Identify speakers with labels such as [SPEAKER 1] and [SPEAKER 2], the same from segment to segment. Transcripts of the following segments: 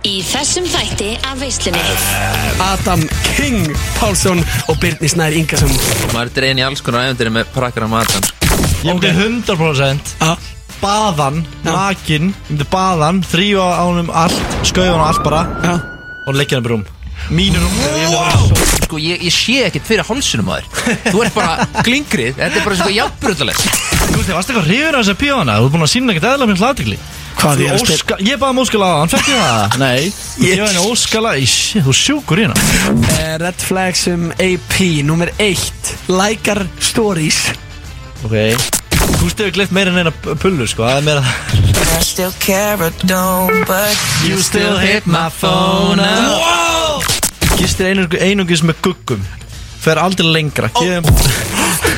[SPEAKER 1] Í þessum þætti af veislunni
[SPEAKER 2] Adam King Pálsson og Birni Snær Ingarsson
[SPEAKER 3] Maður er dregin í alls konar ævendir með prakkar af sko. matan
[SPEAKER 4] Ég myndi 100%
[SPEAKER 2] Já.
[SPEAKER 4] Baðan, nakin Ég myndi baðan, þrýfa ánum allt Skauða hann allt bara
[SPEAKER 2] Já.
[SPEAKER 4] Og leggja hann upp í rúm Mínu rúm
[SPEAKER 3] Sko, ég, ég sé ekkert fyrir hálsunum maður Þú ert bara glingrið Þetta er bara svona jafnbrutalegt
[SPEAKER 4] Gústi, varstu eitthvað hrifin af þessa píóna? Þú ert búin að sína ekkert eðla minn hlátikli
[SPEAKER 2] Hvað ég er að spila
[SPEAKER 4] Óska, ég baði um óskala á hann, fekk ég það? Nei Ég
[SPEAKER 2] Yes.
[SPEAKER 4] baði henni óskala, í shit, þú sjúkur hérna
[SPEAKER 2] Eh, Red Flags um AP Númer 1 Lækar Stories
[SPEAKER 4] Ok Gústi hefur gleitt meira en eina p- pullu, sko Það er meira það
[SPEAKER 5] I still care, I don't, but
[SPEAKER 4] You still hit my phone up Gistir einung, einungis með guggum Fer aldrei lengra Gefum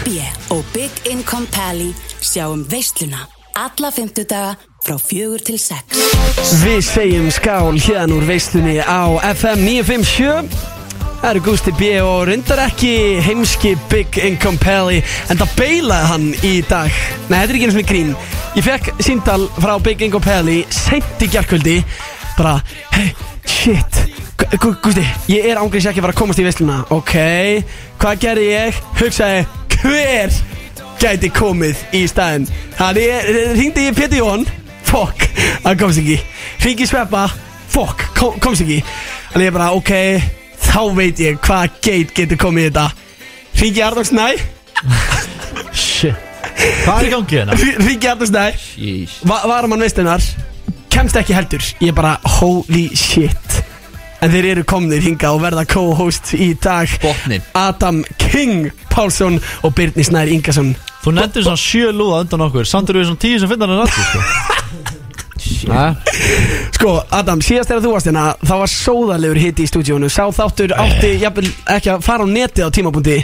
[SPEAKER 6] B og Big Income Pally sjáum um veisluna alla fymtudaga frá fjögur til sex.
[SPEAKER 2] Við segjum skál hérna úr veistunni á FM 957 Það eru Gusti B og reyndar ekki heimski Big Income Pally en það beilaði hann í dag Nei, þetta er ekki einu svona grín Ég fekk síndal frá Big Income Pally sent í gerkvöldi bara, hey, shit Gu- Gu- Gusti, ég er ángriðs ekki að fara að komast í veisluna Ok, hvað gerði ég? Hugsaði, hver gæti komið í staðin Þannig hringdi ég Pétur Jón Fokk, hann komst ekki Hringi Sveppa, fokk, kom, komst ekki Þannig ég bara, ok Þá veit ég hvaða geit getur komið í þetta Hringi Arnóks Næ
[SPEAKER 4] Shit Hvað er í gangi hérna?
[SPEAKER 2] Hringi Arnóks Næ
[SPEAKER 3] Jeez.
[SPEAKER 2] Va Varamann veistinnar Kemst ekki heldur Ég bara, holy shit En þeir eru komnir hinga og verða co-host í dag
[SPEAKER 3] Botninn.
[SPEAKER 2] Adam King Pálsson og Birni Snær Ingarsson
[SPEAKER 4] Þú nefndir svona sjö lúða undan okkur Samt eru við svona tíu sem finnar hann allir sko Ha?
[SPEAKER 2] Sko, Adam, síðast þegar þú varst hérna þá var sóðalegur hiti í stúdíónu Sá þáttur
[SPEAKER 4] Eh.
[SPEAKER 2] átti, jafnvel, ekki að fara á netið á tímabundi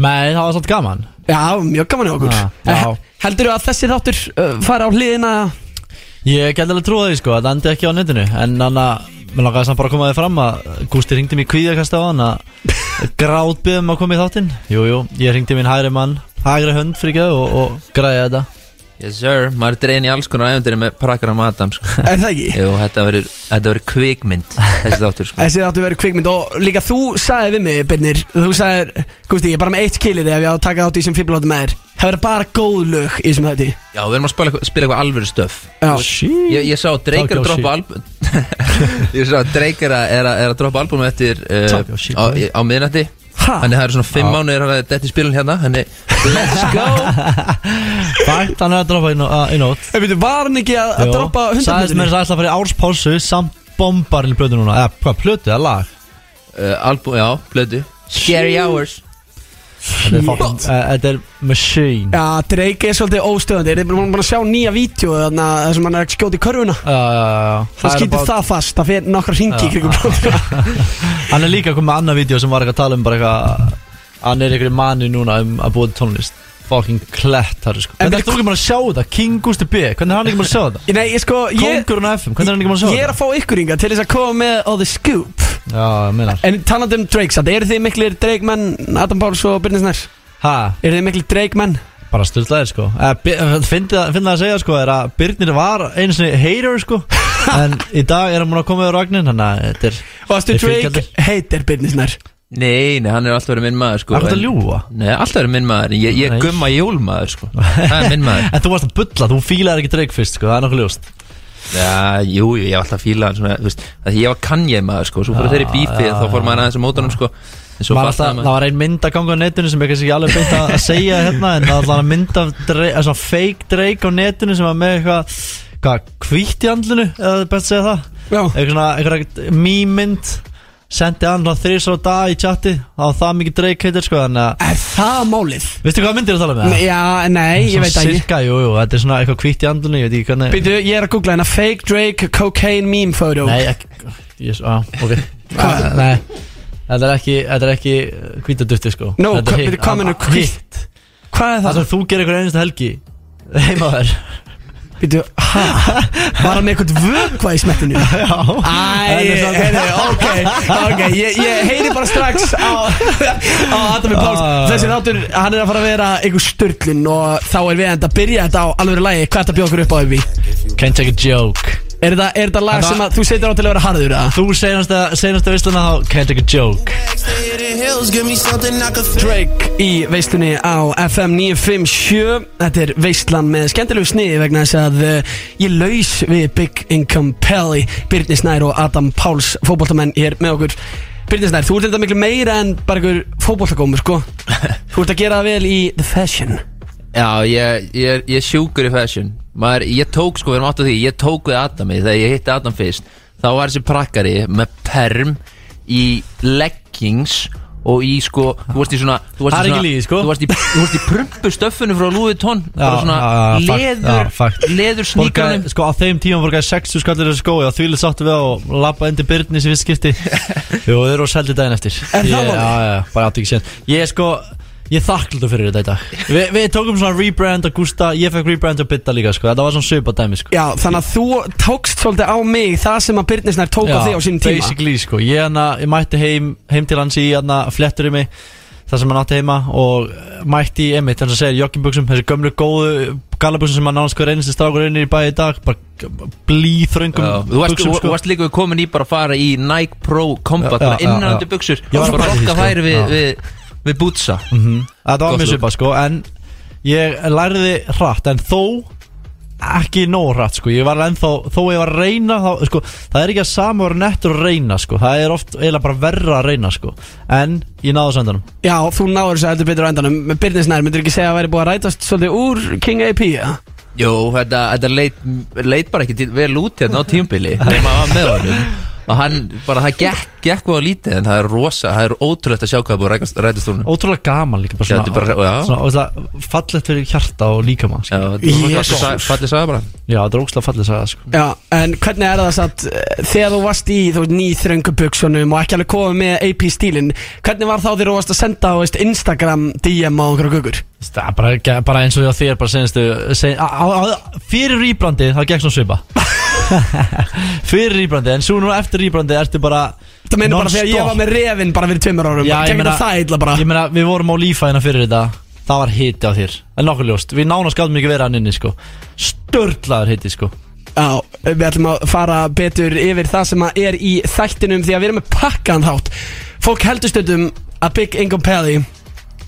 [SPEAKER 4] Nei, það var svolítið gaman
[SPEAKER 2] Já, mjög gaman í okkur
[SPEAKER 4] Ah, já.
[SPEAKER 2] Eh, Heldurðu að þessi þáttur uh, fara á hliðina
[SPEAKER 4] Ég gæti alveg trúa því sko að Það endi ekki á netinu En hann að Mér langaði samt bara að koma því fram að Gústi ringdi mér kvíðakast á hann að Grátbyðum að koma í þáttinn Jú, jú, ég ringdi minn hægri mann Hægri hönd fyrir ekki og, og græði þetta
[SPEAKER 3] Yes sir, maður er dregin í alls konar ævendir með prakkar af matan sko.
[SPEAKER 2] Er það ekki?
[SPEAKER 3] Jú, þetta verður þetta verður kvikmynd Þessi þáttur sko.
[SPEAKER 2] Þessi þáttur verið kvikmynd og líka þú sagði við mig, Birnir Þú sagði, Gusti, ég er bara með eitt skilir ef ég á að taka þátt í sem fíblátti með þér Það verður bara góð lög í þessum þætti
[SPEAKER 3] Já, við erum að spila, eitthvað- spila eitthvað alvöru stöf
[SPEAKER 2] Já,
[SPEAKER 3] Ég, ég sá að Drake er að
[SPEAKER 4] Talk your
[SPEAKER 3] droppa album Ég sá að Drake er að, er að, er að droppa album eftir uh,
[SPEAKER 4] Talk your shit,
[SPEAKER 3] á,
[SPEAKER 4] boy.
[SPEAKER 3] á
[SPEAKER 4] Ah.
[SPEAKER 3] miðnætti
[SPEAKER 2] Ha?
[SPEAKER 3] Þannig
[SPEAKER 4] eh.
[SPEAKER 3] það eru svona fimm mánuðir hann að detti spilun hérna Þannig let's go
[SPEAKER 4] Fætt, hann er að droppa í nó- að- í nót
[SPEAKER 2] En veitu, var hann ekki að, að
[SPEAKER 4] Jú.
[SPEAKER 2] droppa
[SPEAKER 4] Sagðist mér
[SPEAKER 2] hundarmyndinu?
[SPEAKER 4] þess að ætla að fara í árspásu Samt bombarinn í plötu núna Eða, hvað, plötu, eða lag?
[SPEAKER 3] uh, Album, já, blödu Scary Hours
[SPEAKER 4] Þetta er fucking- eh, Þetta er machine
[SPEAKER 2] Já, Drake er svolítið óstöðandi Er þið búin að sjá nýja vídeo þarna þar sem hann er að skjóta í körfuna?
[SPEAKER 4] Já, já, já, já.
[SPEAKER 2] Það
[SPEAKER 4] Uh, er
[SPEAKER 2] skýtur
[SPEAKER 4] bara-
[SPEAKER 2] það fast, það fyrir nokkra hringi í
[SPEAKER 4] Já.
[SPEAKER 2] kringum blóðina
[SPEAKER 4] Hann er líka komið með annað vídeo sem var eitthvað að tala um bara eitthvað Hann er einhverju manni núna um að búa til tónlist Fucking klett þar sko
[SPEAKER 2] En
[SPEAKER 4] Hvernig
[SPEAKER 2] við-
[SPEAKER 4] ert þú ekki maður að sjá þetta? King Gusti B, hvernig er hann ekki maður að sjá þetta?
[SPEAKER 2] Nei, ég sko, ég,
[SPEAKER 4] Kongurinn á FM, hvernig er hann ekki maður að
[SPEAKER 2] ég
[SPEAKER 4] sjá
[SPEAKER 2] er
[SPEAKER 4] þetta?
[SPEAKER 2] að fá ykkur yngar til þess að koma með á The Scoop
[SPEAKER 4] Já, ég meinar
[SPEAKER 2] En talandi um Drake satt, eru þið miklir Drake menn, Adam Báls og Birnir Snær?
[SPEAKER 4] Ha,
[SPEAKER 2] Eru þið miklir Drake menn?
[SPEAKER 4] bara styrlaðir sko Eh, Bi- eh, Fyndi það fyndi það að segja sko er að Birnir var einu sinni hater sko En í dag er hann búin að koma yfir vagnin Þannig að þetta er
[SPEAKER 2] Og aðstu
[SPEAKER 4] Ég fylgja
[SPEAKER 2] Drake heitir Birnir Snær
[SPEAKER 3] Nei, nei, hann er alltaf verið minn maður sko
[SPEAKER 4] Það er þetta að
[SPEAKER 3] en-
[SPEAKER 4] ljúga
[SPEAKER 3] Nei, alltaf verið minn maður Ég, ég
[SPEAKER 4] Nei.
[SPEAKER 3] gumma jólmaður sko Það er minn maður
[SPEAKER 4] En þú varst að bulla, þú fílaðir ekki dreik fyrst sko, það er nokkuð ljóst
[SPEAKER 3] Já, jú, jú, ég var alltaf að fíla hann svona, þú veist, að Ég var kannjæð maður sko Svo fóru
[SPEAKER 4] Já,
[SPEAKER 3] þeirri bífið
[SPEAKER 4] já,
[SPEAKER 3] Þá fór
[SPEAKER 4] já.
[SPEAKER 3] maður aðeins að móta hann sko En svo
[SPEAKER 4] Ah.
[SPEAKER 3] fattaði
[SPEAKER 4] Var alltaf,
[SPEAKER 3] maður-
[SPEAKER 4] það var ein mynd að ganga á netinu sem ég kannski ekki alveg beint að að segja hérna en það var alltaf mynd af dreik, svona fake dreik á netinu sem var með eitthvað hvað, hvítt í andlinu, eða það er best að segja það
[SPEAKER 2] Já,
[SPEAKER 4] eitthvað svona, eitthvað mýmynd sendi hann þá þrjus á dag í chati þá var það mikið dreik heitir sko þannig að
[SPEAKER 2] er það málið?
[SPEAKER 4] veistu hvað myndir þú tala með?
[SPEAKER 2] Nei, Já, nei, ég veit það ekki
[SPEAKER 4] Cirka, jú, jú, þetta er svona eitthvað hvítt í andlinu, ég veit ekki hvernig
[SPEAKER 2] Býtu, ég er að googla hérna Fake Drake Cocaine Meme Photo
[SPEAKER 4] Nei, ekki yes, á, ok Ah, Nei Þetta er ekki, þetta er ekki hvítadutti sko
[SPEAKER 2] No,
[SPEAKER 4] Þetta er
[SPEAKER 2] hva-
[SPEAKER 4] hitt-
[SPEAKER 2] byrju, hvað meinar
[SPEAKER 4] ah, hitt.
[SPEAKER 2] Hvað er
[SPEAKER 4] Það
[SPEAKER 2] það?
[SPEAKER 4] sem þú gerir einhver einasta helgi Heima þær
[SPEAKER 2] Býtu, hæ? Var hann með eitthvað vökva í smettinu?
[SPEAKER 4] Já
[SPEAKER 2] Æ,
[SPEAKER 4] Þetta er
[SPEAKER 2] heyrðu, ok, ok, ég, ég heyri bara strax á, á Adami Páls
[SPEAKER 4] Ah.
[SPEAKER 2] Þessi þáttur, hann er að fara að vera einhver störtlun og þá er við enda að byrja þetta á alveg lægi Hvað er þetta bjóð okkur upp á því?
[SPEAKER 4] Can't take a joke
[SPEAKER 2] Er þetta, er þetta lag
[SPEAKER 4] Þetta-
[SPEAKER 2] sem að þú setur á til að vera harður eða?
[SPEAKER 4] Þú senasta, senasta veisluna þá Can't take a joke
[SPEAKER 2] Drake í veislunni á FM 957 Þetta er veislan með skemmtilegu sniði vegna þess að uh, ég laus við Big Income Pelli Birnir Snær og Adam Páls fótboltamenn hér með okkur Birnir Snær, þú ert þetta miklu meira en bara einhver fótboltagómur sko Þú ert að gera það vel í The Fashion
[SPEAKER 3] Já, ég, ég, er- ég er sjúkur í fashion Maður, Ég tók, sko, við erum átt á því Ég tók við Adami, þegar ég hitti Adam fyrst Þá var þessi prakkari með perm Í leggings Og í, sko, þú varst í svona Þú varst
[SPEAKER 4] Það er
[SPEAKER 3] í,
[SPEAKER 4] ekki
[SPEAKER 3] svona,
[SPEAKER 4] lífið, sko.
[SPEAKER 3] þú varst í, þú varst í prumpu stöffinu frá Lúi Tón Bara
[SPEAKER 4] Já, já,
[SPEAKER 3] svona
[SPEAKER 4] já, fakt, já, fakt.
[SPEAKER 3] leður Leður sníkanum
[SPEAKER 4] Borgaði- Sko á þeim tíma borgaði 60 skallir þessu skói og því lið sáttu við á og lappa undir byrni sem við skipti Jú, þeir eru og seldi daginn eftir
[SPEAKER 2] Er það
[SPEAKER 4] Ég-
[SPEAKER 2] málið?
[SPEAKER 4] Já, já, bara átti ekki sér Ég er sko, ég þakklútu fyrir þetta í dag Vi, Við tókum svona rebrand og Gústa, ég fekk rebrand og Bitta líka sko Þetta var svona svipa dæmi sko
[SPEAKER 2] Já, þannig að þú tókst svolítið á mig það sem að Birnir Snær tók á þig á sínum tíma
[SPEAKER 4] basically sko Ég, hana, ég mætti heim, heim til hans í hana, flettur í mig þar sem hann átti heima og eh, mætti í emitt þannig að segja jogginbuxum, þessi gömlu góðu gallabuxum sem hann nánast hver einasti strákur inn í bæ í dag bara blíþröngum
[SPEAKER 3] Já, Þú varst,
[SPEAKER 4] buxum, sko.
[SPEAKER 3] þú, þú varst líka við komin í bara að fara í Nike Pro Combat
[SPEAKER 4] Já, já,
[SPEAKER 3] Bara
[SPEAKER 4] já, já.
[SPEAKER 3] innanandi buksur
[SPEAKER 4] Ég var
[SPEAKER 3] Og
[SPEAKER 4] að
[SPEAKER 3] bara
[SPEAKER 4] pæla í því,
[SPEAKER 3] rokka
[SPEAKER 4] sko.
[SPEAKER 3] þær við,
[SPEAKER 4] Já.
[SPEAKER 3] við, við bútsa
[SPEAKER 4] Það var
[SPEAKER 3] Gott
[SPEAKER 4] mér
[SPEAKER 3] look.
[SPEAKER 4] svipa sko En ég lærði hratt En þó ekki nóg hratt sko Ég var ennþá Þó ég var að reyna þá, sko, Það er ekki að sama vera nettur að reyna sko Það er oft eiginlega bara verra að reyna sko En ég náðu söndanum
[SPEAKER 2] Já, þú náður þessu heldur betur á endanum Birnir Snær, myndir ekki segja að væri búið að rætast svolítið úr King AP, ja?
[SPEAKER 3] Jó, þetta, þetta leit, leit bara ekki til- vel út hérna á tímbili þegar maður var með honum og hann, bara það gekk, gekk hvað lítið en það er rosa, það er ótrúlegt að sjá hvað það er búið að rækast- rætast úr honum
[SPEAKER 4] Ótrúlega gaman líka
[SPEAKER 3] Já,
[SPEAKER 4] bara
[SPEAKER 3] þetta
[SPEAKER 4] svona,
[SPEAKER 3] er bara- já.
[SPEAKER 4] svona, svona Fallegt fyrir hjarta og líkama
[SPEAKER 3] Já,
[SPEAKER 4] sko.
[SPEAKER 3] þetta var
[SPEAKER 2] Jesus.
[SPEAKER 3] fallið- Fallið sagði bara
[SPEAKER 4] Já, þetta er ókslega fallið sagði sko
[SPEAKER 2] Já, en hvernig er það satt eh, þegar þú varst í þú veist, nýþröngu buksunum og ekki alveg komið með AP stílinn hvernig var þá þegar þú varst að senda á veist, Instagram DM á einhverja gugur?
[SPEAKER 4] Það er bara, ge- bara eins og því að þér bara senstu sen, á, á, á, Fyrir rýbrandi þá gekk svona svipa Fyrir rýbrandi En svo nú eftir rýbrandi ertu bara
[SPEAKER 2] Það meina bara þegar ég var með refin bara fyrir tveimur árum
[SPEAKER 4] Já, ég
[SPEAKER 2] Gekk
[SPEAKER 4] meina-
[SPEAKER 2] þetta það illa bara
[SPEAKER 4] Ég meina, við vorum á lífa hérna fyrir þetta Það var hiti á þér En nokkuð ljóst Við nánast gáttum ekki verið hann inni, sko Störlaður hiti, sko
[SPEAKER 2] Já, við ætlum að fara betur yfir það sem að er í þættinum því að við erum með pakkan þátt Fólk heldur stundum að Big Income Pelli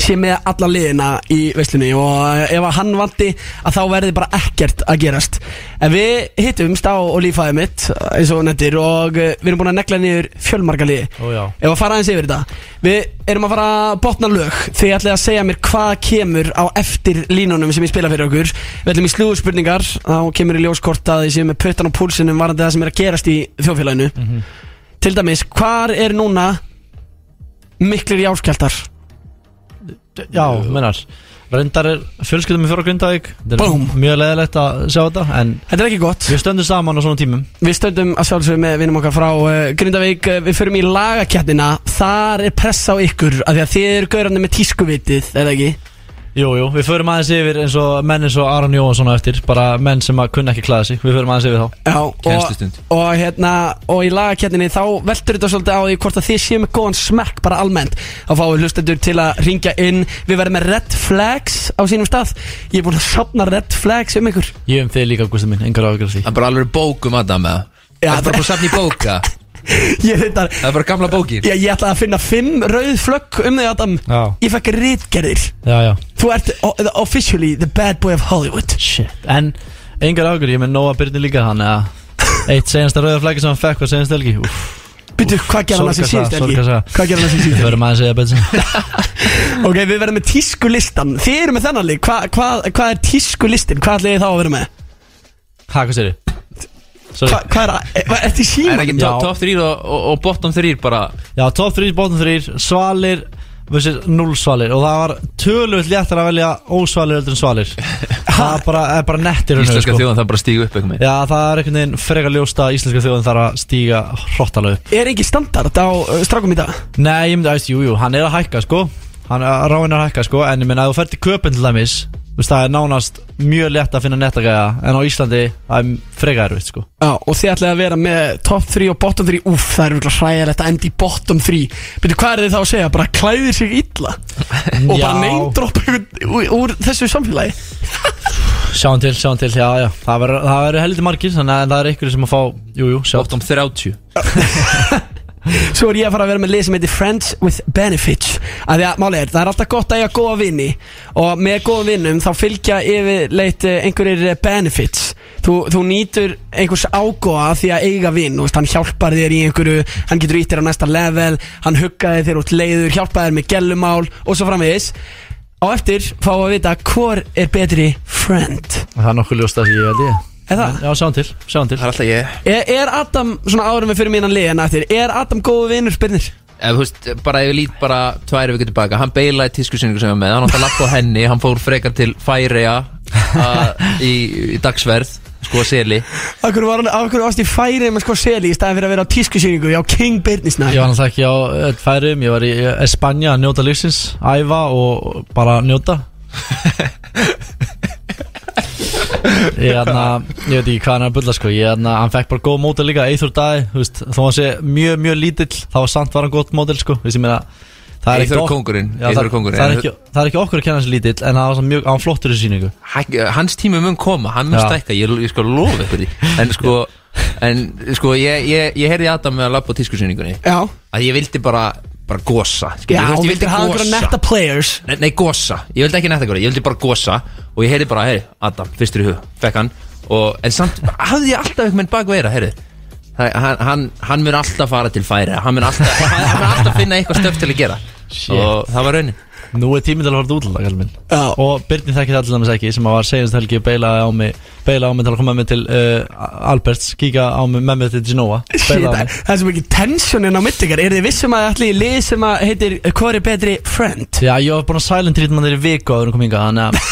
[SPEAKER 2] sé með alla liðina í veislunni og ef að hann vandi að þá verði bara ekkert að gerast En við hittumst á Olífæði mitt eins og nettir og eh, við erum búin að negla niður fjölmarga liði
[SPEAKER 4] Ó, já.
[SPEAKER 2] Ef að fara aðeins yfir þetta Við erum að fara að botna lög Þið ætlið að segja mér hvað kemur á eftir línunum sem ég spila fyrir okkur Við ætlum í slúðurspurningar Þá kemur í ljóskort að þið séu með puttan á púlsinum varandi það sem er að gerast í þjófélaginu Til dæmis, hvar er núna miklir jáskjaldar?
[SPEAKER 4] Já, mennar Reyndar er fjölskyldum í fjóra grindavík Þetta er
[SPEAKER 2] Búm.
[SPEAKER 4] Mjög leðilegt að sjá þetta En
[SPEAKER 2] Þetta er ekki gott
[SPEAKER 4] við stöndum saman á svona tímum
[SPEAKER 2] Við stöndum að sjálfsögum með vinum okkar frá uh, Grindavík uh, Við förum í lagakjættina Þar er pressa á ykkur af Því að þið eru gaurandi með tískuvitið, eða ekki?
[SPEAKER 4] Jú, jú, við förum aðeins yfir eins og menn eins og Aron Jóhansson á eftir Bara menn sem að kunna ekki klæða sig Við förum aðeins yfir þá
[SPEAKER 2] Já, og,
[SPEAKER 3] Kennslustund.
[SPEAKER 2] og hérna og í lagakettinni þá veldur þetta svolítið á því hvort að þið séu með góðan smekk bara almennt þá fáum við hlustendur til að ringja inn við verðum með red flags á sínum stað ég er búin að sapna red flags um ykkur
[SPEAKER 4] Ég um þig líka, Gústi minn, engar áhyggjur af því
[SPEAKER 3] Það er bara alveg bók um Adam eða
[SPEAKER 2] Já,
[SPEAKER 3] Það er bara búið að safna í bóka
[SPEAKER 2] ég, reyndar,
[SPEAKER 3] Það er bara gamla bókin
[SPEAKER 2] ég, ég ætla að finna fimm rauð flögg um þig Adam
[SPEAKER 4] Já.
[SPEAKER 2] ég fekk rítgerðir
[SPEAKER 4] Já, já
[SPEAKER 2] þú ert o- the- officially the bad boy of Hollywood
[SPEAKER 4] Shit En engar águr, ég er með nóga byrni líka hann Eitt senasta rauða flæki sem hann fekk var senast helgi Úff,
[SPEAKER 2] Býtu, hvað gerði hann að sem
[SPEAKER 4] sorgarsaga,
[SPEAKER 2] síðust Helgi?
[SPEAKER 4] sorgarsaga.
[SPEAKER 2] Hvað gerði hann að sem
[SPEAKER 4] Við
[SPEAKER 2] síðust Helgi?
[SPEAKER 4] förum aðeins eða betur
[SPEAKER 2] Ok, við verðum með tískulistan Þið eru með þennan lík, hvað hva, hva er tískulistin? Hvað ætlið þið þá að vera með?
[SPEAKER 4] Hæ, hvað sér þið? Sorry
[SPEAKER 2] Hva- Hvað er það? Er þetta í
[SPEAKER 3] Það er
[SPEAKER 2] síma?
[SPEAKER 3] ekki
[SPEAKER 4] Já.
[SPEAKER 3] top, top 3 og, og, og bottom 3 bara
[SPEAKER 4] Já, top 3, bottom 3 Svalir versus 0 svalir Og það var tölvöld léttar að velja ósvalir heldur en svalir Það er bara, er bara nettir rauninu,
[SPEAKER 3] Íslenska þjóðan það bara stígu upp eitthvað með
[SPEAKER 4] sko. Já, það er einhvern veginn frekar ljósta Íslenska þjóðin þarf að stíga hrottalega upp
[SPEAKER 2] Er ekki standard á uh, strákum í dag?
[SPEAKER 4] Nei, ég myndi að, jú, jú, hann er að hækka, sko Hann er ráin að hækka, sko En ég meina, ef þú ferð til köpinn til dæmis þú veist, Það er nánast mjög létt að finna nettagæða En á Íslandi, það er frekar erfitt, sko
[SPEAKER 2] Já, og þið ætlaði að vera með top 3 og bottom 3 Úf, það er virkulega hræðilegt að enda í bottom 3 Byrju, hvað er þið þá að segja? Bara klæðir sig illa Og bara
[SPEAKER 4] Já.
[SPEAKER 2] neindropp úr, úr þessu samfélagi
[SPEAKER 4] Sjáum til, sjáum til, já, já Það verður- það verður heldur margir, þannig að en það er ykkur sem að fá Jú, jú, sjá
[SPEAKER 3] Óttum 30
[SPEAKER 2] Svo er ég að fara að vera með lið sem heitir Friends with Benefits að því að máli er, það er alltaf gott að ég hafa góða vini og með góða vinnum þá fylgja yfirleitt eh, einhverjir eh, benefits þú, þú nýtur einhvers ágóða af því að eiga vinn þú veist, hann hjálpar þér í einhverju hann getur ítt þér á næsta level hann huggaði þér út leiður, hjálpaði þér með gellumál og svo framvegis á eftir fá að vita hvor er betri friend
[SPEAKER 4] Það er nokkuð ljóst að ég held ég
[SPEAKER 2] Er það?
[SPEAKER 4] Já, sjáum til, sjáum til
[SPEAKER 3] Það er alltaf ég
[SPEAKER 2] Er, er Adam, svona árum við fyrir mínan liðan eftir, er Adam góðu vinnur spyrnir?
[SPEAKER 3] Ef, þú veist, bara ef við lít bara tværi vikur tilbaka Hann beilaði tískusynningu sem ég var með Hann átti að lappa á henni Hann fór frekar til Færeja í, í dagsverð Sko að seli
[SPEAKER 2] Akkur var hann, akkur varst í færið með sko seli í staðin fyrir að vera á tískusýningu á King Birnisnæ
[SPEAKER 4] Ég var náttúrulega ekki á öll færum, ég var í Espanja að njóta lífsins, æfa og bara njóta Ég hérna, ég veit ekki hvað hann er að bulla sko Ég hérna, hann fekk bara góð mótel líka, Eithur Dæ, þú veist Þó hann sé mjög, mjög lítill, þá var samt var hann gótt mótel sko Þú veist, ég meina
[SPEAKER 3] Eyþór
[SPEAKER 4] það ekkert
[SPEAKER 3] er
[SPEAKER 4] ok-
[SPEAKER 3] kóngurinn,
[SPEAKER 4] Já,
[SPEAKER 3] Eyþór
[SPEAKER 4] það-
[SPEAKER 3] er kóngurinn.
[SPEAKER 4] Það er ekki- það er ekki okkur að kenna hans lítill, en það var svona mjög, hann var flottur í síningu
[SPEAKER 3] Hans tími mun koma Hann mun
[SPEAKER 4] Já.
[SPEAKER 3] stækka Ég, ég sko lofa ykkur því En sko, en, sko ég, ég, ég heyrði Adam með að lappa á tískusynningunni
[SPEAKER 2] Já,
[SPEAKER 3] Að ég vildi bara, bara gosa skilur,
[SPEAKER 2] já,
[SPEAKER 3] þú veist,
[SPEAKER 2] og
[SPEAKER 3] ég
[SPEAKER 2] vildir hafa einhverja netta players
[SPEAKER 3] Nei, nei, gosa, ég vildi ekki netta góra, ég vildi bara gosa Og ég heyrði bara, heyri, Adam, fyrstur í hug Fekk hann, og, en samt Hafði ég alltaf einhvern veginn bakveira, heyri Hann, hann, hann mun alltaf fara til færi Hann mun alltaf, hann, hann mun alltaf finna eitthvað stöf til að gera
[SPEAKER 4] Shit.
[SPEAKER 3] Og það var raunin
[SPEAKER 4] Nú er tíminn til að fara út útlanda, kallum minn
[SPEAKER 2] Já.
[SPEAKER 4] Og Byrni þekkir það til dæmis ekki Sem að var segjast helgi beilaði á mig Beilaði á mig til að koma með til uh, Alberts Kíka á mig með mig til Genova
[SPEAKER 2] Shit,
[SPEAKER 4] Beilaði á mig
[SPEAKER 2] Það er svo mikið tensionin á mitt ykkar Er þið vissum að ætli í lið sem að heitir Hvor er betri friend?
[SPEAKER 4] Já, ég var búin að silent treatment þeirri viku áður en kom hinga Þannig að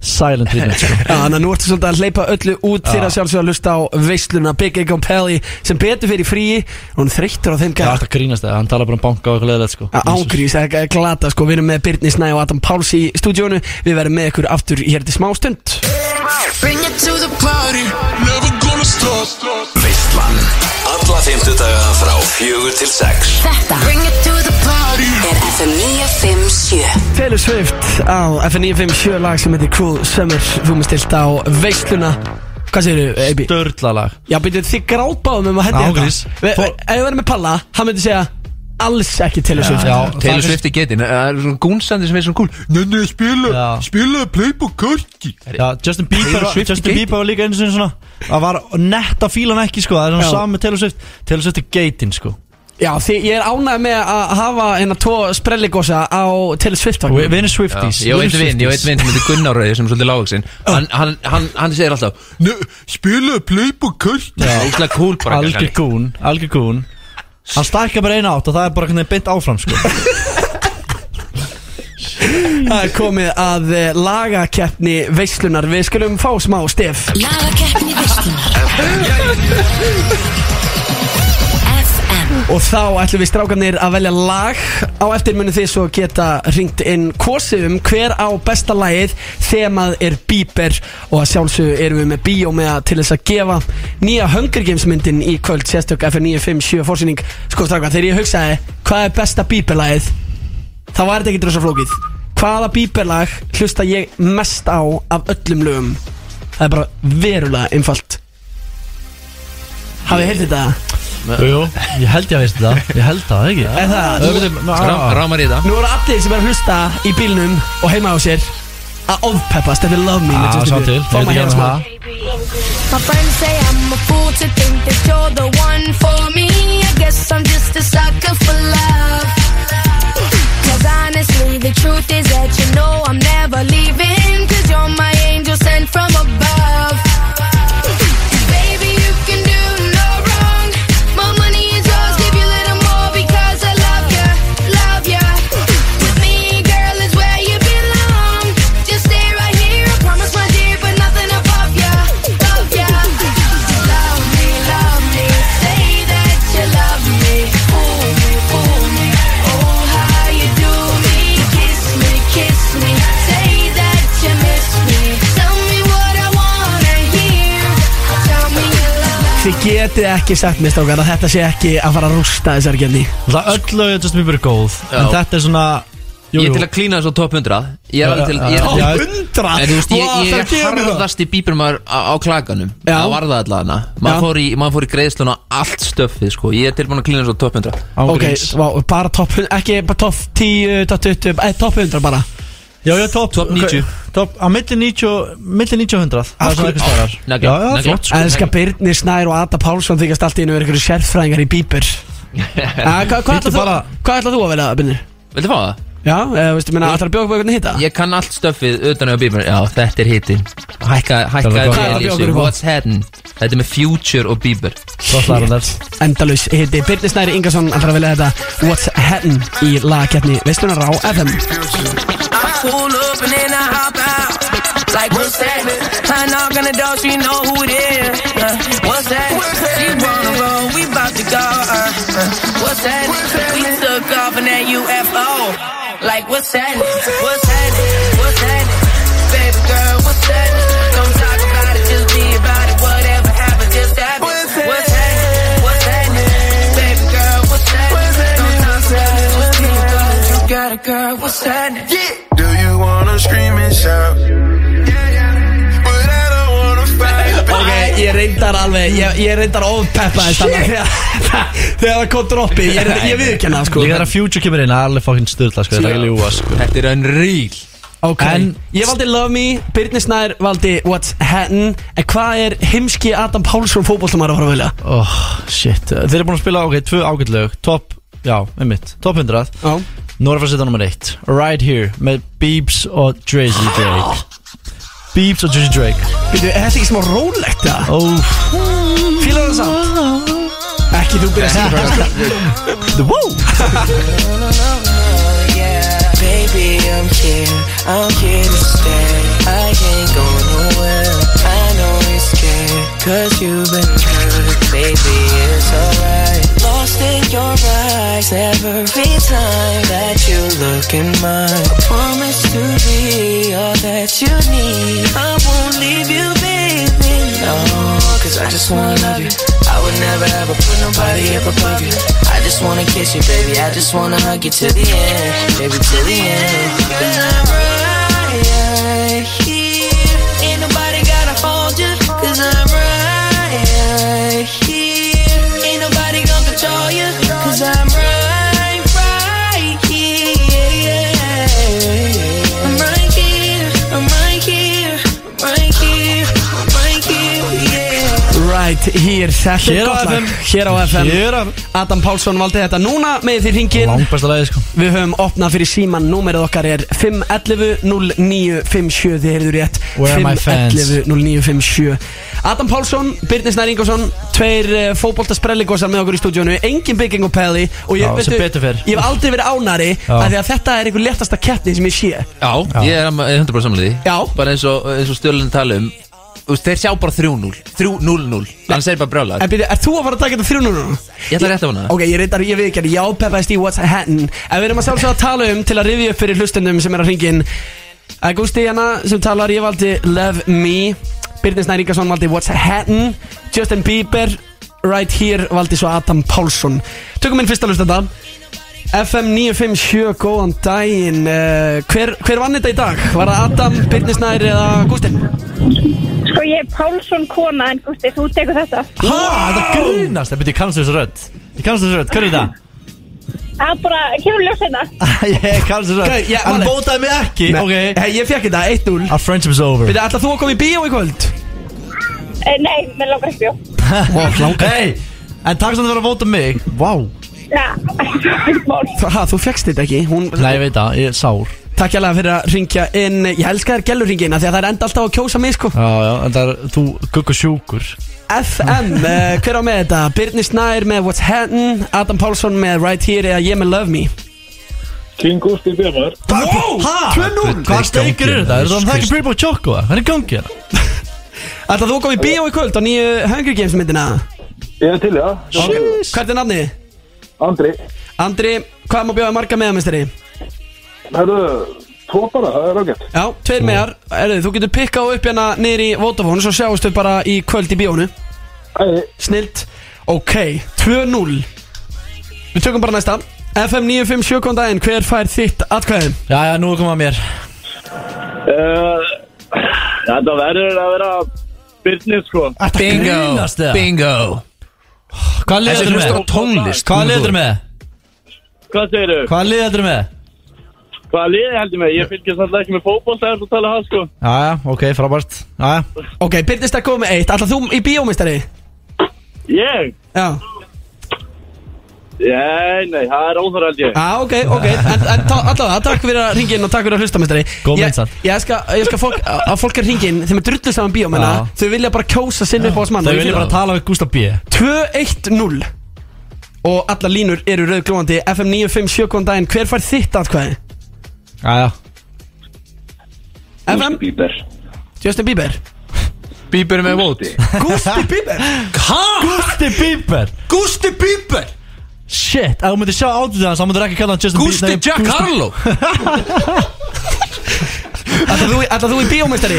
[SPEAKER 4] Silent treatment sko.
[SPEAKER 2] Já, þannig að nú ertu svolítið að hleypa öllu út fyrir að sjálfsögða að hlusta á veisluna Big Egg on Pelly sem betur fyrir fríi og hún þreyttur á þeim
[SPEAKER 4] Það var
[SPEAKER 2] gæða
[SPEAKER 4] alltaf að grínast það Hann talar bara um banka og eitthvað leðilegt sko.
[SPEAKER 2] Ángrís, það er glata sko, við erum með Birni Snæ og Adam Páls í stúdíónu Við verðum með ykkur aftur hér til smá stund
[SPEAKER 7] Bring it to the party. Never gonna stop.
[SPEAKER 5] Veislan Alla fymtudaga frá fjögur til sex
[SPEAKER 8] Þetta
[SPEAKER 7] Bring it to the party.
[SPEAKER 8] er FM 957
[SPEAKER 2] Taylor Swift á FN957 lag sem heitir Cruel Summer Þú með stilt á veisluna Hvað segirðu, Eibi?
[SPEAKER 4] Dörla lag
[SPEAKER 2] Já, byrjuð þið grátbáðum um að
[SPEAKER 4] Já,
[SPEAKER 2] hendi
[SPEAKER 4] Grís.
[SPEAKER 2] Ve- ve- Ef við verðum með Palla, hann myndi segja Alls ekki Taylor Swift
[SPEAKER 4] Já,
[SPEAKER 3] Taylor
[SPEAKER 4] það er-
[SPEAKER 3] Swift er getinn, það er svona gúnsandi sem er svona gúl Nei, nei, spila,
[SPEAKER 4] Já.
[SPEAKER 3] spila Playboy Korki
[SPEAKER 4] Já, Justin Bieber,
[SPEAKER 3] Taylor Swift
[SPEAKER 4] Justin
[SPEAKER 3] í
[SPEAKER 4] Bieber var líka einu sinni svona Það var nett að fíla hann ekki sko Það er
[SPEAKER 2] Já.
[SPEAKER 4] svona sami með Taylor Swift Taylor Swift er geitin sko
[SPEAKER 2] Já, því ég er ánægð með að hafa hérna tvo sprelligosa á Taylor Swift
[SPEAKER 4] Og
[SPEAKER 2] vagnum.
[SPEAKER 4] Við erum Swifties
[SPEAKER 3] Ég á
[SPEAKER 4] Við erum
[SPEAKER 3] einn vinn, ég á
[SPEAKER 4] Swifties.
[SPEAKER 3] einn vinn sem heitir Gunnar Rauði sem er svolítið lágvaxinn hann,
[SPEAKER 4] Ah.
[SPEAKER 3] hann, hann, hann segir alltaf "Nei, Spila Playboy Korki Það er úslega cool bara
[SPEAKER 4] Algjör gún, algjör gún Hann stækkar bara eina átt og það er bara hvernig beint áfram sko
[SPEAKER 2] Það er komið að eh, lagakeppni veislunar Við skulum fá smá stef
[SPEAKER 9] Lagakeppni veislunar FM
[SPEAKER 2] Og þá ætlum við strákanir að velja lag Á eftir munið þið svo geta ringt inn kosið um hver á besta lagið Þemað er Bieber Og að sjálfsögðu erum við með bíó með að til þess að gefa Nýja Hunger Games myndin í kvöld Sérstök F957 fórsýning Sko strákan, þegar ég hugsaði Hvað er besta Bieber lagið Þá var þetta ekki drosa flókið Hvaða Bieber lag hlusta ég mest á af öllum lögum Það er bara verulega einfalt Hafið heyrt þetta?
[SPEAKER 4] Jú, ég held ég að veist það Ég held það, ekki
[SPEAKER 2] Er það?
[SPEAKER 4] Ö, veitum, ná,
[SPEAKER 3] Rámar í það
[SPEAKER 2] Nú eru allir sem er að hlusta í bílnum og heima á sér að ofpeppast Þetta er Love Me
[SPEAKER 4] á, Sá til, ég
[SPEAKER 2] Fáma hér
[SPEAKER 4] veit ekki að
[SPEAKER 2] hérna smá
[SPEAKER 4] það
[SPEAKER 10] My friends say I'm a fool to think that you're the one for me. I guess I'm just a sucker for love. Cause honestly, the truth is that you know I'm never leaving. Cause you're my angel sent from above. Baby, you can do no wrong. My money is yours, give you a little more because I love ya, love ya. With me, girl, is where you belong. Just stay right here, I promise, my dear, but nothing above ya, love ya. Love me, love me, say that you love me. Fool me, fool me, oh how you do me. Kiss me, kiss me, say that you miss me. Tell me what I wanna hear. Tell me you love me.
[SPEAKER 2] Þið getið ekki sagt mér stókar að þetta sé ekki að fara að rústa þessar genni
[SPEAKER 4] Það öll lög er Justin Bieber er góð En
[SPEAKER 3] Já.
[SPEAKER 4] þetta er svona Jú,
[SPEAKER 3] Ég er
[SPEAKER 4] jú.
[SPEAKER 3] til að klína þessu á top 100 Ég er alveg til ég er
[SPEAKER 4] Já,
[SPEAKER 3] til-
[SPEAKER 4] já.
[SPEAKER 2] Hundra
[SPEAKER 3] En þú veist,
[SPEAKER 2] Vá,
[SPEAKER 3] ég, ég
[SPEAKER 2] Ah, það
[SPEAKER 3] er
[SPEAKER 2] gefur mér það.
[SPEAKER 3] harðasti bíbrumar á, á klaganum
[SPEAKER 2] Já.
[SPEAKER 3] Það var það allavega
[SPEAKER 2] Já.
[SPEAKER 3] Maður fór, í- maður fór í greiðslun á allt stöfið sko. Ég er tilbúin að klína þessu á top 100
[SPEAKER 2] Ok, vá, bara topp, ekki bara topp 10, topp 20, eh, topp 100 bara
[SPEAKER 4] Já, já, top,
[SPEAKER 3] Top 90.
[SPEAKER 4] top, Á milli 90 og- Milli 90 og 100 Það
[SPEAKER 2] Af
[SPEAKER 4] er svona
[SPEAKER 2] hverju-
[SPEAKER 4] eitthvað staðar
[SPEAKER 3] negla,
[SPEAKER 4] Já, já,
[SPEAKER 3] negla.
[SPEAKER 4] flott sko.
[SPEAKER 2] Elskar Birnir Snær og Ada Pálsson þykast allt í einu verið ykkur sérfræðingar í bíber Ah, Hvað hva
[SPEAKER 4] Bíddu
[SPEAKER 2] ætlað þú,
[SPEAKER 4] bara-
[SPEAKER 2] hva ætla þú að vera, Birnir?
[SPEAKER 3] Viltu fá það?
[SPEAKER 2] Já, eða, veistu, minna, ætlar að bjóða okkur hvernig hitta?
[SPEAKER 3] Ég kann allt stöfið utan á bíbrumar Já, þetta er hitin Hækka, hækka
[SPEAKER 4] Hvað er
[SPEAKER 3] vel
[SPEAKER 2] það
[SPEAKER 3] í
[SPEAKER 2] bjókur
[SPEAKER 3] þessu.
[SPEAKER 2] upp á?
[SPEAKER 3] What's happening? Þetta er með Future og bíbur
[SPEAKER 4] Flott lag, Anders
[SPEAKER 2] Endalaus hitti Birnir Snær Ingarsson ætlar að velja þetta What's Hattin í lagkeppni Veislunar á FM
[SPEAKER 10] I pull up and then I hop out. Like, what's happening? I knock on the door, she know who it is. Uh, what's that? She wanna roll, we bout to go. Uh, uh, what's that? We took off in that UFO. Like, what's that? What's that? What's that? Baby girl, what's that? Don't talk about it, just be about it. Whatever happened, just happen. What's that? What's that? What's that? Baby girl, what's that? Don't talk about it, just be about it. You got a girl, what's that?
[SPEAKER 5] Do you wanna scream and shout? But I don't wanna fight back.
[SPEAKER 2] Ok, ég reyndar alveg, ég, ég reyndar ofpeppa þetta Þegar þegar það kom droppið, ég, reyndar- ég viðkenna það sko
[SPEAKER 4] Líka þegar Future kemur inn Það er alveg fucking stöðla sko Það er ekki ljúa sko
[SPEAKER 3] Þetta er unreal
[SPEAKER 2] Ok,
[SPEAKER 4] En-
[SPEAKER 2] ég valdi Love Me, Birnir Snær valdi What's Hattin En hvað er heimski Adam Pálsson fótbollstamæra að fara að velja?
[SPEAKER 4] Oh, shit Þeir eru búin að spila, ok, tvö ágætt lög Top, já, einmitt Top 100
[SPEAKER 2] Já
[SPEAKER 4] Nú er að fara að setja nummer 1 Right Here Með Biebs og Drizzy Drake Biebs og Drizzy Drake
[SPEAKER 2] Býtu, er þetta ekki smá rólegt það?
[SPEAKER 4] Oh,
[SPEAKER 2] Fýlar það samt? Ekki þú byrja að segja það
[SPEAKER 4] the wow
[SPEAKER 10] Baby, I'm here, I'm here to stay. I ain't going nowhere. I know you're scared, cause you've been hurt. Baby, it's alright. Lost in your eyes every time that you look in mine. I promise to be all that you need. I won't leave you, baby. No, cause I just wanna love you. I would never ever put nobody up above you. I just wanna kiss you, baby. I just wanna hug you till the end, baby, till the end. Girl, I'm right here. Ain't nobody gotta hold you, cause I'm right here. Ain't nobody gonna control you, cause I'm right, right here. I'm right here, I'm right here, I'm right here, I'm right here, yeah.
[SPEAKER 2] Right here, þetta
[SPEAKER 4] Hér
[SPEAKER 2] er
[SPEAKER 4] á
[SPEAKER 2] gott lag
[SPEAKER 4] FM.
[SPEAKER 2] Hér á FM
[SPEAKER 4] Hér á-
[SPEAKER 2] Adam Pálsson valdi þetta Núna með því ringin
[SPEAKER 4] Langbæsta lagi sko
[SPEAKER 2] Við höfum opnað fyrir síman Númerið okkar er 511-0957 Þið heyrðu rétt
[SPEAKER 4] Where are my fans?
[SPEAKER 2] 511-0957 Adam Pálsson, Birnir Snær Ingolson Tveir uh, fótboltasprelligosar með okkur í stúdíónu Engin bygging og peði Og ég,
[SPEAKER 4] Já, sem
[SPEAKER 2] veistu,
[SPEAKER 4] betur fer.
[SPEAKER 2] ég hef aldrei verið ánari að Því að þetta er einhver léttasta keppni sem ég sé
[SPEAKER 3] Já, ég er am- 100% samlega því
[SPEAKER 2] Já.
[SPEAKER 3] Bara eins og, eins og stjölinn tala um Þú veist, Þeir sjá bara 3-0 3-0-0 Þannig segir bara brjálag
[SPEAKER 2] En byrju, er þú að fara að taka þetta 300 núna?
[SPEAKER 3] Ég ætla rétt af hana
[SPEAKER 2] Ok, ég reyndar, ég veit ekki að ég ápeppaðist í What's Hattin En við erum að sjálfsögða að tala um til að rifja upp fyrir hlustendum sem er að hringin Agusti hérna sem talar, ég valdi Love Me Birnir Snær Ríkarsson valdi What's Hattin Justin Bieber Right Here valdi svo Adam Pálsson Tökum inn fyrsta hlustenda FM 957, góðan daginn uh, hver, hver vann þetta í dag? Var það Adam, Birnir Snær eða Agustin?
[SPEAKER 11] Sko ég er Pálsson kona en Gusti, þú tekur þetta
[SPEAKER 4] Há, þetta grínast Það byrja, ég kannast þessu rödd Ég kannast þessu rödd, hvernig það?
[SPEAKER 11] Það er bara, kemur ljós hérna
[SPEAKER 4] Ég kannast þessu
[SPEAKER 2] Ok,
[SPEAKER 4] rödd
[SPEAKER 2] já,
[SPEAKER 4] Hann
[SPEAKER 2] Valur.
[SPEAKER 4] bótaði mig ekki, Ah. ok
[SPEAKER 2] Hey, ég fekk þetta, 1-0
[SPEAKER 4] Our friendship is over
[SPEAKER 2] Byrja, ætla þú að koma í bíó í kvöld?
[SPEAKER 11] e, Nei, mér langar ekki bjó
[SPEAKER 4] Hey, en takk samt fyrir að bóta mig Vá
[SPEAKER 11] Já, það er mál
[SPEAKER 2] Ha, þú fekkst þetta ekki Hún,
[SPEAKER 4] Nei, ég veit það, ég er sár
[SPEAKER 2] Takk alveg fyrir að ringja inn Ég elska þér gellurringina því að það er enda alltaf að kjósa mig sko
[SPEAKER 4] Já, já, en það er, þú guggur sjúkur
[SPEAKER 2] FM, uh, hver á með þetta? Birnir Snær með What's Hattin Adam Pálsson með Right Here eða ég með Love Me
[SPEAKER 12] King Gusti Björnar
[SPEAKER 2] Wow,
[SPEAKER 4] Hvað steikur er þetta? Er það ekki Purple Choco? það? Hann er gangið hérna
[SPEAKER 2] Ætla þú að koma í bíó í kvöld á nýju Hunger Games myndina
[SPEAKER 12] Ég er til í það
[SPEAKER 2] Sjús Hvert er nafnið?
[SPEAKER 12] Andri
[SPEAKER 2] Andri, hvað má bjóða marga meðamestari?
[SPEAKER 12] Herðu Tvo bara, það er ágætt
[SPEAKER 2] Já, tveir meðar Erðu, þú getur pikkað upp hérna niður í Vodafone Svo sjáumstu bara í kvöld í bíónu
[SPEAKER 12] Æ,
[SPEAKER 2] Snilt Ok, 2-0 Við tökum bara næsta FM 957, kom daginn, hver fær þitt atkvæði?
[SPEAKER 4] Já, já, nú er komað mér
[SPEAKER 13] Uh, þetta verður að vera Byrnir sko
[SPEAKER 3] Bingo, bingo
[SPEAKER 4] Hvað lið
[SPEAKER 13] Þessi
[SPEAKER 4] heldur
[SPEAKER 13] hlustar
[SPEAKER 4] með?
[SPEAKER 13] á tónlist.
[SPEAKER 4] Hvað liður með?
[SPEAKER 13] Hvað segir þau?
[SPEAKER 4] Hvað lið heldur með?
[SPEAKER 13] Hvað liði heldur mig? Ég fylgjast alltaf ekki með fótboll þegar þú tala það sko
[SPEAKER 4] Já, já, ok, frábært Já, já
[SPEAKER 2] Ok, Byrnist að koma með eitt, alltaf þú í bíómistari?
[SPEAKER 13] Ég?
[SPEAKER 2] Já
[SPEAKER 13] Nei, nei, það er óþar held ég
[SPEAKER 2] Já, ok, ok, en, en ta- allavega, takk fyrir að ringin og takk fyrir að hlusta, mestari
[SPEAKER 13] Góð
[SPEAKER 2] Ég,
[SPEAKER 13] meinsat.
[SPEAKER 2] ég skal, ég skal fólk, að fólk er ringin, þeim er drullu saman bíómenna
[SPEAKER 4] Já.
[SPEAKER 2] Þau vilja bara kjósa sinni upp á mann
[SPEAKER 4] Þau vilja bara tala við Gustaf B
[SPEAKER 2] 2-1-0 Og alla línur eru rauðglóðandi FM 957 góðan daginn Hver fær þitt atkvæði?
[SPEAKER 4] Jæja
[SPEAKER 2] FM?
[SPEAKER 14] Bieber
[SPEAKER 2] Justin Bieber
[SPEAKER 3] Bieber með vót
[SPEAKER 2] Gusti Bieber
[SPEAKER 3] Hæ?
[SPEAKER 4] Gusti Bieber
[SPEAKER 3] Gusti Bieber
[SPEAKER 4] Shit, ef þú myndir sjá átið hans, þá myndir ekki kalla hann Justin
[SPEAKER 2] Gústi
[SPEAKER 4] Bieber- nei,
[SPEAKER 2] Jack
[SPEAKER 4] Gústi-
[SPEAKER 2] Harlow. Ætlar þú, ætlar þú í bíómeistari?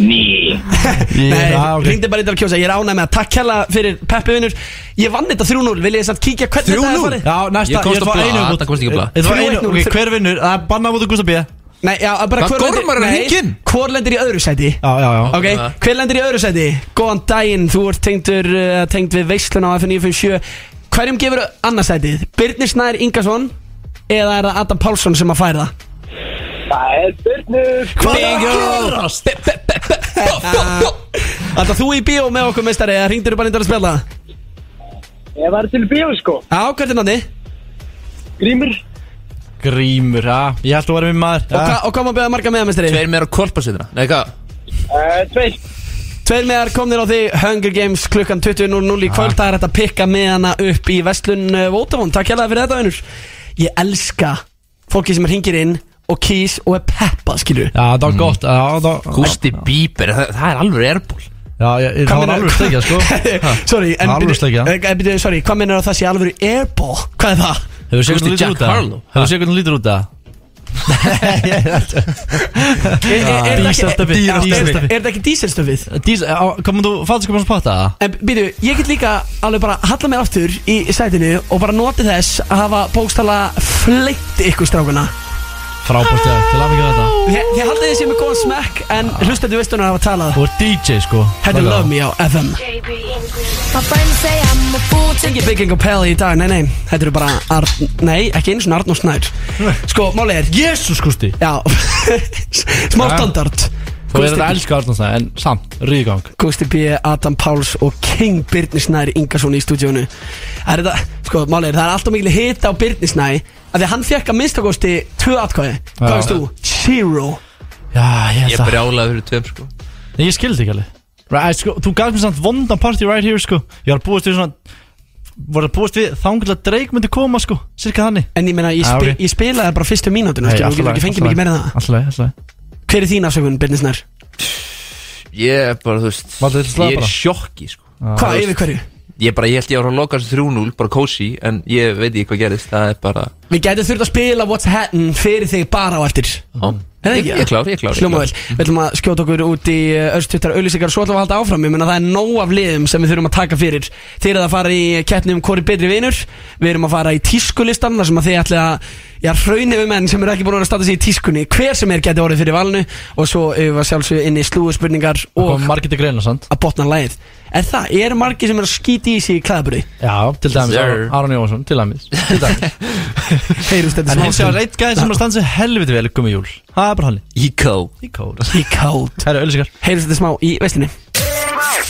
[SPEAKER 14] Ný
[SPEAKER 2] Nei, ringdi bara í þetta að kjósa Ég er ánæg með að takk hella fyrir Peppi vinnur Ég vann þetta 3-0, vil ég samt kíkja hvernig þetta er farið?
[SPEAKER 4] Já, næsta
[SPEAKER 3] Ég komst á
[SPEAKER 4] ætla að fá
[SPEAKER 3] blað,
[SPEAKER 4] einu viðbót.
[SPEAKER 3] það komst ekki á blað.
[SPEAKER 4] Ég ætla að fá einu,
[SPEAKER 2] 3-1
[SPEAKER 4] ok, hver vinnur? Það er bannað mútið Gustaf B
[SPEAKER 2] Nei, já, bara
[SPEAKER 4] Hvað, gormar er að
[SPEAKER 2] nei,
[SPEAKER 4] hringja inn?
[SPEAKER 2] Hvor lendir í öðru sæti?
[SPEAKER 4] Já, já, já
[SPEAKER 2] Ok, hver lendir í öðru sæti? Góðan daginn, þú ert tengdur, uh, tengd við veislun á FN957 Hverjum gefur annarsætið? Birnir Snær Ingarsson eða er það Adam Pálsson sem að færa það?
[SPEAKER 14] Það er Byrnur
[SPEAKER 2] Hvað er að gerast? Ah. Alltaf þú í bíó með okkur meistari eða ringdur bara inn að spila?
[SPEAKER 14] Ég var til bíó sko
[SPEAKER 2] Já, hvert er nátti?
[SPEAKER 14] Grímur
[SPEAKER 4] Grímur, já, ég held að þú væri minn maður
[SPEAKER 2] Og, hva, og hvað má beða marga meða meistari?
[SPEAKER 3] Tveir meðar á kolparsýðuna Nei, hvað?
[SPEAKER 14] Uh, Tveir
[SPEAKER 2] Tveir meðar komnir á því Hunger Games klukkan 20.00 í
[SPEAKER 4] Ah.
[SPEAKER 2] kvöld Það er hægt að pikka meðana upp í Vestlun Vótafón Takk hérlega fyrir þetta vinnur Ég elska fólki sem hringir inn og kýs og er peppa skilur
[SPEAKER 4] Já, það var gott já, það-
[SPEAKER 3] Gusti Bieber, það, það er alveg erbúl
[SPEAKER 4] Já, ég, það var alveg slegja, sko
[SPEAKER 2] Sorry, en
[SPEAKER 4] Það var alveg sleikja.
[SPEAKER 2] eh, eh, byrju, Sorry, hvað minnur það sé alveg airball? Hvað er það?
[SPEAKER 4] Hefur séð hvernig hún lítur út að? Hefur séð hvernig hún lítur út að? Ah,
[SPEAKER 2] Er- er- er það ekki-
[SPEAKER 4] Díselstöfið
[SPEAKER 2] er- er- Er er það ekki díselstöfið?
[SPEAKER 4] Komum þú fattiskapans patta?
[SPEAKER 2] En byrju, ég get líka alveg bara halla mér aftur í sætinu og bara noti þess að hafa bókstala fleitt ykkur strákuna
[SPEAKER 4] Frábært, já, til að mikið þetta
[SPEAKER 2] Þið þið haldið þið sér með góðan smekk en hlustandi veistunum hafa talað
[SPEAKER 4] Og DJ sko
[SPEAKER 2] Hættu love me á FM
[SPEAKER 9] My friends say I'm a fool to
[SPEAKER 2] Ekki Bygging og Pell í dag, nei nei Þetta eru bara, Arn, nei, ekki eins og Arn og Snær Sko, málið er
[SPEAKER 4] Jesus Gusti
[SPEAKER 2] Já, smá standard
[SPEAKER 4] Þú verður að elska Arnáns það, en samt, ríðgang
[SPEAKER 2] Gusti B, Adam Páls og King Birnisnær Ingarsson í stúdíónu Það er þetta, sko, málið er, það er alltaf mikil hita á Birnisnæ af því að hann fekk að minnstakosti tvö atkvæði Hvað
[SPEAKER 4] Já.
[SPEAKER 2] veist þú? Zero
[SPEAKER 4] Já, ég
[SPEAKER 3] Ég brjálaði fyrir tveim sko
[SPEAKER 4] Nei, ég skildi ekki alveg Right, sko, þú gafst mér samt vondan party right here sko Ég var að búast við svona Var að búast við þangilega dreik myndi koma sko Cirka þannig
[SPEAKER 2] En ég meina, ég,
[SPEAKER 4] Já,
[SPEAKER 2] spi,
[SPEAKER 4] ok.
[SPEAKER 2] ég spilaði bara fyrstu mínútinu,
[SPEAKER 4] Nei,
[SPEAKER 2] skilur, þú
[SPEAKER 4] allt
[SPEAKER 2] getur
[SPEAKER 4] í lagi,
[SPEAKER 2] ekki fengið
[SPEAKER 4] allt í
[SPEAKER 2] mikið meira en
[SPEAKER 4] lagi,
[SPEAKER 2] það
[SPEAKER 4] Allt í lagi, allt í lagi
[SPEAKER 2] Hver er þín afsökun, Birnisnær?
[SPEAKER 3] Ég er bara, þú veist
[SPEAKER 4] Valdur, viltu slá
[SPEAKER 3] Ég er
[SPEAKER 4] bara?
[SPEAKER 3] í sjokki sko
[SPEAKER 2] Hvað, yfir hverju?
[SPEAKER 3] Ég bara, ég held ég var að loka þessu 3-0, bara kósi En ég veit ekki hvað gerist, það er bara
[SPEAKER 2] Við gætum þurft að spila What's Hattin fyrir þig bara á eftir
[SPEAKER 3] Já.
[SPEAKER 2] Mm. Er það ekki?
[SPEAKER 3] Ég- ég er klár, ég er klár, ég er
[SPEAKER 2] Hljóma
[SPEAKER 3] klár.
[SPEAKER 2] vel, við ætlum að skjóta okkur út í Örstuttar auðlýsingar og svo ætlum við að halda áfram Ég menna það er nóg af liðum sem við þurfum að taka fyrir Þeir eru að fara í keppni um hvori betri vinur Við erum að fara í tískulistan Þar sem að þið ætla að Já, hraunir við menn sem eru ekki búin að vera að statta sig í tískunni Hver sem er geti orðið fyrir valinu Og svo erum við að sjálfsögja inn í slúðspurningar
[SPEAKER 4] Og
[SPEAKER 2] Og
[SPEAKER 4] margir til greina sant
[SPEAKER 2] að botna lagið Er það, eru margir sem eru að skýti í sig í klæðaburði
[SPEAKER 4] Já, til dæmis
[SPEAKER 2] Sir.
[SPEAKER 4] Aron Jónsson, til dæmis Til dæmis
[SPEAKER 2] Heyrust þetta
[SPEAKER 4] En
[SPEAKER 2] smá
[SPEAKER 4] hins vegar
[SPEAKER 2] stund.
[SPEAKER 4] eitt gæði sem er að standa sig helviti vel Gummi júl Það er bara hann
[SPEAKER 3] Íkó
[SPEAKER 4] Íkó
[SPEAKER 2] Íkó
[SPEAKER 4] Það eru öllisikar
[SPEAKER 2] Heyrust þetta smá í veistinni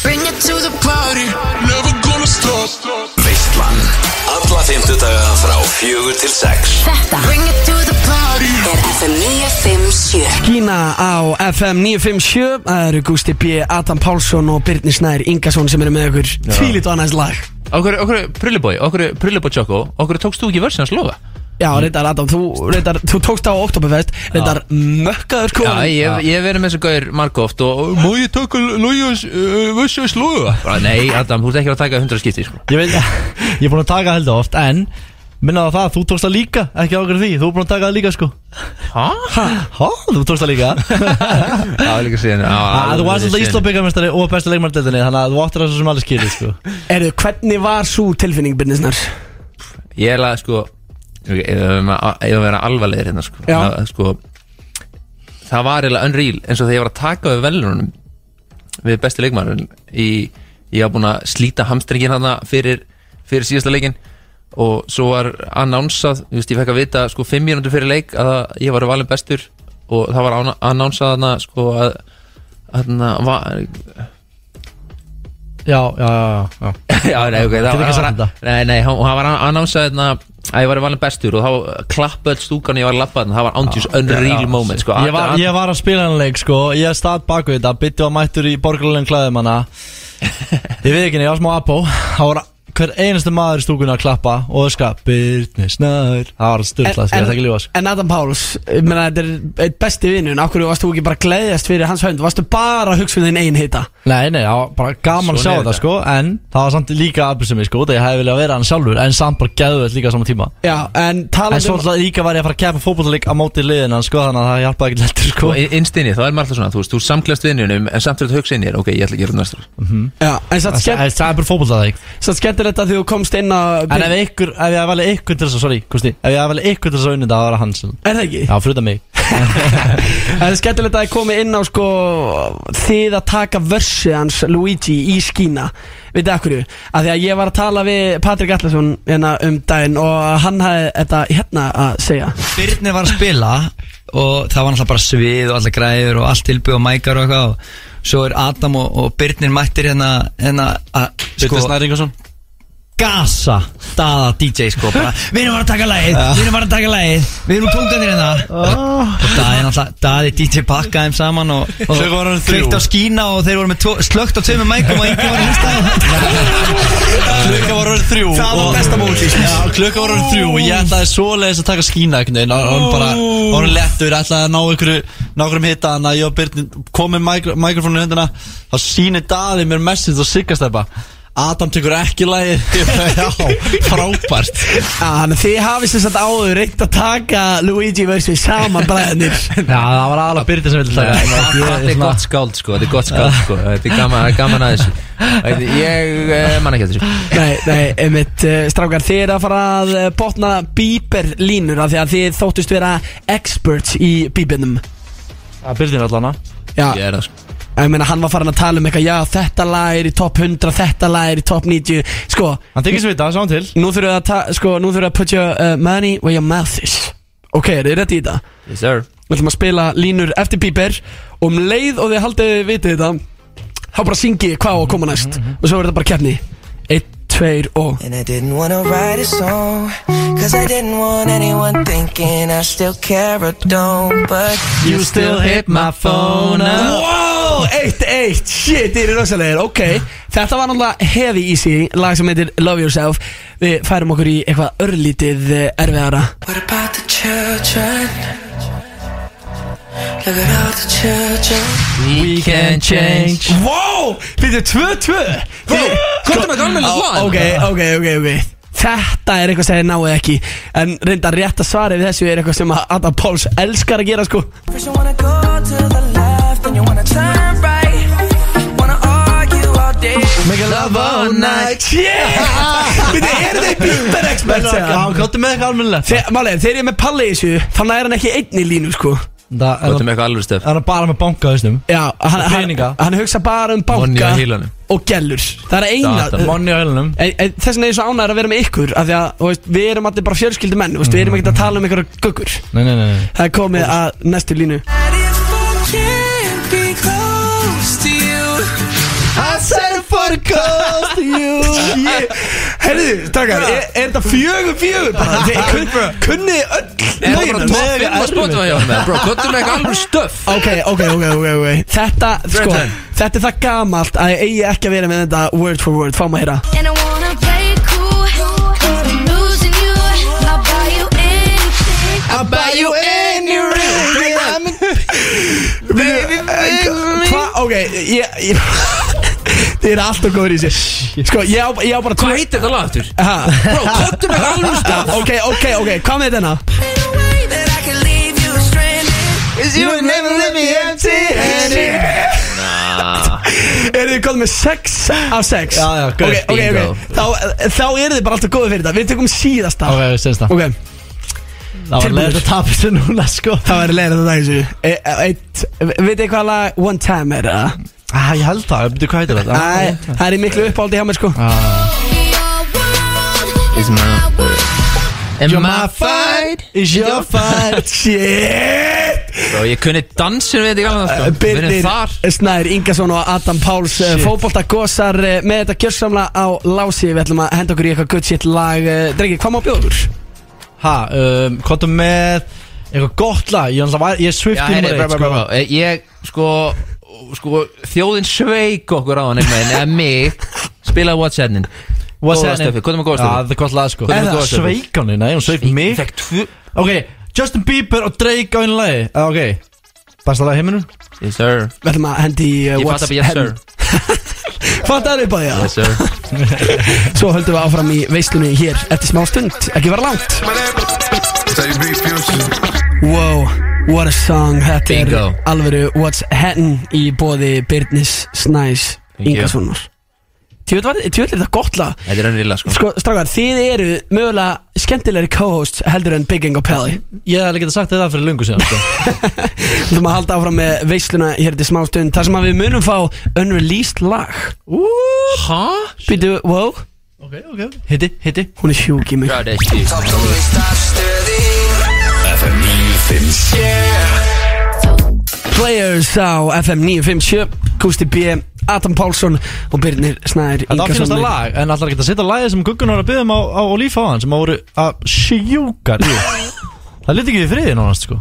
[SPEAKER 1] Bring it to the party, never gonna stop
[SPEAKER 15] Veistlan Alla fymtudaga frá fjögur til sex
[SPEAKER 1] Þetta Bring it to the party Er FM 957
[SPEAKER 2] Skína á FM 957 Það eru Gústi B, Adam Pálsson og Birnir Snær Ingarsson sem eru með okkur Tvílit og annars lag
[SPEAKER 3] Okkur, okkur, prullibói, okkur, prullibói tjókó Okkur tókst þú ekki vörsin hans lofa?
[SPEAKER 2] Já,
[SPEAKER 4] Mm.
[SPEAKER 2] reyndar Adam, þú, reyndar, þú tókst á Oktoberfest Reyndar mökkaður
[SPEAKER 3] Já,
[SPEAKER 2] kóðan
[SPEAKER 3] ég ég hef verið með þessu gauður margóft og og, Má ég taka lójus, eh, vörsin hans lofa? Bara, Nei, Adam, þú ert ekki að taka 100 skipti sko
[SPEAKER 4] Ég veit Ég er búin að taka held oft En Minna á það, þú tókst það líka Ekki ákveður því, þú er búin að taka það líka sko
[SPEAKER 3] Hæ?
[SPEAKER 4] Hæ? Þú tókst það líka
[SPEAKER 3] Það var líka síðan
[SPEAKER 4] Ah, Þú varst alltaf
[SPEAKER 3] Ísland
[SPEAKER 4] Íslandbyggarmestari og besti leikmærdildinni Þannig að þú áttir þessu sem alveg skilið sko
[SPEAKER 2] Erðu, hvernig var svo tilfinning Birnir Snær?
[SPEAKER 3] Ég er að sko Ok, ef við erum að- ef við erum alvarlegir hérna sko.
[SPEAKER 2] Já.
[SPEAKER 3] Það, sko það var eiginlega unreal eins og þegar ég var að taka við velunum við besti leikmann í, ég var búin að slíta hamstringin hana fyrir, fyrir síðasta leikin og svo var annánsað ég fekk að vita sko 5 mínútur fyrir leik að það- ég var valin bestur og það var annánsað hana sko að hana, va,
[SPEAKER 4] Já, já, já, já,
[SPEAKER 3] Já, nei, ok,
[SPEAKER 4] Getur
[SPEAKER 3] það
[SPEAKER 4] ekki
[SPEAKER 3] var,
[SPEAKER 4] sagt
[SPEAKER 3] hann,
[SPEAKER 4] þetta.
[SPEAKER 3] nei, nei, hann, hann var annánsaði hérna að ég var valin bestur og þá klappa öll stúkan og ég var lappað það var ándjús unreal
[SPEAKER 4] Já,
[SPEAKER 3] moment sko.
[SPEAKER 4] ég, var, ég var að spila hann leik sko Ég stað baku þetta Bitti var mættur í borgarlegin klæðum hana Ég veit ekki henni, ég var smá apó Það var hver einastu maður í stúkunni að klappa Og öskra, Birni Snær Það var styrla, ég ætla ekki að ljúga sko
[SPEAKER 2] en Adam Páls, ég meina þetta er eitt besti vinnun Akkur varst þú ekki bara að gleðjast fyrir hans hönd Varstu bara að hugsa um þinn eigin hita
[SPEAKER 4] Nei, nei, það var bara gaman
[SPEAKER 2] Svona
[SPEAKER 4] að sjá
[SPEAKER 2] er
[SPEAKER 4] þetta
[SPEAKER 2] þetta.
[SPEAKER 4] sko En það var samt líka afbrísum sko Þegar ég hefði viljað vera hann sjálfur En samt bara geðvöld líka á sama tíma
[SPEAKER 2] Já, en
[SPEAKER 4] En
[SPEAKER 2] talandi um-
[SPEAKER 4] svo alltaf líka var ég að fara að keppa fótbollaleik á móti liðin sko, Þannig að það hjálpaði ekki lettur sko
[SPEAKER 3] sko, innstinni, þá er maður alltaf svona þú veist, þú samklast vinnunum en samt verður hugsa inn í þér ok, ég ætla að gera þetta næstur
[SPEAKER 2] Já, en satt skemmt
[SPEAKER 4] Það er bara fótbollaleik
[SPEAKER 2] Satt skemmtir þetta því þú komst inn að
[SPEAKER 4] En ef ykkur, ef ég valið ykkur til þess að, sorry, Kusti Ef ég valið ykkur til þess að unni þetta, það var hann sem
[SPEAKER 2] Er það ekki?
[SPEAKER 4] Já, fruta mig
[SPEAKER 2] Það er skemmtilegt að þið komið inn á sko þið að taka versið hans Luigi í skína Vitið þið af hverju? Af því að ég var að tala við Patrik Allarsson hérna um daginn og hann hafði þetta hérna að segja
[SPEAKER 16] Birnir var að spila og það var náttúrulega bara svið og allar græður og allt tilbyð og mækar og eitthvað og svo er Adam og, og Birnir mættir hérna, hérna að
[SPEAKER 4] Birnir Snær Ingarsson
[SPEAKER 16] Gasa Daða DJ sko bara Við erum bara að taka lagið
[SPEAKER 4] Já. Ah.
[SPEAKER 16] Við erum bara að taka lagið Við erum tókanir hérna Og Daði náttúrulega Daði DJ pakkaði þeim saman og, og
[SPEAKER 4] Svo voru þeir þrjú.
[SPEAKER 16] Kveikt á skína og þeir voru með tvo, slögt á tveimur mækum og enginn var að hlusta
[SPEAKER 4] Klukka var orðin þrjú
[SPEAKER 16] Það var
[SPEAKER 4] og-
[SPEAKER 16] besta móti
[SPEAKER 4] Já, klukka var orðin þrjú og ég ætlaði svoleiðis að taka skína einhvern veginn og og hann bara, og hann lettur, ætlaði að ná ykkur ná ykkur um hita hann að ég og Birnir komið mikrofónu í höndina þá sýnir Daði mér message og siggastæpa Adam tekur ekki lagið Ég bara, Já, frábært
[SPEAKER 2] Þannig að þið hafið sem sagt áður reynt að taka Luigi versið saman bræðinir Já,
[SPEAKER 4] það var aðalega Birnir sem vildi taka
[SPEAKER 3] þetta er gott skáld sko, þetta er gott skáld sko þetta er gaman, gaman að þessu Þetta- ég eh, man ekki eftir þessu
[SPEAKER 2] Nei, nei, einmitt, uh, strákar, þið eru að fara að eh, botna bíberlínur af því að þið þóttust vera experts í bíbernum
[SPEAKER 4] Það Birnir allan
[SPEAKER 2] Já,
[SPEAKER 3] ég er það sko
[SPEAKER 2] Ég meina, hann var farin að tala um eitthvað, já, þetta lag er í topp 100, þetta lag er í topp 90 Sko
[SPEAKER 4] Hann tekist við þetta, sá hann til
[SPEAKER 2] Nú þurfum við að, ta- sko, nú þurfum við að put your uh, money where your mouth is Ok, er þið rétt í þetta?
[SPEAKER 3] yes sir
[SPEAKER 2] Við ætlum að spila línur eftir píper Og um leið og þið haldið þið vitið þetta Þá bara syngi ég hvað á að koma næst
[SPEAKER 4] Mhm,
[SPEAKER 2] Og svo verður þetta bara keppni Einn, tveir og
[SPEAKER 10] And I didn't wanna write a song, cause I didn't want anyone thinking I still care or don't, but
[SPEAKER 4] You still hit my phone up.
[SPEAKER 2] Wow, eitt, eitt, shit, þið eru rosalegir Ok, þetta var náttúrulega heavy easy Lag sem heitir Love Yourself Við færum okkur í eitthvað örlítið eh, erfiðara
[SPEAKER 10] What about the children? Look at all the children.
[SPEAKER 3] We
[SPEAKER 10] can change.
[SPEAKER 2] Wow, býttu 2-2 Komdu með
[SPEAKER 10] almennilegt lag.
[SPEAKER 2] Ok, ok, ok, ok Þetta er eitthvað sem þið náið ekki En reynda rétt að svara við þessu er eitthvað sem að Adam Páls elskar að gera sko
[SPEAKER 10] First you wanna go to the left, then you wanna turn right. Wanna argue all day.
[SPEAKER 4] Make a love all night.
[SPEAKER 2] Yeah Býttu, eru þið bíber experts?
[SPEAKER 4] Já, komdu með eitthvað almennilegt
[SPEAKER 2] Málega, þegar ég er með Palli í þessu Þannig er hann ekki einn í línu sko
[SPEAKER 3] gott um eitthvað alveg stöf
[SPEAKER 4] Hann er bara með banka, veistum
[SPEAKER 2] Já, hann, hann, hann hugsa bara um
[SPEAKER 3] Monni
[SPEAKER 2] banka
[SPEAKER 3] á hýlanum.
[SPEAKER 2] og gellur Það er
[SPEAKER 3] Data.
[SPEAKER 2] eina
[SPEAKER 4] Monni á hælunum
[SPEAKER 2] Þess vegna er ég svo ánægður að vera með ykkur af því að, þú veist, Við erum allir bara fjölskyldi menn veist, Við erum ekkert
[SPEAKER 3] Mhm.
[SPEAKER 2] að tala um ykkur guggur
[SPEAKER 4] Nei, nei, nei, nei.
[SPEAKER 2] Það er komið að næstu línu
[SPEAKER 10] Can't be close to you. I settle for close to you.
[SPEAKER 2] Herðu, takkar, er, er þetta fjögur fjögur bara? Þið kun, kunni öll
[SPEAKER 3] Er það bara topp fimm á Spotify hjá honum, eða? Bro, komdu með eitthvað alveg stöf
[SPEAKER 2] Ok, ok, ok, ok, ok Þetta, sko,
[SPEAKER 3] Threaten.
[SPEAKER 2] þetta er það gamalt að ég eigi ekki að vera með þetta word for word, fá maður að heyra
[SPEAKER 9] And I wanna play it cool, cause I'm losing you. I'll buy you anything.
[SPEAKER 2] I'll buy you any ring Baby, baby eh, Hva, ok, ég, ég Þið eru alltaf góður í sér Sko, ég á, ég á bara Hvað
[SPEAKER 3] heitir þetta lag aftur?
[SPEAKER 2] Bro,
[SPEAKER 3] komdu með alveg
[SPEAKER 2] stað Ok, ok, ok, hvað með þetta?
[SPEAKER 10] That I can leave you stranded. Cause you would never let me empty handed.
[SPEAKER 2] Eru þið komið með 6 af 6?
[SPEAKER 4] Já, já,
[SPEAKER 2] Ok,
[SPEAKER 4] good,
[SPEAKER 2] eh, ok,
[SPEAKER 4] bingo.
[SPEAKER 2] ok Þá, þá eru þið bara alltaf góðið fyrir þetta Við tökum síðasta
[SPEAKER 4] Ok, við syns það
[SPEAKER 2] Ok
[SPEAKER 4] Það var leiðilegt að tapa þessu núna sko
[SPEAKER 2] Það var leiðilegt að tapa þessu e, eitt, Vitið hvað lag One Time er það?
[SPEAKER 4] Ah, ég held það, betur hvað heitir
[SPEAKER 2] Æ,
[SPEAKER 4] þetta?
[SPEAKER 2] Það er í miklu uppáldi hjá mér sko
[SPEAKER 3] Is my Am I fight?
[SPEAKER 2] Is your fight? Shit
[SPEAKER 3] Og ég kunni dansin við þetta í gamla sko. Við erum
[SPEAKER 2] Uh, Birnir
[SPEAKER 3] þar
[SPEAKER 2] Snær Ingason og Adam Páls
[SPEAKER 3] Shit.
[SPEAKER 2] Fóbolta gósar með þetta gjörsamlega á lási Við ætlum að henda okkur í eitthvað good shit lag Eh, Drengir, hvað má bjóður?
[SPEAKER 4] Ha, um, kontum með eitthvað gott lag Ég, náttúrulega var, ég er swift
[SPEAKER 3] Já,
[SPEAKER 4] í
[SPEAKER 3] heyri,
[SPEAKER 4] nummer
[SPEAKER 3] bara,
[SPEAKER 4] eitt
[SPEAKER 3] bara,
[SPEAKER 4] sko
[SPEAKER 3] bara, bara. Ég, sko, sko Þjóðin sveik okkur á hann einhvern veginn, Eða mig Spilaði What's Happening
[SPEAKER 4] sko. What's
[SPEAKER 3] Góða
[SPEAKER 4] happening? Uh,
[SPEAKER 3] stöfi, Hvað er maður góða
[SPEAKER 4] Já, það
[SPEAKER 3] stöfi?
[SPEAKER 4] er gott lag sko
[SPEAKER 3] Hvað er með
[SPEAKER 4] Eða
[SPEAKER 3] góða stöfi?
[SPEAKER 4] sveik hann, nei, hún sveik mig
[SPEAKER 3] Fekk tvö
[SPEAKER 4] Ok, Justin Bieber og Drake á einu lagi Ah, Ok, bæsta lag í heiminum
[SPEAKER 3] Yes sir
[SPEAKER 2] Við ætlum að hendi í eh,
[SPEAKER 3] Ég
[SPEAKER 2] What's
[SPEAKER 3] fatt að yes sir
[SPEAKER 2] Fattar upp á því
[SPEAKER 3] Yes sir
[SPEAKER 2] að Svo höldum við áfram í veislunni hér eftir smá stund Ekki vera langt Wow, what a song Þetta er
[SPEAKER 3] Bingo.
[SPEAKER 2] alvöru What's Hatton í bóði Byrnis Snæs
[SPEAKER 3] you.
[SPEAKER 2] Ingasonar Tjóðlega er þetta gott lag
[SPEAKER 3] Þetta er önnrilla sko
[SPEAKER 2] Sko, strákar, þið eru mögulega skemmtilegri co-hosts heldur en Big Ingo Pelli
[SPEAKER 4] Ég hef ekki sagt þetta fyrir lungu síðan sko
[SPEAKER 2] Þú maður halda áfram með veisluna hér til smá stund þar sem að við munum fá unreleased lag
[SPEAKER 3] Hæ?
[SPEAKER 2] Býtu, wow
[SPEAKER 4] Ok, ok Hitti, hitti
[SPEAKER 2] Hún er sjúk í mig
[SPEAKER 3] Hvað er þetta?
[SPEAKER 15] FM 957
[SPEAKER 2] Players á FM 957 Gusti B, Adam Pálsson og Birnir Snæður
[SPEAKER 4] Þetta var finnast að lag, en allar geta að setja lagið sem Guggun var að byggja um á, á, á lífa á hann sem að voru að sjúkar í. Það liti ekki við friði nánast sko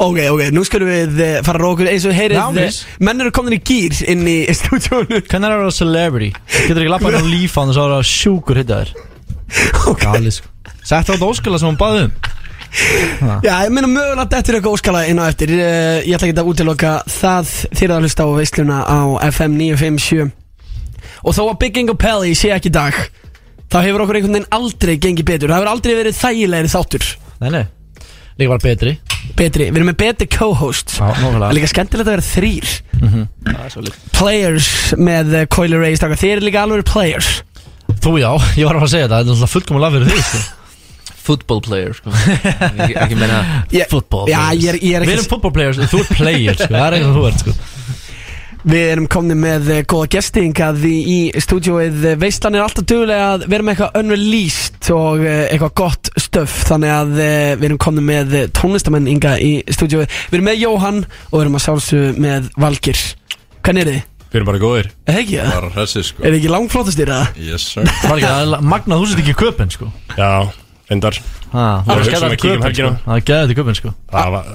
[SPEAKER 2] Ok, ok, nú skulum við eh, fara að róa okkur eins og heyrið
[SPEAKER 4] Nánast.
[SPEAKER 2] eh, Menn eru komin í gýr inn í stúdíónu
[SPEAKER 4] Hvernig er það celebrity? Getur ekki lappað á lífa á hann þess að það voru sjúkur hitta þér Gali sko Sett á þetta óskala sem hún baði um Ah.
[SPEAKER 2] Já, ég meina mögulega að þetta er eitthvað óskala inn á eftir Eh, Ég ætla ekki að útiloka það þér að hlusta á veisluna á FM 957 Og þó að Big Ingo Pelli sé ekki í dag Þá hefur okkur einhvern veginn aldrei gengið betur Það hefur aldrei verið þægilegri þáttur
[SPEAKER 4] Nei, nei Líka bara betri
[SPEAKER 2] Betri, við erum með betri co-host
[SPEAKER 4] Já, nákvæmlega.
[SPEAKER 2] Það er Líka skemmtilegt að vera þrýr
[SPEAKER 4] Það er svolít
[SPEAKER 2] Players með eh, Coily Ray strákar. Þið eru líka alveg players
[SPEAKER 4] Þú já, ég var að fara að segja þetta, þetta er alltaf fullkomum lag fyrir því sko
[SPEAKER 3] Football player sko Ekki ekki meina
[SPEAKER 2] Ég-
[SPEAKER 3] Football
[SPEAKER 2] Já, ég er, ég er
[SPEAKER 4] Við
[SPEAKER 2] ekki
[SPEAKER 4] erum football players, þú er player sko, það er eitthvað þú ert sko
[SPEAKER 2] Við erum komnið með eh, góða gestingað í, í stúdíóið Veistlan er alltaf duglega að vera með eitthvað unreleased og eh, eitthvað gott stöf Þannig að eh, við erum komnið með eh, tónlistamenn inga í stúdíóið Við erum með Jóhann og við erum að sjálfsögðu með Valgir Hvernig er þið?
[SPEAKER 17] Við erum bara góðir
[SPEAKER 2] Er það ekki það?
[SPEAKER 17] Bara hressir sko
[SPEAKER 2] Er þið ekki langflótastýr það?
[SPEAKER 17] Yes sir
[SPEAKER 4] Marga, það er magnað, þú sett ekki í köpinn sko
[SPEAKER 17] Já, endar
[SPEAKER 4] Ha,
[SPEAKER 17] Það er
[SPEAKER 4] þú-
[SPEAKER 17] hugsa um að kíkja um helgina.
[SPEAKER 4] Það er gæðið til köpinn sko
[SPEAKER 17] Það var-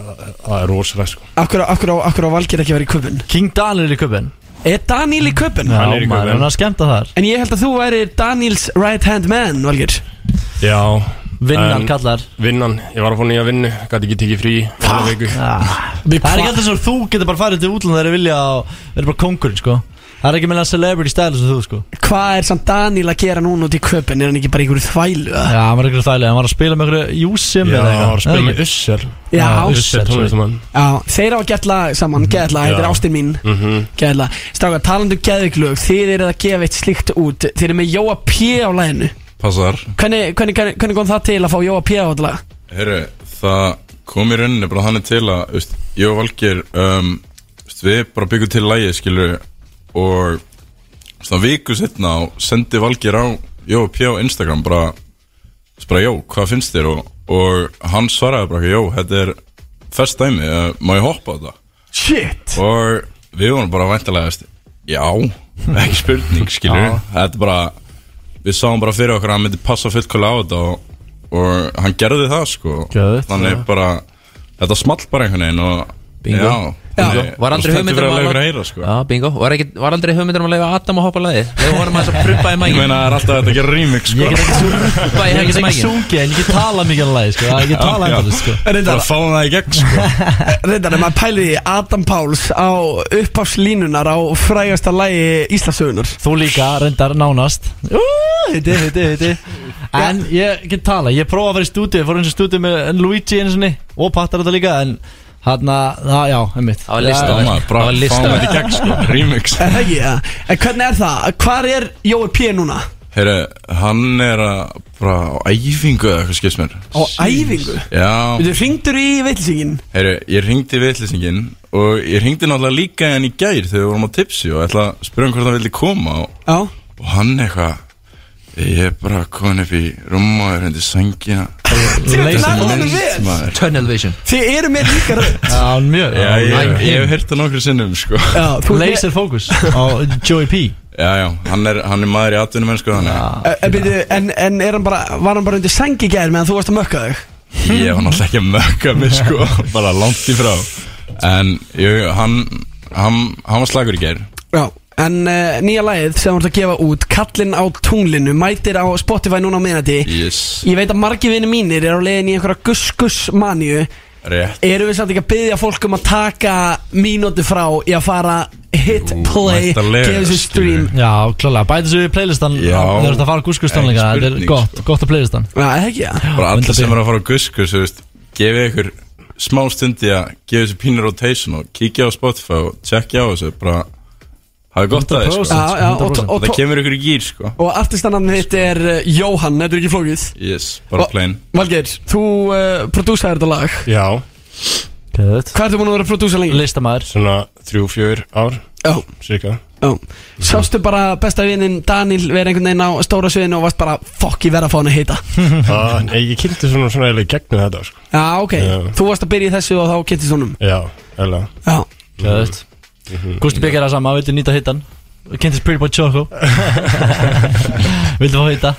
[SPEAKER 17] það er rosalega sko
[SPEAKER 2] Akkur, akkur, á- akkur á Valgir ekki að vera í köpun?
[SPEAKER 4] King Daniel er í köpinn
[SPEAKER 2] Er Daniel í köpun?
[SPEAKER 4] Já,
[SPEAKER 17] Hann er í
[SPEAKER 4] maður,
[SPEAKER 17] köpinn.
[SPEAKER 4] hann er að skemmta þar
[SPEAKER 2] En ég held að þú væri Daniels right hand man, Valgir
[SPEAKER 17] Já
[SPEAKER 4] Vinnan
[SPEAKER 17] en-
[SPEAKER 4] kallar
[SPEAKER 17] Vinnan, ég var að fá nýja vinnu Gæti ekki tekið frí Fuck viku.
[SPEAKER 4] Það er ekki alltaf svo þú getur bara farið til útlanda þegar vilja og verður bara kongurinn sko Það er ekki meina celebrity style sem þú sko
[SPEAKER 2] Hvað er samt Daniel að gera núna út í köpun? Er hann ekki bara í einhverju þvælu? eða?
[SPEAKER 4] Já, hann var eitthvað þægilega, hann var að spila með einhverju Júsim
[SPEAKER 17] Já, það var að spila með Ussel
[SPEAKER 2] Já,
[SPEAKER 17] Ussel tónlistamann
[SPEAKER 2] Já, þeir á að geta lag saman, geta lag, þetta er
[SPEAKER 17] Já.
[SPEAKER 2] ástin mín
[SPEAKER 17] Mhm.
[SPEAKER 2] Geta lag, strákar, talandu geðviklug Þið eru að gefa eitt slíkt út Þið eru með Jóa P á laginu
[SPEAKER 18] Passar
[SPEAKER 2] Hvernig, hvernig, hvernig, hvernig kom það til að fá Jóa P á þetta lag?
[SPEAKER 18] Herru, það kom í rauninni bara þannig til að þú veist, ég og Valgir um, þú veist, við bara byggum til lægi skilur og svona viku setna og sendi Valgir á Jó, P á Instagram bara, þú veist, bara Jó, hvað finnst þér og, og hann svaraði bara Jó, þetta er fest dæmi, uh, má ég hoppa á þetta
[SPEAKER 2] Shit
[SPEAKER 18] Og við vorum bara væntalega veist, Já, ekki spurning skilur
[SPEAKER 17] Já.
[SPEAKER 18] Þetta bara Við sáum bara fyrir okkur að hann myndi passa fullkóla á þetta og, og hann gerði það sko
[SPEAKER 4] Geðveikt,
[SPEAKER 18] Þannig
[SPEAKER 4] já.
[SPEAKER 18] bara Þetta small bara einhvern veginn og
[SPEAKER 3] Bingo.
[SPEAKER 18] Já,
[SPEAKER 3] Bingo. Var aldrei hugmynd um
[SPEAKER 18] að
[SPEAKER 3] að
[SPEAKER 18] leiða að heyra sko
[SPEAKER 3] Já, bingo Var, ekki, var aldrei hugmyndur um að leifa Adam að hoppa lagið Leifa honum að þess að prumpa í
[SPEAKER 18] Ég
[SPEAKER 3] mægin
[SPEAKER 18] meina það er alltaf þetta að gera remix sko
[SPEAKER 3] Ég get ekki Prumpa í helgis
[SPEAKER 4] Ég get ekki
[SPEAKER 3] mægin
[SPEAKER 4] sungið, en ég get talað mikið alveg sko Það er ekki
[SPEAKER 3] um
[SPEAKER 4] talað
[SPEAKER 18] Já, já.
[SPEAKER 4] endalist sko
[SPEAKER 18] Bara
[SPEAKER 2] Reyndar,
[SPEAKER 18] fáum það í gegn sko
[SPEAKER 2] reyndar, ef maður pæli því Adam Páls á uppáfslínunar á frægasta lagi Íslasögunar
[SPEAKER 4] Þú líka, reyndar nánast Hitti, hitti, hitti En ég get talað, ég prófa að fara í stúdíu Fór eins og stúdíu með Luigi eins og ni Og Pattar þetta líka, en hann að, já, einmitt
[SPEAKER 3] Það var listaverk.
[SPEAKER 18] Fáum það, bara
[SPEAKER 3] Það var
[SPEAKER 18] fáum
[SPEAKER 3] listaverk.
[SPEAKER 18] þetta í gegn sko Remix
[SPEAKER 2] Er það ekki það? En hvernig er það? Hvar er Jói P núna?
[SPEAKER 18] Heyri, hann er að bara á æfingu eða eitthvað skils mér
[SPEAKER 2] Á æfingu?
[SPEAKER 18] Já
[SPEAKER 2] Þú ringdur í veitlisingin
[SPEAKER 18] Heyri, ég ringdi viðlýsingin og ég ringdi náttúrulega líka í hann í gær þegar við vorum á tipsi og ætla að spyrja hann hvort hann vildi koma og,
[SPEAKER 2] Já.
[SPEAKER 18] og hann eitthvað ég er bara komin upp í rúm og er undir sængina
[SPEAKER 2] lagði honum vel.
[SPEAKER 3] Tunnel vision
[SPEAKER 2] Þið eru með líka rödd
[SPEAKER 4] Já, mjög
[SPEAKER 18] Já, ég,
[SPEAKER 4] Like
[SPEAKER 18] ég,
[SPEAKER 4] him.
[SPEAKER 18] hef heyrt það nokkru sinnum sko.
[SPEAKER 2] Já, þú ert
[SPEAKER 4] Laser focus á Joey P
[SPEAKER 18] Já, já, hann er, hann er maður í atvinnum menn sko, þannig
[SPEAKER 2] Eh, eh, byrju, En, en er hann bara, var hann bara undir sengi gær meðan þú varst að mökka þig?
[SPEAKER 18] ég var náttúrulega ekki að mökka mig sko, bara langt í frá en jú, hann, hann, hann var slagur í gær
[SPEAKER 2] Já En uh, nýja lagið sem þú ert að gefa út Kallinn á tunglinu mætir á Spotify núna á miðnætti
[SPEAKER 18] Yes.
[SPEAKER 2] Ég veit að margi vinni mínir er á leiðin í einhverja gus-gus maníu
[SPEAKER 18] Rétt.
[SPEAKER 2] Erum við samt ekki að byggja fólk um að taka mínúti frá í að fara hit play,
[SPEAKER 4] væntanlega,
[SPEAKER 2] gefa sér stream
[SPEAKER 4] Já, klálega, bæta sér við playlistan
[SPEAKER 18] Já.
[SPEAKER 4] Þegar þetta fara gúskustónleika
[SPEAKER 18] Ekki
[SPEAKER 4] Þetta er
[SPEAKER 18] spurning, sko.
[SPEAKER 4] gott, gott að playlistan
[SPEAKER 2] Já, ekki, já
[SPEAKER 18] bara allir sem eru að fara á gusku þú veist, gefið ykkur smá stundi að gefa þessu pínu rotation og kíkja á Spotify og tjekkja á þessu bara hafa gott að
[SPEAKER 4] sko.
[SPEAKER 18] þessu
[SPEAKER 2] 100%, Já, já, og- og-
[SPEAKER 18] það kemur ykkur í gýr sko
[SPEAKER 2] Og artistanamni þitt er uh, Jóhann, þetta er ekki flókið
[SPEAKER 18] yes, bara
[SPEAKER 2] Og-
[SPEAKER 18] plain
[SPEAKER 2] Valgeir, þú uh, prodúsaði þetta lag
[SPEAKER 17] Já
[SPEAKER 2] Hvað ertu búin að vera að prodúsa lengi?
[SPEAKER 4] Listamæður
[SPEAKER 17] Svona þrjú, fjör ár
[SPEAKER 2] Já
[SPEAKER 17] Cirka
[SPEAKER 2] Já Sástu bara besta vinnin Daniel verið einhvern veginn á stóra sviðinu og varst bara fokk ég verð að fá hann að hita
[SPEAKER 17] Það, nei, ég kynnti svona svona eiginlega í gegnum þetta sko.
[SPEAKER 2] Já, ok
[SPEAKER 17] Já.
[SPEAKER 2] Þú varst að byrja í þessu og þá kynntist honum
[SPEAKER 17] Já, eiginlega
[SPEAKER 2] Já
[SPEAKER 4] Gæðut Gusti Björk er það sama, vildi nýta hittan Kynntist Pretty Boy Choco Vildi fá hitta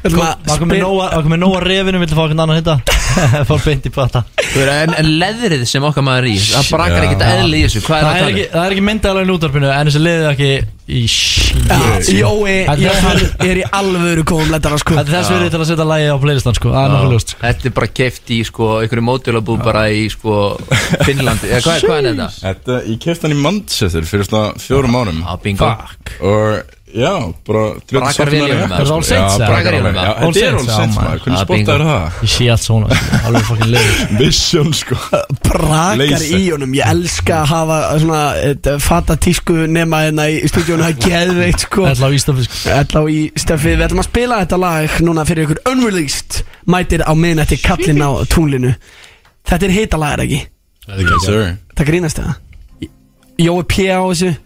[SPEAKER 2] Ætlum að
[SPEAKER 4] Var komið
[SPEAKER 2] spyr-
[SPEAKER 4] nóga, var komið nóga refinu, vildi fá okkur annan hitta Fór beint í pata
[SPEAKER 3] Þú veist, en, en leðrið sem okkar maður er í Það brakar ekkert eðli í þessu Hvað er
[SPEAKER 4] það
[SPEAKER 3] það að
[SPEAKER 4] er
[SPEAKER 3] tala? um?
[SPEAKER 4] ekki, það er ekki myndalega í útvarpinu En þessi liðið ekki í shit
[SPEAKER 2] Jói,
[SPEAKER 4] Þetta er
[SPEAKER 2] Jóhann er í alvöru komum letara sko
[SPEAKER 4] Þetta er þess verið til að setja lagi á playlistan sko Það er nokkuð ljóst
[SPEAKER 3] Þetta er bara keft í sko, einhverju mótilabú bara í sko, Finnlandi Eða hvað, hvað er þetta?
[SPEAKER 18] Þetta, ég kefti hann í Manchester fyrir svona fjórum árum
[SPEAKER 3] ah, bingo
[SPEAKER 18] og já, bara drjóta
[SPEAKER 3] Brakar
[SPEAKER 18] sáttum
[SPEAKER 3] William,
[SPEAKER 18] með
[SPEAKER 3] maður. Er það All
[SPEAKER 18] Já,
[SPEAKER 3] Saints, eða?
[SPEAKER 18] Brakar William,
[SPEAKER 3] Brakar
[SPEAKER 18] já,
[SPEAKER 3] All
[SPEAKER 18] þetta er
[SPEAKER 3] Saints,
[SPEAKER 18] all
[SPEAKER 3] já,
[SPEAKER 18] saints
[SPEAKER 3] maður.
[SPEAKER 18] maður, hvernig
[SPEAKER 3] Ah,
[SPEAKER 18] spotta
[SPEAKER 3] bingo.
[SPEAKER 18] er það?
[SPEAKER 4] Ég sé allt svona sko. Alveg fucking liður
[SPEAKER 18] Vision sko
[SPEAKER 2] Brakar
[SPEAKER 18] Leysa.
[SPEAKER 2] í honum Ég elska að hafa svona et, fata tísku nema hérna í stúdíónu Það er geðveikt sko
[SPEAKER 4] Ætla á Ístafi sko
[SPEAKER 2] Ætlá í stefið, við ætlum að spila þetta lag núna fyrir ykkur unreleased Mætir á miðnætti kallinn á túnlinu Þetta er heita lag er ekki?
[SPEAKER 18] Yes, sir.
[SPEAKER 2] Það grínast það Jói P á þessu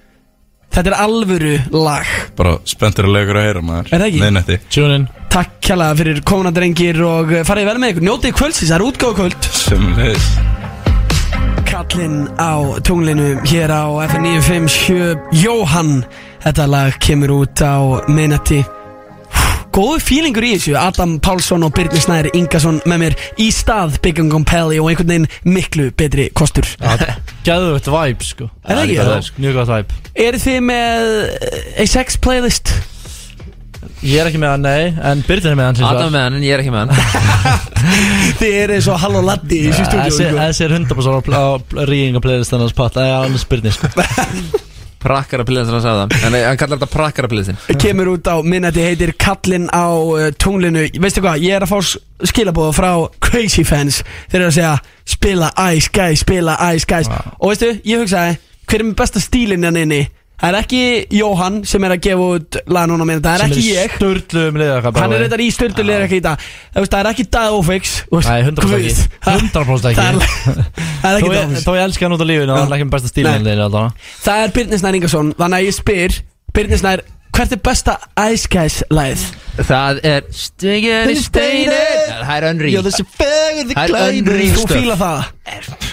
[SPEAKER 2] Þetta er alvöru lag
[SPEAKER 18] bara spenntur að leikur að heyra maður
[SPEAKER 2] Er það ekki?
[SPEAKER 18] Neinetti.
[SPEAKER 4] Tune in
[SPEAKER 2] Takk kjalla fyrir komuna drengir og eh, farið vel með ykkur Njótið kvöldsins, það er útgáðu kvöld
[SPEAKER 18] sem leis
[SPEAKER 2] Kallinn á tunglinu hér á FN957 Jóhann, þetta lag kemur út á minnati Góðu fílingur í þessu Adam Pálsson og Birnir Snær Ingason með mér í stað Big and Compelli og einhvern veginn miklu betri kostur
[SPEAKER 4] Gæðvögt vibe sko
[SPEAKER 2] Er það ekki?
[SPEAKER 4] líka vibe, sko. Mjög gott vibe
[SPEAKER 2] Eru þið með eh, sex playlist?
[SPEAKER 4] Ég er ekki með hann, nei En Byrðin er með hann sem
[SPEAKER 3] Adam er með hann en ég er ekki með hann
[SPEAKER 2] Þið eru svo hall og laddi í sko. þessu
[SPEAKER 4] Þessi
[SPEAKER 2] stúdíu
[SPEAKER 4] þessi er 100% á, á rýinga playlistan hans patta Það er annars Byrðin sko
[SPEAKER 3] Prakkarapillin sem hann sagði það Hann, hann kallar þetta prakkarapillin
[SPEAKER 2] kemur út á minnati heitir Kallinn á uh, tunglinu veistu hvað, ég er að fá s- skilaboð frá Crazy Fans, þeir eru að segja spila Ice Guys, spila Ice Guys og veistu, ég hugsaði, hver er með besta stílinn hann inni? Það er ekki Jóhann sem er að gefa út lag núna á minnati, það er ekki ég
[SPEAKER 4] Sturluðum liðaka
[SPEAKER 2] Hann er reyndar í stöldulega ekki í dag Það veist, það er ekki Dad Ofix
[SPEAKER 4] Nei, 100% ekki. 100% ekki.
[SPEAKER 2] Það er
[SPEAKER 4] Þó
[SPEAKER 2] ekki Dad
[SPEAKER 4] ég,
[SPEAKER 2] Ofix
[SPEAKER 4] þó ég elska hann út á lífinu Það er ekki með besta
[SPEAKER 2] Nei.
[SPEAKER 4] stílinn liðinu alltaf
[SPEAKER 2] Það er Birnir Snær Ingarsson Þannig að ég spyr Birnir Snær, hvert er besta Ice Guys lagið?
[SPEAKER 3] Það er Stingur í steinu Það er önri
[SPEAKER 2] fegurði
[SPEAKER 3] Það er glæður. önrýr
[SPEAKER 2] Þú
[SPEAKER 3] stöf.
[SPEAKER 2] fíla það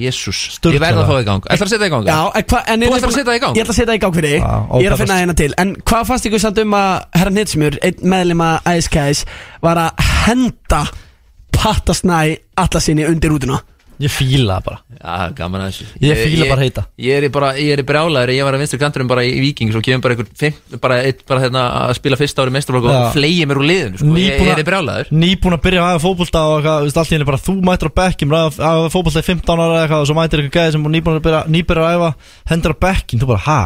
[SPEAKER 3] Jésús, ég verð að fá það í gang Ætlar að setja það í gang?
[SPEAKER 2] Já, en hva, en
[SPEAKER 3] Þú
[SPEAKER 2] er-
[SPEAKER 3] ætlar að setja það í gang?
[SPEAKER 2] Ég ætla að setja það í gang fyrir þig Ég er
[SPEAKER 4] Já,
[SPEAKER 2] að
[SPEAKER 4] ókei,
[SPEAKER 2] finna
[SPEAKER 4] best.
[SPEAKER 2] hérna til En hvað fannst ykkur samt um að Herra Nitsmjör, einn meðlum að Ice Guys Var að henda Pattasnæ allasinni undir útuna
[SPEAKER 4] Ég fíla það bara
[SPEAKER 3] Já, gaman að þessu
[SPEAKER 4] Ég fíla bara heita.
[SPEAKER 3] Ég er í bara, ég er í brjálæður Ég var að vinstri kanturum bara í Víking Svo kemur bara einhver fimm, bara, eitt, bara hérna að spila fyrsta ári mestarblokk Og
[SPEAKER 4] Já.
[SPEAKER 3] fleigi mér úr liðinu sko. ég, ég er í brjálæður
[SPEAKER 4] Nýbúin að byrja að hafa fótbolta og eitthvað, þú veist, allt í henni bara þú mætir á bekkjum, að fótbolta í 15 ára eða eitthvað og svo mætir eitthvað gæði sem er nýbúin að byrja, nýbyrja að æfa, hendur á bekkjum, þú bara, ha?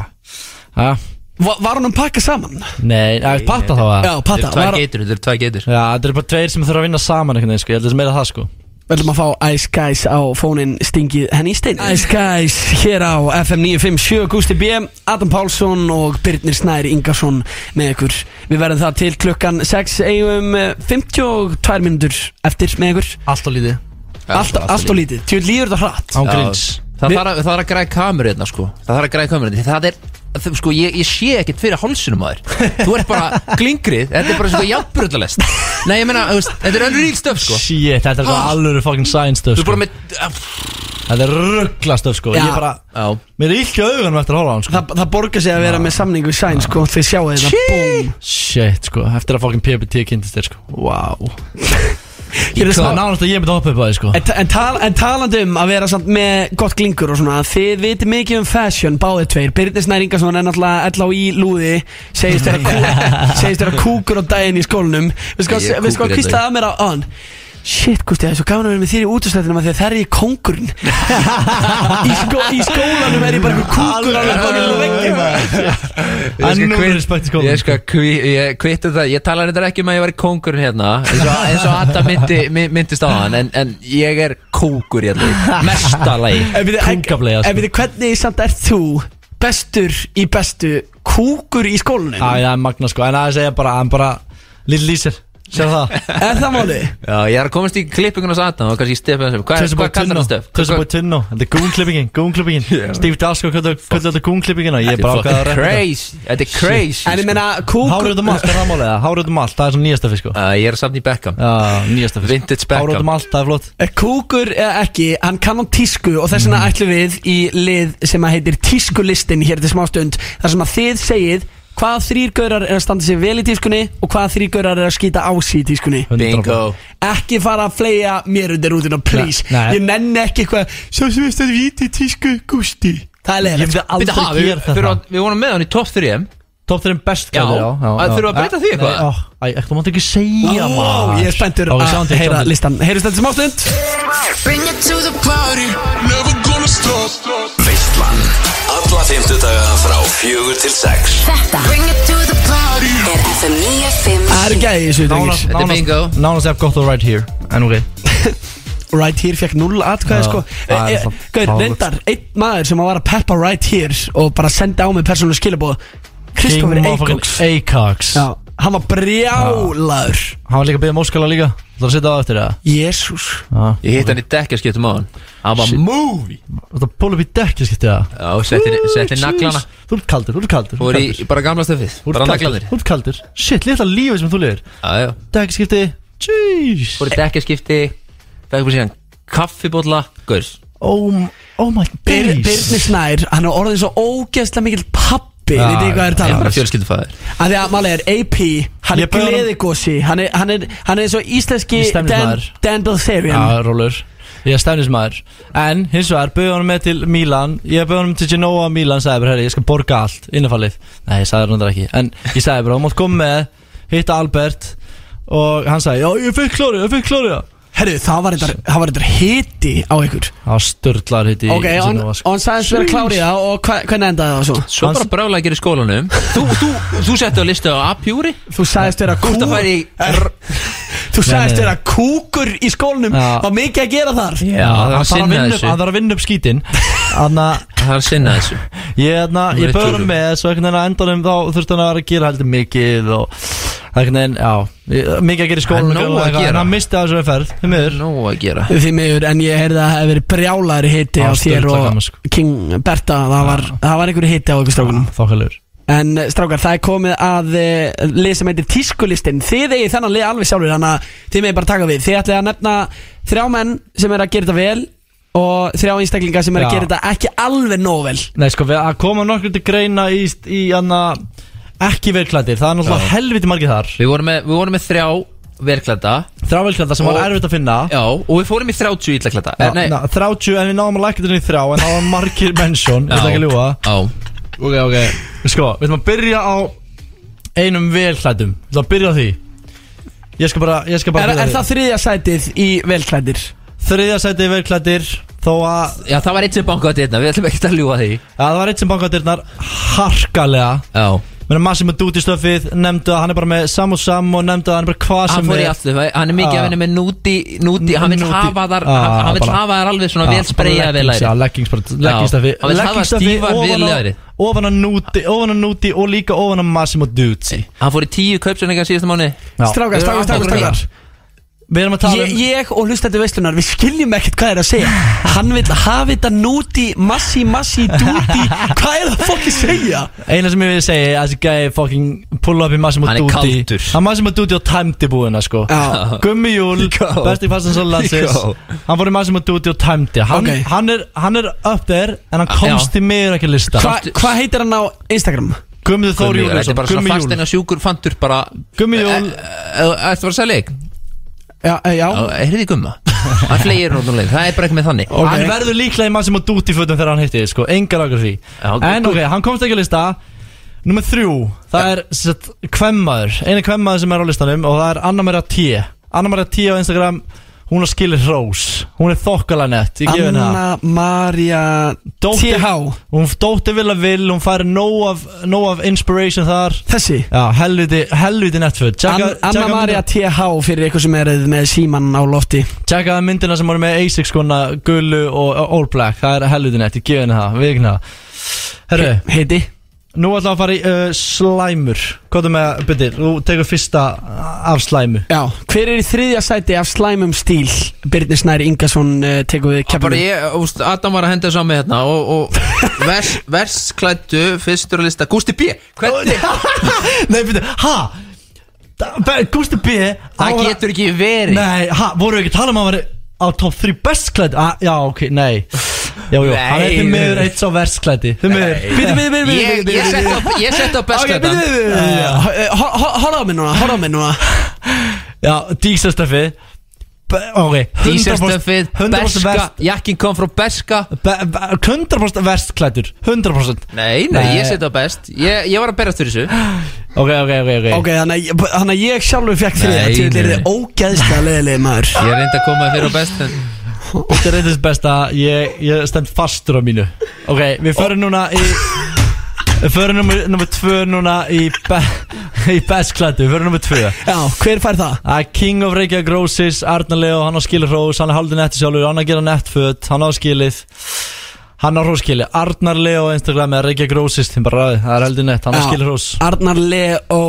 [SPEAKER 4] Ha?
[SPEAKER 2] Va Var hann að pakka saman?
[SPEAKER 4] Nei, að patta þá að?
[SPEAKER 2] Já,
[SPEAKER 3] Þetta
[SPEAKER 2] patta
[SPEAKER 3] eru tvær
[SPEAKER 2] var,
[SPEAKER 3] geitur, þetta eru tvær geitur
[SPEAKER 4] Já, þetta eru bara tveir sem þurfa að vinna saman einhvern veginn, sko, ég held að þetta er meira það, sko
[SPEAKER 2] Við ætlum að fá Ice Guys á fónin stingið henni í stein Ice Guys hér á FM 957 Gusti B, Adam Pálsson og Birnir Snær Ingarsson með ykkur Við verðum það til klukkan 6 eigum eh, 52 mínútur eftir með ykkur
[SPEAKER 4] Allt og lítið
[SPEAKER 2] Allt, allt og lítið, tjóð líður þetta hratt
[SPEAKER 3] Já, Það þarf að- það þarf að græða kameru hérna sko Það þarf að græða kameru hérna Það er, það, sko, ég, ég sé ekkert fyrir hálsinum að þér Þú ert bara glingrið Þetta er bara svona jafnbrutalest Nei, ég meina, þú veist, þetta er unreal stöf sko
[SPEAKER 4] Shit, þetta er
[SPEAKER 3] Ah.
[SPEAKER 4] bara alvöru fucking science stöf
[SPEAKER 3] Þú er
[SPEAKER 4] sko.
[SPEAKER 3] bara með
[SPEAKER 4] Þetta er ruggla stöf sko Ég
[SPEAKER 2] Já.
[SPEAKER 4] bara, mér er illt í augunum eftir að horfa á hann sko
[SPEAKER 2] Það, það borgar sig að vera með samningu í sæn sko, þið sjáu þetta búm
[SPEAKER 4] Shit sko, eftir að fucking PPT kynntist þér sko Wow Ég
[SPEAKER 2] Hér er
[SPEAKER 4] veist
[SPEAKER 2] smá-
[SPEAKER 4] það nánast að ég myndi að hoppa upp á því sko
[SPEAKER 2] En, ta- en, tal, en talandi um að vera samt með gott glingur og svona Þið viti mikið um fashion, báðið tveir Birnir Snær Ingarsson er náttúrulega ell á í lúði Segist þér að kú- segist vera kúkur á daginn í skólanum Við sko
[SPEAKER 3] Ég er
[SPEAKER 2] að
[SPEAKER 3] kúkur í
[SPEAKER 2] kvísla að mér á on Shit, Gusti, það er svo gaman að vera með þér í útastættinum Þegar það er ég kóngurinn í, sko, í skólanum er ég bara einhver kúkur alveg bakið á veggjum.
[SPEAKER 3] Ég skal
[SPEAKER 4] Ennum
[SPEAKER 3] kvi-
[SPEAKER 4] respekt í skólanum.
[SPEAKER 3] Ég skal kvi- ég kvittu það Ég tala þetta ekki um að ég væri kóngurinn hérna eins og, eins og Adam myndi, my- myndist á hann en, en ég er kókur hérna Mestalagi
[SPEAKER 2] En við
[SPEAKER 4] Kúkableiða, sko.
[SPEAKER 2] En við hvernig samt ert þú bestur í bestu kúkur í skólanum?
[SPEAKER 4] Æ, það er magna sko, en aðeins segja bara, hann bara Lill Lísir, sér það
[SPEAKER 2] Er það málið?
[SPEAKER 3] Já, ég er að komast í klippingun á Satan og kannski stefið þessum Hvað er-
[SPEAKER 4] Tussi
[SPEAKER 3] hvað
[SPEAKER 4] búið
[SPEAKER 3] kallar
[SPEAKER 4] tunno,
[SPEAKER 3] það stöf?
[SPEAKER 4] tussi búið tunno Þetta er gúnklippingin, gúnklippingin Steve Dasko kallar þetta gúnklippingina Ég er bara ákveða að reyna
[SPEAKER 3] Crazy, þetta er crazy sko.
[SPEAKER 2] En ég meina kúkur
[SPEAKER 4] Hárið út um allt, er það málið það? Hárið út um allt, það er svona nýjasta fisk sko
[SPEAKER 3] Uh, ég er samt í Beckham
[SPEAKER 4] Já, nýjasta fisk
[SPEAKER 3] Vintage Beckham
[SPEAKER 4] Hárið út um allt, það er flott
[SPEAKER 2] Eh, Kúkur eða ekki, hann kann á tísku og þess vegna
[SPEAKER 4] Mm.
[SPEAKER 2] ætlum við í lið sem að heitir tískulistin hér til smástund þar sem að þið segið hvaða þrýr gaurar er að standa sér vel í tískunni og hvaða þrýr gaurar er að skýta á sig í tískunni
[SPEAKER 3] Bingo
[SPEAKER 2] Ekki fara að fleja mér undir rútina, please
[SPEAKER 4] Nei, nei.
[SPEAKER 2] Ég nenni ekki eitthvað Svo sem veist að viti tísku gústi Það er
[SPEAKER 4] Ég
[SPEAKER 2] leiðilegt
[SPEAKER 4] myndi aldrei
[SPEAKER 3] Bíddu, ha, við-
[SPEAKER 4] gera þetta.
[SPEAKER 3] þurfum að- Við vorum með hann í top 3
[SPEAKER 4] Top 3 best
[SPEAKER 3] Já,
[SPEAKER 4] kallar,
[SPEAKER 3] að þurfum að breyta því
[SPEAKER 4] Nei,
[SPEAKER 3] eitthvað?
[SPEAKER 4] ó, Æ, ekki, þú mátt ekki segja
[SPEAKER 2] Wow,
[SPEAKER 4] maður
[SPEAKER 2] ég er spenntur
[SPEAKER 4] Ó,
[SPEAKER 2] að
[SPEAKER 3] Ah,
[SPEAKER 4] sjáum til,
[SPEAKER 2] heyra
[SPEAKER 4] sjáum til.
[SPEAKER 2] listan Heyrjumst þetta smástund
[SPEAKER 1] Bring it to the party, never gonna stop
[SPEAKER 15] Veislan Alla fymtudaga frá fjögur til sex
[SPEAKER 1] Þetta Bring it to the party
[SPEAKER 6] Er FM 95
[SPEAKER 2] Það eru gæði í þessu
[SPEAKER 4] Nánast-
[SPEAKER 2] drengir.
[SPEAKER 4] Nánast nánast ef gott og right here En ok
[SPEAKER 2] Right Here fekk 0 atkvæði
[SPEAKER 4] Já,
[SPEAKER 2] sko
[SPEAKER 4] það er
[SPEAKER 2] Eh, eh,
[SPEAKER 4] það
[SPEAKER 2] Gaur,
[SPEAKER 4] fáránlegt.
[SPEAKER 2] reyndar, einn maður sem að var að peppa Right Here og bara senda á mig persónuleg skilabóð Kristoffer
[SPEAKER 4] King
[SPEAKER 2] Eikoks
[SPEAKER 4] motherfucking Acox
[SPEAKER 2] Eh, Já, hann var brjálaður
[SPEAKER 4] Hann var líka um beðið móskala líka Það er að setja á eftir það
[SPEAKER 2] Jésús
[SPEAKER 3] Ég hitt hann í dekkjaskiptum á hann Hann var movie
[SPEAKER 4] Það pull upp í dekki skipti það
[SPEAKER 3] Já, setti setti naglana
[SPEAKER 4] Þú ert kaldur, þú ert kaldur
[SPEAKER 3] Þú
[SPEAKER 4] þú
[SPEAKER 3] voru
[SPEAKER 4] ert
[SPEAKER 3] í bara gamla stöfið
[SPEAKER 4] Þú ert
[SPEAKER 3] Bara
[SPEAKER 4] kaldur,
[SPEAKER 3] naglanir
[SPEAKER 4] Þú ert kaldur Shit, litla lífið sem þú lifir
[SPEAKER 3] Já, já
[SPEAKER 4] Dekki skipti Jeez
[SPEAKER 3] Fór í dekkjaskipti Fekkum við síðan kaffibólla Gaurs
[SPEAKER 4] Oh, m- oh my
[SPEAKER 2] Bir,
[SPEAKER 4] days
[SPEAKER 2] Birnir Snær, hann er orðin svo ógeðslega mikill pappi Við þið hvað er
[SPEAKER 3] Ég er
[SPEAKER 2] talað
[SPEAKER 3] bara
[SPEAKER 2] um
[SPEAKER 3] fjölskyldufæður
[SPEAKER 2] Af Því að málið er AP, hann
[SPEAKER 4] Ég
[SPEAKER 2] er
[SPEAKER 4] bauð honum-
[SPEAKER 2] gleðigosi Hann er, hann er, hann er svo íslenski
[SPEAKER 4] Ég stemnist
[SPEAKER 2] Dan-
[SPEAKER 4] maður.
[SPEAKER 2] Dandelion
[SPEAKER 4] Já, rólur Ég er stefnismæður En hins vegar bauði honum með til Mílan Ég bauði honum til Genoa Mílan Sæði bara, herri, ég skal borga allt Innafallið Nei, ég sagði hann ekki En ég sagði bara, þú mátt koma með Hitta Albert Og hann sagði, já, ég fekk klóri, ég fekk klóri
[SPEAKER 2] Herru, það var reyndar- það var reyndar hiti á ykkur
[SPEAKER 4] Það var störtlar hitti
[SPEAKER 2] Ok, og hann-
[SPEAKER 4] sko.
[SPEAKER 2] og hann sagðist vera klárið það og hva- hvernig endaði það svo?
[SPEAKER 3] Svo bara brála að gera í skólanum Þú, þú, þú settu á listu á A-pjúri
[SPEAKER 2] Þú sagðist vera
[SPEAKER 3] Þú ert að fara
[SPEAKER 2] kúkur
[SPEAKER 3] í
[SPEAKER 2] Þú sagðist
[SPEAKER 4] Nei, nei.
[SPEAKER 2] vera kúkur í skólnum
[SPEAKER 4] Já.
[SPEAKER 2] Var mikið að gera þar
[SPEAKER 4] Já,
[SPEAKER 3] það var
[SPEAKER 4] hann þarf að
[SPEAKER 3] sinna
[SPEAKER 4] vinna upp-
[SPEAKER 3] þessu.
[SPEAKER 4] hann þarf að vinna upp skítin Þannig að
[SPEAKER 3] Það er að sinna þessu
[SPEAKER 4] Ég, hérna,
[SPEAKER 3] Númer
[SPEAKER 4] ég
[SPEAKER 3] eitt
[SPEAKER 4] bauð hann
[SPEAKER 3] túrum.
[SPEAKER 4] með svo einhvern veginn að endanum þá þurfti hann að vera að gera heldur mikið og einhvern veginn, já ég- mikið að gera í
[SPEAKER 3] Það
[SPEAKER 4] skólanum
[SPEAKER 3] er nóg
[SPEAKER 4] og
[SPEAKER 3] að
[SPEAKER 4] eitthvað, en
[SPEAKER 3] gera.
[SPEAKER 4] hann misti af þessu ferð þið miður
[SPEAKER 3] Nó að gera
[SPEAKER 2] Því miður, en ég heyrði að það hefði verið brjálari hiti
[SPEAKER 4] Já,
[SPEAKER 2] á þér
[SPEAKER 4] sturla gaman,
[SPEAKER 2] og
[SPEAKER 4] sko.
[SPEAKER 2] King Berta Það var, það var einhverju hiti á ykkur strákunum
[SPEAKER 4] þokkalur
[SPEAKER 2] En eh, strákar, það er komið að eh, lið sem heitir tískulistin Þið eigið þennan lið alveg sjálfur Þannig að þið megið bara taka við Þið ætlið að nefna þrjá menn sem er að gera þetta vel Og þrjá einstaklinga sem er að
[SPEAKER 4] Já.
[SPEAKER 2] gera þetta ekki alveg nóg vel
[SPEAKER 4] Nei sko, við að koma nokkur til greina í, í anna, ekki velklættir það er náttúrulega helviti margir þar
[SPEAKER 3] Við vorum með, við vorum með þrjá verklanda
[SPEAKER 4] þrjá velklættar sem var
[SPEAKER 3] Og-
[SPEAKER 4] erfitt að finna
[SPEAKER 3] Já, og við fórum í Eh, 30 illaklanda
[SPEAKER 4] Já, na, 30 en við náðum að lækja þetta í þrjá en það var margir mennsjón, ég ætla ekki að ljúa
[SPEAKER 3] Já,
[SPEAKER 4] Ok, ok Sko, við ætlum að byrja á einum velklættum Við ætlum að byrja á því Ég skal bara, ég skal bara
[SPEAKER 2] Er,
[SPEAKER 4] byrja á
[SPEAKER 2] er
[SPEAKER 4] því.
[SPEAKER 2] það þriðja sætið í velklædir?
[SPEAKER 4] Þriðja sæti velklættir Þó að
[SPEAKER 3] Já, það var eitt sem bankaði þetta, við ætlum ekki að ljúa því
[SPEAKER 4] ja, það var eitt sem bankaðirnar harkalega
[SPEAKER 3] Já
[SPEAKER 4] Menna Massimo Dutti stöfið Nefndu að hann er bara með Sam og Sam Og nefndu að hann er bara hvað sem
[SPEAKER 3] Hann fór í allt þau, hann er mikið að vinna með núti, núti Hann vil
[SPEAKER 4] Núti.
[SPEAKER 3] hafa þar,
[SPEAKER 4] Ah,
[SPEAKER 3] hann- hann vil
[SPEAKER 4] bara-
[SPEAKER 3] hafa þar alveg svona
[SPEAKER 4] Ah,
[SPEAKER 3] vel spreyja
[SPEAKER 4] bara
[SPEAKER 3] við læri
[SPEAKER 4] leggings, já, leggings bara- leggingstafi
[SPEAKER 3] Hann vil hafa
[SPEAKER 4] Leggingstafi
[SPEAKER 3] stífar
[SPEAKER 4] ofan
[SPEAKER 3] við
[SPEAKER 4] á-
[SPEAKER 3] læri
[SPEAKER 4] Ofan á núti Ofan á núti Og líka ofan á Massimo Dutti
[SPEAKER 3] Hann fór í tíu kaupsönningar síðasta mánu
[SPEAKER 4] Já. Strákar, strákar, strákar, strákar. Við erum að tala um-
[SPEAKER 2] ég, ég og hlustandi veislunar, við skiljum ekkert hvað er að segja Hann vil hafa þetta núti, massi, massi, dúti Hvað er það fólk að segja?
[SPEAKER 4] Eina sem ég vil segja er að þessi gæi fucking pull up í Massimo
[SPEAKER 3] Hann er
[SPEAKER 4] Dutti
[SPEAKER 3] kaldur.
[SPEAKER 4] Hann er Massimo Dutti á tæmdi búina sko
[SPEAKER 3] Já.
[SPEAKER 4] Gummi Júl,
[SPEAKER 3] Go.
[SPEAKER 4] besti fastan svo landsins
[SPEAKER 3] Go.
[SPEAKER 4] Hann fór í Massimo Dutti á tæmdi hann,
[SPEAKER 2] Ok.
[SPEAKER 4] hann, er, hann er up there en hann
[SPEAKER 3] Já.
[SPEAKER 4] komst í miður ekki lista
[SPEAKER 2] Hvað heitir hann á Instagram?
[SPEAKER 3] Gummi,
[SPEAKER 4] Gummi Þór
[SPEAKER 3] Þetta
[SPEAKER 4] Júliusson
[SPEAKER 3] er bara svona
[SPEAKER 4] Gummi
[SPEAKER 3] fastin
[SPEAKER 4] Júl
[SPEAKER 3] og sjúkur fandur bara Eh,
[SPEAKER 4] Gummi Júl
[SPEAKER 3] Þetta var að selja ekki
[SPEAKER 2] Já, eh, já
[SPEAKER 3] Heyrði gumma Hann flegir nú um leið, það er bara ekki með þannig
[SPEAKER 4] Hann verður líklega í Massimo Dutti fötum þegar hann hitti þig, sko Engar ákveð því
[SPEAKER 3] ok.
[SPEAKER 4] En ok, hann komst ekki á lista Númer þrjú, það er sett, kvemmaður Einu kvemmaður sem er á listanum og það er Anna Maria T Anna Maria T á Instagram Hún er skilir hrós Hún er þokkalanett Ég gef henni það
[SPEAKER 2] Anna Maria
[SPEAKER 4] Dóttir-
[SPEAKER 2] TH
[SPEAKER 4] Hún dóttir vil að vil, hún fær nóg af, nóg af inspiration þar
[SPEAKER 2] Þessi?
[SPEAKER 4] Já, helviti, helviti netfutt
[SPEAKER 2] Ann- Anna Maria TH fyrir ykkur sem eruð með síman á lofti
[SPEAKER 4] Tjekka það myndina sem voru með Asics skona gullu og og all black Það er helviti nett, ég gef henni það, við ekki það Herru
[SPEAKER 2] Heiti
[SPEAKER 4] Nú ætlum við að fara í uh, slæmur Hvað er með, byrði, þú tekur fyrsta af slæmu
[SPEAKER 2] Já, hver er í þriðja sæti af slæmum stíl? Birnir Snær Ingarsson uh, tekur við
[SPEAKER 3] Bara
[SPEAKER 2] keppinu
[SPEAKER 3] ég, úst, Adam var að henda saman með hérna og, og vers, versklættu fyrstur að lista Gústi B hvernig,
[SPEAKER 4] Nei, byrði, ha? Da- Be- Gústi B
[SPEAKER 3] það
[SPEAKER 4] á-
[SPEAKER 3] getur ekki verið
[SPEAKER 4] Nei, ha, voru við ekki að tala um að hann væri á top 3 bestklætt ah, Já, ok, nei Já, já, hann er
[SPEAKER 3] Nei.
[SPEAKER 4] því miður eitt sá versklætti Því miður
[SPEAKER 2] Bíddu, bíddu, bíddu,
[SPEAKER 3] Ég-
[SPEAKER 2] bíddu,
[SPEAKER 3] ég
[SPEAKER 2] bíddu,
[SPEAKER 3] setti
[SPEAKER 2] bíddu.
[SPEAKER 3] á- ég setti á
[SPEAKER 2] Ok,
[SPEAKER 3] bestklæddan.
[SPEAKER 2] bíddu, bíddu, bíddu, bíddu. Eh, hor- hor- Horfðu á mig núna, horfðu á mig núna
[SPEAKER 4] Já, dísastöfi Ok, 100%
[SPEAKER 3] Díserstöfið,
[SPEAKER 4] 100%
[SPEAKER 3] Berska
[SPEAKER 4] verst-
[SPEAKER 3] Jakkin kom frá Berska
[SPEAKER 4] be- be- 100% verstklættur 100%
[SPEAKER 3] Nei, nei, ég setja á best Ég, ég var að berast fyrir þessu
[SPEAKER 4] Ok, ok, ok, ok
[SPEAKER 2] Ok, þannig að- þannig að ég sjálfur fekk þriðja
[SPEAKER 3] Nei,
[SPEAKER 2] Þetta er
[SPEAKER 3] nei.
[SPEAKER 2] þið ógeðslega leiðileg maður
[SPEAKER 3] Ég reyndi að koma fyrir á best en
[SPEAKER 4] Þetta er reyndist best að ég, ég stend fastur á mínu Ok, við förum núna í Við förum nummer, nummer tvö núna í, be, í bestklættu Við förum nummer tvö
[SPEAKER 2] Já, hver fær það?
[SPEAKER 4] Það er King of Reykjavík Roses, Arnar Leo, hann á skilið hrós, hann er haldið netti sjálfur, hann er að gera nettföt, hann á skilið, hann á hróskilið, Arnar Leo á Instagram eða Reykjavík Roses, þinn bara ræði, það er haldið nett, hann á
[SPEAKER 2] Já,
[SPEAKER 4] skilið hrós.
[SPEAKER 2] Arnar Leo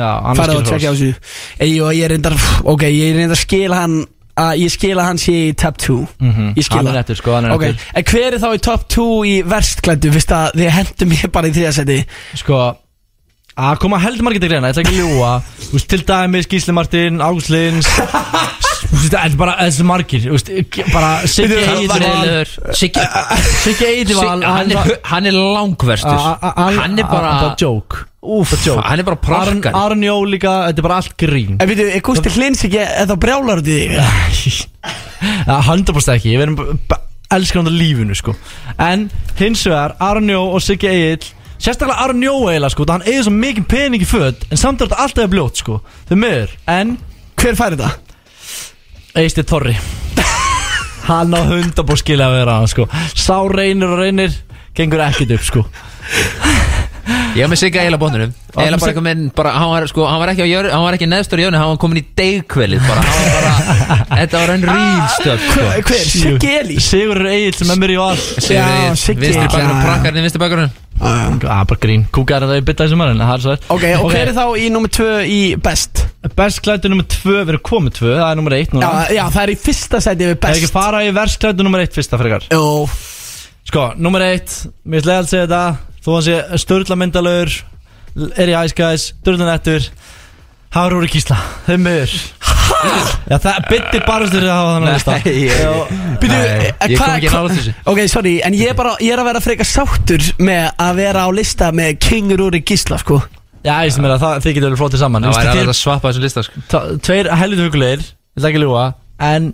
[SPEAKER 4] Já, hann á
[SPEAKER 2] Farðu og
[SPEAKER 4] skilið
[SPEAKER 2] tjekka á
[SPEAKER 4] hrós.
[SPEAKER 2] þessu Ey, og Ég reyndar, ok, ég reyndar skil hann að Ég skil að hann sé í top 2
[SPEAKER 4] Mhm,
[SPEAKER 2] Ég skil
[SPEAKER 4] hann er
[SPEAKER 2] það.
[SPEAKER 4] nettur, sko, hann er
[SPEAKER 2] Ok,
[SPEAKER 4] nettur.
[SPEAKER 2] En hver er þá í top 2 í verstklættu Fyrst að þið hendur mér bara í þriðasæti
[SPEAKER 4] Sko, að koma heldur margir til greina, ég ætla ekki að ljúa, þú veist, til dæmis Gísli Martin, Ágúst Lins, þú veist, þetta er bara, þessi margir, þú veist, ekki- bara Siggi Eidival,
[SPEAKER 3] Friðlegur Siggi
[SPEAKER 4] Siggi Eidival,
[SPEAKER 3] Sig- hann er- Hann er langverstur Hann er bara
[SPEAKER 4] Bara joke. Úf,
[SPEAKER 3] Hann er bara prakkar
[SPEAKER 4] Arnjó líka, þetta er bara allt grín
[SPEAKER 2] En veitum, er Gusti Hlins ekki eða brjálar út í þig?
[SPEAKER 4] Ja, 100% ekki, ég verðum b- b- elskar hann á lífinu sko En hins vegar, Arnjó og Siggi Egil Sérstaklega Arnjó eiginlega sko, það hann eigið svo mikið pening í föt En samt er þetta alltaf jafn bljótt sko, þau meður En
[SPEAKER 2] Hver fær þetta?
[SPEAKER 4] Eisti Torri Hann á hundabó skilja að vera hann sko Sá reynir og reynir, gengur ekkert upp sko
[SPEAKER 3] Ég var með Sigga eiginlega bóttunum Eiginlega bara
[SPEAKER 4] Sig-
[SPEAKER 3] eitthvað minn bara, hann, var, sko, hann var ekki á jörð Hann var ekki neðstur í jörðinu Hann var komin í degkvelið bara, hann var bara, Þetta var enn rílstöf sko.
[SPEAKER 2] Eh, Hver? hver? Siggi Eli?
[SPEAKER 4] Sigur Egil sem er mér í all
[SPEAKER 2] Já, Siggi
[SPEAKER 3] Vinstri
[SPEAKER 2] Egill, já,
[SPEAKER 3] bakarinn
[SPEAKER 2] já.
[SPEAKER 3] Prakkarinn í vinstri bakarinn
[SPEAKER 4] ah, Bara grín, kúkaðar þetta í bytta þessum maður
[SPEAKER 2] Ok, og hver er þá í nummer 2 í best?
[SPEAKER 4] Bestklættu nummer 2, við erum komið 2, það er nummer 1 núna
[SPEAKER 2] Já, já, það er í fyrsta sæti við
[SPEAKER 4] Það er ekki
[SPEAKER 2] best
[SPEAKER 4] fara í versklætu nummer 1 fyrsta frekar
[SPEAKER 2] Jó,
[SPEAKER 4] Sko, nummer 1, mér er leið að segja þetta Þó hann sé störla myndalögur Er í Ice Guys, störla nettur Hár úr í kísla, þeim miður Já, það bytti barastur að hafa þannig að lista
[SPEAKER 3] Nei, ég-
[SPEAKER 2] Býtu,
[SPEAKER 3] Nei,
[SPEAKER 2] eh,
[SPEAKER 3] ég kom
[SPEAKER 2] hvað-
[SPEAKER 3] ekki
[SPEAKER 2] hvað-
[SPEAKER 3] nálægt þessu.
[SPEAKER 2] Ok, sorry, en ég er bara Ég er að vera frekar sáttur með að vera á lista með King Rúri Gísla, sko
[SPEAKER 4] Já, ég sem er að það, þið getur verið flótið saman
[SPEAKER 3] Það var
[SPEAKER 4] Þú veist,
[SPEAKER 3] alveg
[SPEAKER 4] þið-
[SPEAKER 3] að svappa þessum lista sko.
[SPEAKER 4] Ta- Tveir helviti hugulegir Ég ætla ekki að ljúa En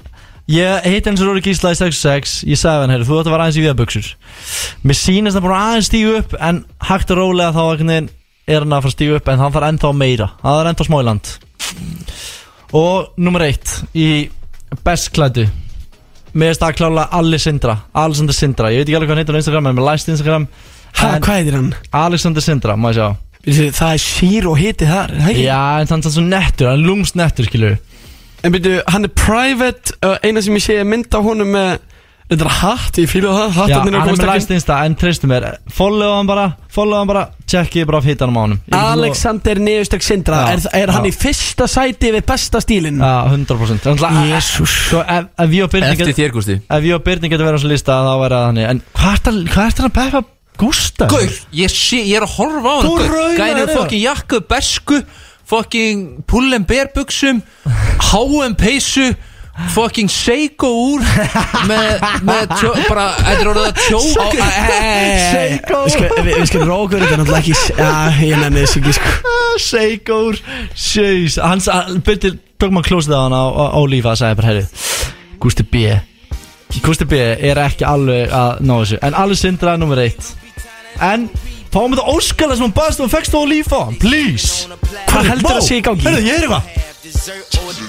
[SPEAKER 4] ég hitt eins og Róri Gísla í 66 Ég sagði hann, heyrðu, þú ætti að vera aðeins í viðanbuxur Mér sýnist hann búin að aðeins stígu upp En hægt og rólega þá einhvern veginn er hann að fara að stígu upp En hann þarf ennþá meira Hann þarf ennþá smáiland Og nummer eitt Í bestklædu Mér erst að klála Alli Sindra Alexander Sindra, ég veit ekki alveg hvað hann heitir á Instagram En mér læst Instagram
[SPEAKER 2] Ha,
[SPEAKER 4] En-
[SPEAKER 2] hvað heitir hann?
[SPEAKER 4] Alexander Sindra, má ég sjá
[SPEAKER 2] Byrju, Það er sír og hiti þar, er það ekki?
[SPEAKER 4] Já, en hann er svo nettur, hann er lúmst nettur, skilur
[SPEAKER 2] En byrju, hann er private, uh, eina sem ég sé er mynd á honum með Þetta er hatt, ég fíla það,
[SPEAKER 4] Já,
[SPEAKER 2] hattarnir
[SPEAKER 4] hann er með
[SPEAKER 2] komast
[SPEAKER 4] læst insta, en treystu mér Follow hann bara, follow hann bara Tjekkið bara á hitanum á honum Ég get lo-
[SPEAKER 2] Alexander Neustak Sindra
[SPEAKER 4] Já,
[SPEAKER 2] Er, er hann
[SPEAKER 4] já.
[SPEAKER 2] í fyrsta sæti við besta stílinn?
[SPEAKER 4] Já, 100% Jésús Sko, Ef ef ég og Birni
[SPEAKER 3] Eftir
[SPEAKER 4] get-
[SPEAKER 3] þér, Gústi
[SPEAKER 4] ef ég og Birni getur verið á svo lista þá væri það þannig En hvað ert að- hvað ert hann að beppa Gústa?
[SPEAKER 3] Gaur, ég, sé, ég er að horfa á
[SPEAKER 4] Þú raunar
[SPEAKER 3] Gæri
[SPEAKER 4] er það.
[SPEAKER 3] fokkin jakku, besku Fokkin pullen berbuksum Háum peysu Fokkin seiko úr Með, með tjó, bara Þetta er orðið að tjóka
[SPEAKER 2] Seiko Við skulum rókur, þetta er náttúrulega ekki Já, ég nenni þessu ekki sko
[SPEAKER 4] Seigur Sjöys Hans Byrni tók maður klósið á hann á, á, á lífa og sagði bara herri Gústi B Gústi B er ekki alveg að ná þessu En alveg sindra er nummer eitt En fáum við það óskala sem hann baðst og fegst á lífa Please
[SPEAKER 2] Hvað heldur að sé í gangi?
[SPEAKER 4] Herri, ég er eitthvað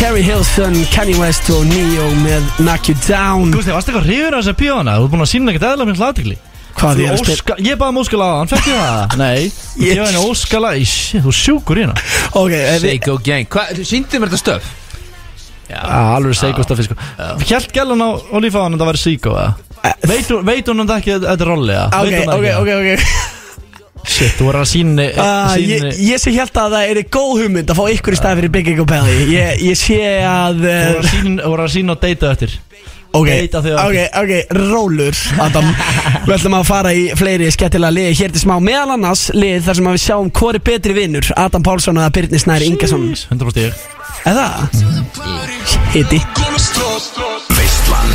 [SPEAKER 2] Carrie Hilson, Kanye West og Neo með Knock You Down
[SPEAKER 4] Gústi, varstu eitthvað hrifur af þessa píóna? Þú ert búin að sína ekkert eðla minn hlátikli
[SPEAKER 2] Hvað ég er að spila?
[SPEAKER 4] Óska, ég baði um óskala á hann, fekk ég það? Nei, ég gef henni óskala Í, shit, þú sjúkur hérna
[SPEAKER 2] Ok, eh,
[SPEAKER 3] Seiko gang Hvað, síndi mér þetta stöf? Já,
[SPEAKER 4] alveg Seiko staffi sko Hjælt gælan á Olífa hann að það væri Seiko eða? Veit hún- Veit hún hann ekki að þetta er rolli eða?
[SPEAKER 2] Eh, Ok,
[SPEAKER 4] Veit hún það
[SPEAKER 2] ok,
[SPEAKER 4] ekki, eða?
[SPEAKER 2] ok, ok
[SPEAKER 4] Shit, þú voru að sína
[SPEAKER 2] Ah, ég, ég sé held að það er góð hugmynd að fá ykkur í stað fyrir Big Ego Belly Ég, ég sé að
[SPEAKER 4] Þú
[SPEAKER 2] uh,
[SPEAKER 4] voru að sína og deyta eftir
[SPEAKER 2] Ok,
[SPEAKER 4] Deyta þau
[SPEAKER 2] ok, ok, rólur Adam, við ætlum að fara í fleiri skettilega liði hér til smá Meðal annars lið þar sem að við sjáum hvori betri vinnur Adam Pálsson eða Birnir Snær Ingason
[SPEAKER 4] 100% ég
[SPEAKER 2] Eða? Hitti
[SPEAKER 15] Veistlan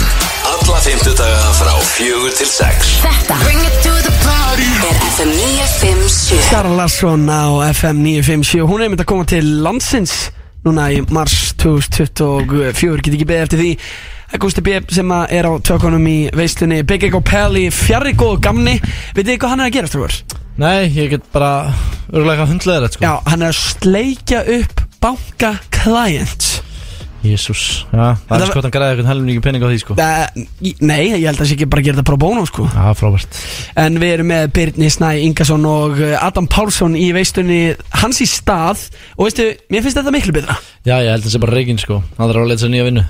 [SPEAKER 15] Alla fymtudaga frá fjögur til sex
[SPEAKER 6] Þetta er FM 957
[SPEAKER 2] Sara Larsson á FM 957 Hún er mynd að koma til landsins Núna í mars 2024 Get ekki beðið eftir því Gusti B sem að er á tökunum í veislunni Big Ego Pelli, fjarri góðu gamni Veitir þið hvað hann er að gera strúar?
[SPEAKER 4] Nei, ég get bara Örgulega hundlega þetta sko
[SPEAKER 2] Já, hann er að sleikja upp banka clients
[SPEAKER 4] Jésús Já, það
[SPEAKER 2] Þetta-
[SPEAKER 4] er sko að hann græði eitthvað helmingi pening á því sko
[SPEAKER 2] Eh, Nei, ég held að það sé ekki bara að gera þetta pro bono sko
[SPEAKER 4] Já, frábært
[SPEAKER 2] En við erum með Birni Snæ Ingason og eh, Adam Pálsson í veistunni hans í stað Og veistu, mér finnst þetta miklu betra
[SPEAKER 4] Já, ég held að það sé bara reygin sko Hann þarf að leita sér nýja vinnu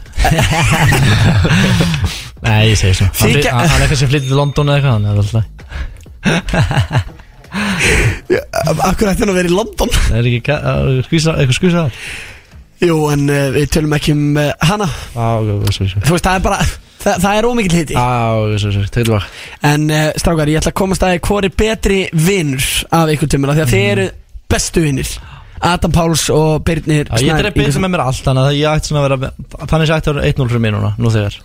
[SPEAKER 4] Nei, ég segi svo Hann
[SPEAKER 2] Þykja-
[SPEAKER 4] flyt- hann- hann er kannski flyttið til London eða eitthvað Þannig að það er alltaf
[SPEAKER 2] Akkur ætti hann að vera í London
[SPEAKER 4] Það er ekki ka- að skvísa, eitthvað skvísa það
[SPEAKER 2] Jú, en uh, við tölum ekki um uh, hana
[SPEAKER 4] Á, ok, ok, svo, svo
[SPEAKER 2] Þú veist, það er bara, það, það er ómikil hiti
[SPEAKER 4] Á, ok, svo, svo, tegðu tilbaka
[SPEAKER 2] En uh, strákar, ég ætla að komast að hvor er betri vinnur af ykkur tjömmur Því að
[SPEAKER 4] Mhm.
[SPEAKER 2] þið eru bestu vinnir Adam Páls og Birnir
[SPEAKER 4] Já, Ég
[SPEAKER 2] Snær
[SPEAKER 4] dreip betur
[SPEAKER 2] Ingason.
[SPEAKER 4] með mér allt Þannig að ég ætti svona að vera Þannig að ég ætti að vera 1-0 fyrir mér núna Nú þegar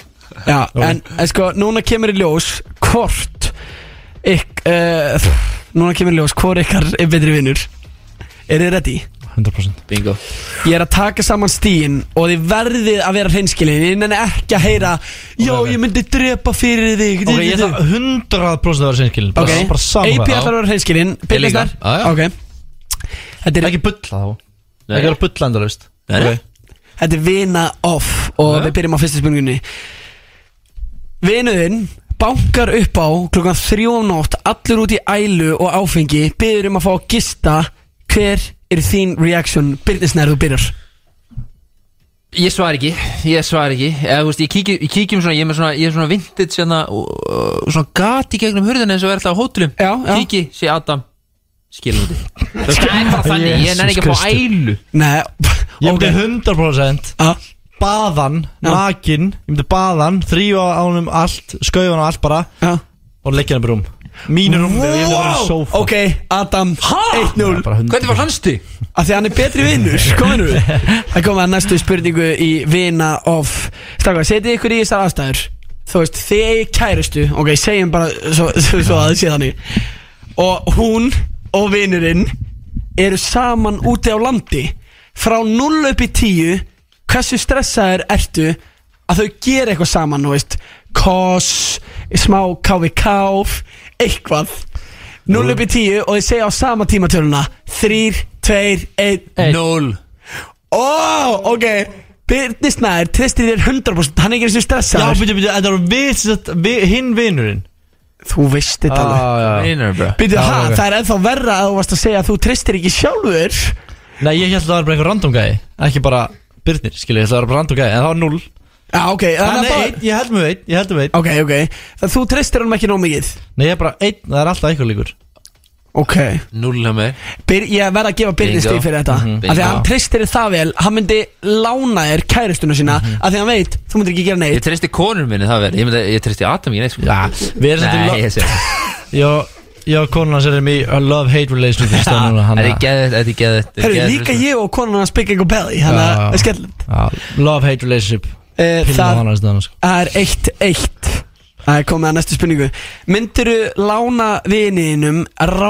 [SPEAKER 2] Já, en, en sko, núna kemur í ljós Hvort Ikk, uh, núna kemur í ljós Hvor ykkar er betri vinnur Er þið ready?
[SPEAKER 4] 100%
[SPEAKER 3] Bingo
[SPEAKER 2] Ég er að taka saman stíin og þið verðið að vera hreinskilin Ég nenni ekki að heyra Já, ég myndi drepa fyrir þig
[SPEAKER 4] Ok, ég ætla 100% að vera sinnskilin
[SPEAKER 2] Ok,
[SPEAKER 4] bara, bara sama
[SPEAKER 2] AP ætlar að vera hreinskilin
[SPEAKER 4] Ég líka.
[SPEAKER 2] Byrnastar
[SPEAKER 4] Já, já.
[SPEAKER 2] Ok Þetta er
[SPEAKER 4] Ekki bulla þá Ekki vera bulla endalaust
[SPEAKER 3] Nei, nei.
[SPEAKER 2] Þetta er vina off Og við byrjum á fyrsta spurningunni Vinuðinn bankar upp á klukkan þrjú á nótt Allur út í ælu og áfengi Byrjum um að fá að gista Hver er þín reaction Byrnisnær þú byrjar
[SPEAKER 3] Ég svar ekki, ég svar ekki Eða, þú veist, Ég kíkjum, ég kíkjum svona, ég er með svona, ég er svona vintage hérna, og, og svona gati gegnum hurðina eins og verða alltaf á hótelum já, já. Kíki, sé Adam skilum út Það er bara þannig, ég nenni ekki að fá ælu
[SPEAKER 2] Nei Ah,
[SPEAKER 4] Ég myndi 100% Baðan, nakin Ég myndi baðan, þrýfa ánum allt Skauðan á allt bara
[SPEAKER 2] Já.
[SPEAKER 4] Og leggja hann upp í rúm Mínu rúm þegar ég myndi vera í sófa
[SPEAKER 2] Ok, Adam 1-0
[SPEAKER 3] Hvernig var hans þið?
[SPEAKER 2] Af því að hann er betri vinnur, kominu Það komið að næstu spurningu í vina of Stakar, setið ykkur í þessar aðstæður Þú veist, þið eigið kærustu Ok, segjum bara svo, svo, svo að það sé þannig Og hún og vinurinn Eru saman úti á landi Frá 0 upp í 10 Hversu stressaður ertu Að þau gera eitthvað saman, þú veist Koss, smá KVK Eitthvað 0 upp í 10 og þið segja á sama tímatöluna 3, 2, 1
[SPEAKER 3] 0
[SPEAKER 2] Ó, ok Birnir Snær tristir þér 100% Hann er ekki eins og
[SPEAKER 4] Já,
[SPEAKER 2] stressaður
[SPEAKER 4] byrju, byrju, þetta var við, sem sagt, við hinn vinurinn
[SPEAKER 2] Þú veist
[SPEAKER 4] Ah,
[SPEAKER 2] þetta
[SPEAKER 3] Ah.
[SPEAKER 2] alveg. Býtu, ha, það er ennþá verra að þú varst að segja að þú tristir ekki sjálfur
[SPEAKER 4] Nei, ég held að það var bara einhver random gæði Ekki bara Birnir, skilju, ég held að það var bara random gæði En það var null
[SPEAKER 2] Já, ok,
[SPEAKER 4] Hann
[SPEAKER 2] þannig
[SPEAKER 4] er
[SPEAKER 2] að
[SPEAKER 4] einn, ég held mjög einn, ég held mjög einn
[SPEAKER 2] Ok, ok, það þú tristir honum ekki nóg mikið
[SPEAKER 4] Nei, ég er bara einn, það er alltaf einhver líkur
[SPEAKER 2] Ok
[SPEAKER 3] Null að mér
[SPEAKER 2] Byr, Ég verð að gefa Birnir
[SPEAKER 4] Bingo.
[SPEAKER 2] stíð fyrir þetta
[SPEAKER 4] Mhm.
[SPEAKER 2] Af því að
[SPEAKER 4] Bingo.
[SPEAKER 2] hann tristir þér það vel Hann myndi lána þér kæristuna sína Af því að hann veit, þú myndir ekki gera neitt
[SPEAKER 3] Ég tristi konur minni það verið, ég, myndi- ég tristi Adam ekki neitt sko.
[SPEAKER 4] Já, við erum svolítið
[SPEAKER 3] Nei,
[SPEAKER 4] lo-
[SPEAKER 3] ég sé
[SPEAKER 4] Já, já, konan hans er um í a love-hate relationship í staðan núna, hann
[SPEAKER 3] Það er
[SPEAKER 4] að-
[SPEAKER 3] geðið, þetta er sko. geðið
[SPEAKER 2] Herru, líka ég og konan hans byggja eitthvað belli Þannig að
[SPEAKER 4] Já.
[SPEAKER 2] það er skellilegt
[SPEAKER 4] Já, Love-hate relationship
[SPEAKER 2] Eh,
[SPEAKER 4] Pilla
[SPEAKER 2] það-
[SPEAKER 4] hann hans þannig
[SPEAKER 2] Það er eitt, eitt Það er komið að næstu spurningu Myndiru lána vininum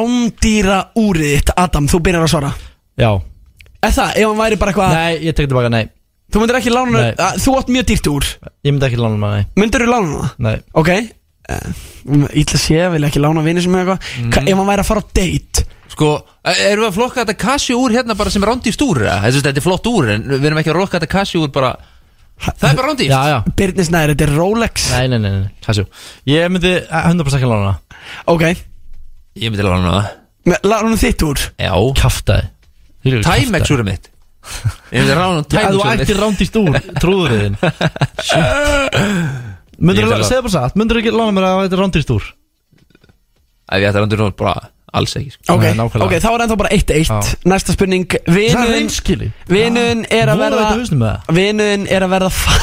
[SPEAKER 2] rándýra úrið þitt Adam, þú byrjar að svara
[SPEAKER 4] Já,
[SPEAKER 2] Er það, ef hann væri bara eitthvað
[SPEAKER 4] nei, ég tek tilbaka, nei
[SPEAKER 2] Þú myndir ekki lána
[SPEAKER 4] Nei.
[SPEAKER 2] að, Þú átt mjög dýrt úr
[SPEAKER 4] Ég myndi ekki lána maður,
[SPEAKER 2] Myndiru lána það?
[SPEAKER 4] nei Nei,
[SPEAKER 2] Ok Ítla sé, vil ekki lána vinni sem eitthvað mm. Ef hann væri að fara á date
[SPEAKER 3] Sko, erum við að flokka þetta kassi úr hérna bara sem er rándýft úr eða? Þessi, Þetta er flott úr, en við erum ekki að rokka þetta kassi úr bara Það er bara rándýft
[SPEAKER 4] já, já
[SPEAKER 2] Birnir Snæður, þetta er Rolex
[SPEAKER 4] Nei, nei, nei, nei, Casio Ég myndi eh, 100% ekki lána hana.
[SPEAKER 2] Ok
[SPEAKER 3] Ég myndi lána það
[SPEAKER 2] Me- Lána honum þitt úr
[SPEAKER 3] Já
[SPEAKER 4] Kaftaði
[SPEAKER 3] Timex úr mitt Ég myndi rána
[SPEAKER 4] Já, ef
[SPEAKER 3] Timex
[SPEAKER 4] þú
[SPEAKER 3] úr
[SPEAKER 4] ættir
[SPEAKER 3] mitt
[SPEAKER 4] rándýrt úr trúður þinn
[SPEAKER 3] Ég
[SPEAKER 4] Myndur
[SPEAKER 3] myndi
[SPEAKER 4] þú,
[SPEAKER 3] lána-
[SPEAKER 4] segðu bara satt Myndur þú ekki lána mér að þetta er rándýrt úr
[SPEAKER 3] Ef ég ætti rándýft úr, bara alls ekki sko.
[SPEAKER 2] Ok,
[SPEAKER 4] Nei, nákvæmlega.
[SPEAKER 2] ok, þá er ennþá bara eitt eitt Næsta spurning
[SPEAKER 4] Það er
[SPEAKER 2] Vinun,
[SPEAKER 4] reynskili
[SPEAKER 2] vinun er að
[SPEAKER 4] Voða þetta hausnum með
[SPEAKER 2] verða
[SPEAKER 4] það.
[SPEAKER 2] Vinun er að verða fa-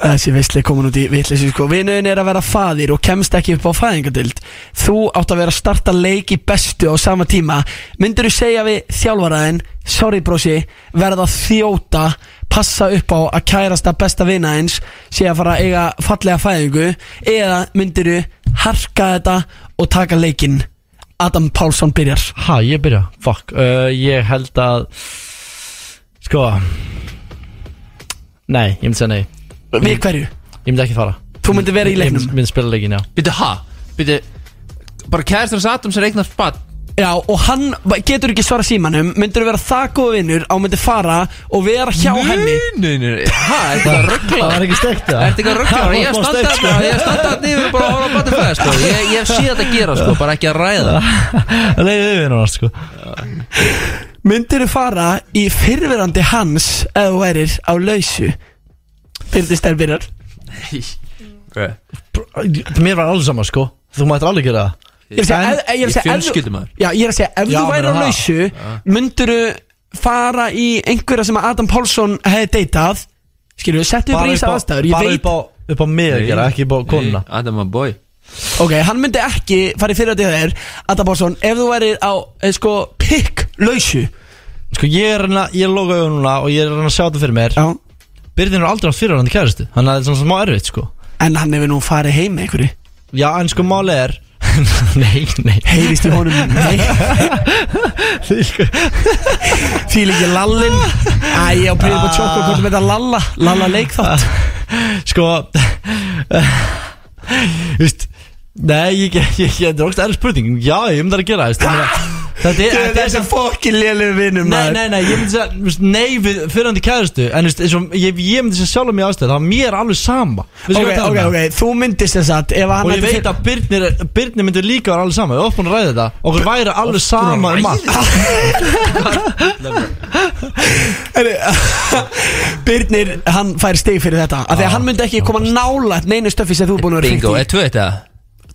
[SPEAKER 2] Þessi veistli komin út í vitleysi sko Vinun er að verða faðir og kemst ekki upp á fæðingadild Þú átt að vera að starta leik í bestu á sama tíma Myndirðu segja við þjálfaraðin Sorry brosi, verða að þjóta Passa upp á að kærasta besta vina eins Sé að fara að eiga fallega fæðingu Eða myndirðu harka þetta og taka leikinn Adam Pálsson byrjar
[SPEAKER 4] Ha, ég byrja, fuck uh, Ég held að Sko Nei, ég myndi segja nei
[SPEAKER 2] Við hverju?
[SPEAKER 4] Ég myndi ekki fara
[SPEAKER 2] Þú myndi vera í
[SPEAKER 4] Ég
[SPEAKER 2] leiknum?
[SPEAKER 4] myndi- myndi spila leikin, já
[SPEAKER 3] Býtu, ha? Býtu, bara kæristur hans Adam sem reiknar spatt
[SPEAKER 2] Já, og hann getur ekki svara símanum Myndur vera það góð vinnur á myndi fara Og vera hjá henni
[SPEAKER 3] Nei, nei, nei, ha, er þetta ruggla
[SPEAKER 4] Það var ekki steikt það
[SPEAKER 3] Er þetta ekki að ruggla? Ég er að standa þarna, ég er að standa þarna yfir og bara að horfa á butterfly sko. ég, ég hef séð þetta gera sko, bara ekki að ræða
[SPEAKER 4] Það leiði yfir hann sko
[SPEAKER 2] Myndur fara í fyrrverandi hans Ef þú erir á lausu Byrðist þær byrjar
[SPEAKER 3] Hvað?
[SPEAKER 4] Mér var alveg sama sko Þú mættir alveg gera það
[SPEAKER 2] Ég er að segja,
[SPEAKER 4] En-
[SPEAKER 2] ef- ég er að segja ef þú-
[SPEAKER 3] fjölskyldumaður.
[SPEAKER 2] Já, ég er að segja Ef
[SPEAKER 4] Já,
[SPEAKER 2] þú væri á
[SPEAKER 4] meina það.
[SPEAKER 2] lausu Myndur fara í einhverja sem að Adam Pálsson hefði deitað Skilju, settu upp
[SPEAKER 4] Bara
[SPEAKER 2] rísa
[SPEAKER 4] upp á-
[SPEAKER 2] aðstæður Ég
[SPEAKER 4] bara
[SPEAKER 2] veit,
[SPEAKER 4] upp á- upp á mig að gera, ekki upp á konuna
[SPEAKER 3] Nei, Adam a boy
[SPEAKER 2] ok, hann myndi ekki fara í fyrrverandi hjá þér Adam Pálsson, ef þú væri á, eh, sko, pikk lausu
[SPEAKER 4] Sko ég er hérna, ég loka auðvitað núna og ég er hérna að sjá þetta fyrir mér
[SPEAKER 2] Já
[SPEAKER 4] Byrðin er aldrei átt fyrirhandi kæristu Þannig að þetta er svona smá erfitt sko
[SPEAKER 2] En hann hefur nú farið heim með einhverju
[SPEAKER 4] Já en sko máli er Nei, nei
[SPEAKER 2] Heyrist sko? í honum Nei Fýl ekki lallin Æ, ég á prýðum að tjóka hvort með þetta lalla Lalla leikþátt
[SPEAKER 4] Sko Vist Nei, ég, ég, ég, ég drókst erfið spurning Já, ég myndi að gera veist, þannig að- Þetta er, þetta er sem
[SPEAKER 2] fokkin lélu vinnum
[SPEAKER 4] Nei, nei, nei, ég myndi segja þú veist, Nei, við fyrirhandi kæristu En þú veist, eins og ég, ég myndi segja sjálf á mig aðstöð Það var mér alveg sama Veistu
[SPEAKER 2] Ok,
[SPEAKER 4] hvað ég tala um
[SPEAKER 2] ok,
[SPEAKER 4] það?
[SPEAKER 2] ok, þú myndist þess að Ef hann
[SPEAKER 4] Og ég veit að Byrnir, Byrnir myndi líka vera alveg sama Við ofnum að ræða þetta Okkur væri alveg sama um allt
[SPEAKER 2] Byrnir, hann fær stig fyrir þetta Af því að hann myndi ekki koma nála Neinu stöffi sem þú er búin að vera
[SPEAKER 3] Bingo, eh. er
[SPEAKER 2] hringt í
[SPEAKER 3] tvö þetta?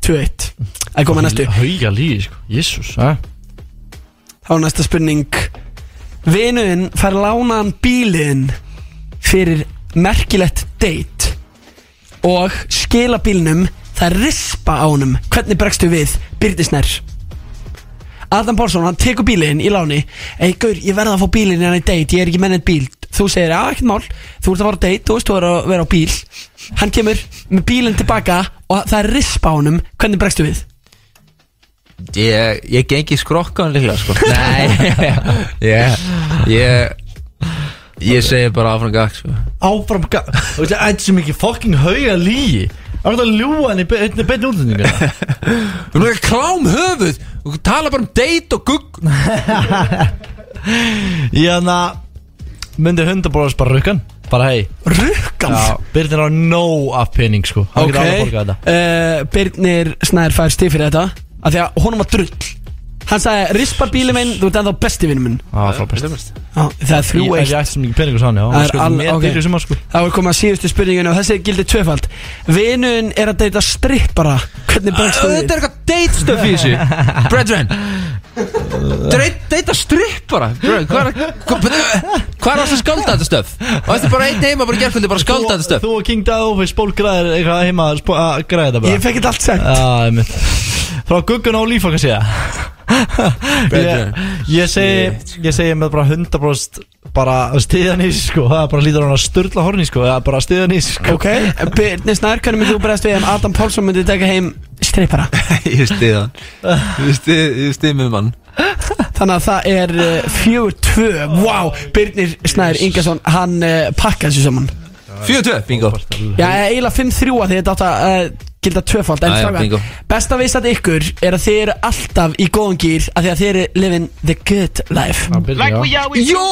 [SPEAKER 2] 2-1 Það koma næstu
[SPEAKER 4] Hauja líði, sko Jésús Hvað
[SPEAKER 2] Þá er næsta spurning Vinuðinn fær lánaðan bílinn fyrir merkilegt date og skila bílnum það rispa á honum hvernig bregstu við Byrðisnær Adam Pálsson, hann tekur bílinn í láni Ei, gaur, ég verða að fá bílinn hérna í hann í date, ég er ekki mennið bíl Þú segir, já, ekkert mál, þú ert að fara á date, þú veist, þú er að vera á bíl Hann kemur með bílinn tilbaka og það er rispa á honum, hvernig bregstu við?
[SPEAKER 3] Ég, ég gengi skrokkan líklega sko. Nei Ég, ég Ég segi bara áfram gag sko.
[SPEAKER 4] Áfram ga- Þú veist, Þetta er svo mikið fucking hauja líði Það er þetta að ljúa henni beinni bein útlendingar
[SPEAKER 3] Þú erum ekki að klám höfuð Þú tala bara um date og gugg
[SPEAKER 4] Ég hann myndi hundarbróðast bara rukkan Bara hei
[SPEAKER 2] Rukkan?
[SPEAKER 4] Já, Birnir á nóg af pening sko Hann
[SPEAKER 2] Ok,
[SPEAKER 4] getur alveg borgað þetta
[SPEAKER 2] uh, Birnir Snær fær stíf fyrir þetta Af því að honum var drull Hann sagði, rispar bílum minn, þú ert ennþá besti vinnum minn
[SPEAKER 4] Já, frábært
[SPEAKER 2] Já, Það er þrjú
[SPEAKER 4] Ef ég ætti svo mikið pening og sann, já
[SPEAKER 2] Það er all-
[SPEAKER 4] Mér
[SPEAKER 2] ok.
[SPEAKER 4] byrjuð sem að sko
[SPEAKER 2] Þá er komið að síðustu spurninginu og þessi gildi tvöfald Vinun er að deyta strippara Hvernig bregst þú
[SPEAKER 3] Þetta er eitthvað deitstöf í þessu Brethren Deita stripp bara Bro, Hvað er hvað- hvað er það sem skálda þetta stöf? Og þetta er bara einn heima bara gerkvöldi bara skálda þetta stöf
[SPEAKER 4] Þú og King Dove spólgræðir eitthvað heima að spó- að græða þetta bara
[SPEAKER 2] Ég fekk þetta allt sent
[SPEAKER 4] Já, einmitt Frá guggun á líf okkar séða
[SPEAKER 3] Betur.
[SPEAKER 4] ég, ég segi Ég segi með bara hundabróst bara stiðan í þessu, sko það bara lítur á hann að sturla horni sko það bara stiðan í þessu, sko
[SPEAKER 2] Ok, Eh, Birnir Snær, hvernig myndið þú bregst við ef Adam Pálsson myndið taka heim strippara
[SPEAKER 3] Ég stið hann Ég stið, ég stið með mann
[SPEAKER 2] Þannig að það er uh, fjögur tvö Vá, Birnir Snær Ingarsson, hann uh, pakka þessu saman
[SPEAKER 3] 42, bingo
[SPEAKER 2] Já, eiginlega 5-3 að því þetta átt að uh, gilda tvöfald en
[SPEAKER 3] Já, já, bingo.
[SPEAKER 2] strákar, Besta veist að ykkur er að þið eru alltaf í góðum gýr að því að þið eru living the good life
[SPEAKER 1] Yo!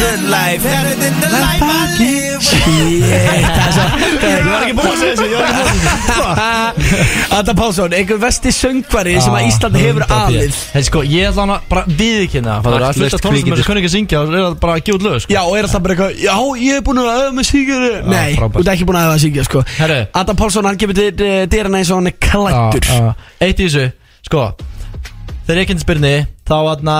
[SPEAKER 1] Good life, better than the life I live.
[SPEAKER 2] Ég var ekki
[SPEAKER 4] búin að segja þessu, ég var ekki búin að segja
[SPEAKER 2] Adam Pálsson, einhver vesti söngvari sem að
[SPEAKER 4] Ah,
[SPEAKER 2] Íslandi hefur
[SPEAKER 4] 100%
[SPEAKER 2] alið
[SPEAKER 4] Hei sko, ég ætla hann að bara viðkynna Það er að
[SPEAKER 2] Marklaust
[SPEAKER 4] hluta tónlistum
[SPEAKER 2] kvikindi.
[SPEAKER 4] sem kunni ekki að syngja og er að bara að gefa út lög sko
[SPEAKER 2] Já, og er alltaf bara eitthvað Já, ég hef búin að öða með síkjöru
[SPEAKER 4] Já,
[SPEAKER 2] Nei,
[SPEAKER 4] frábært.
[SPEAKER 2] þú ert ekki búin að öða með síkjöru sko
[SPEAKER 4] Herru.
[SPEAKER 2] Adam Pálsson, hann gefur til uh, dyrana eins og hann er klættur
[SPEAKER 4] Já, já. Eitt í þessu, sko Þegar ég kynnt spyrni, þá atna,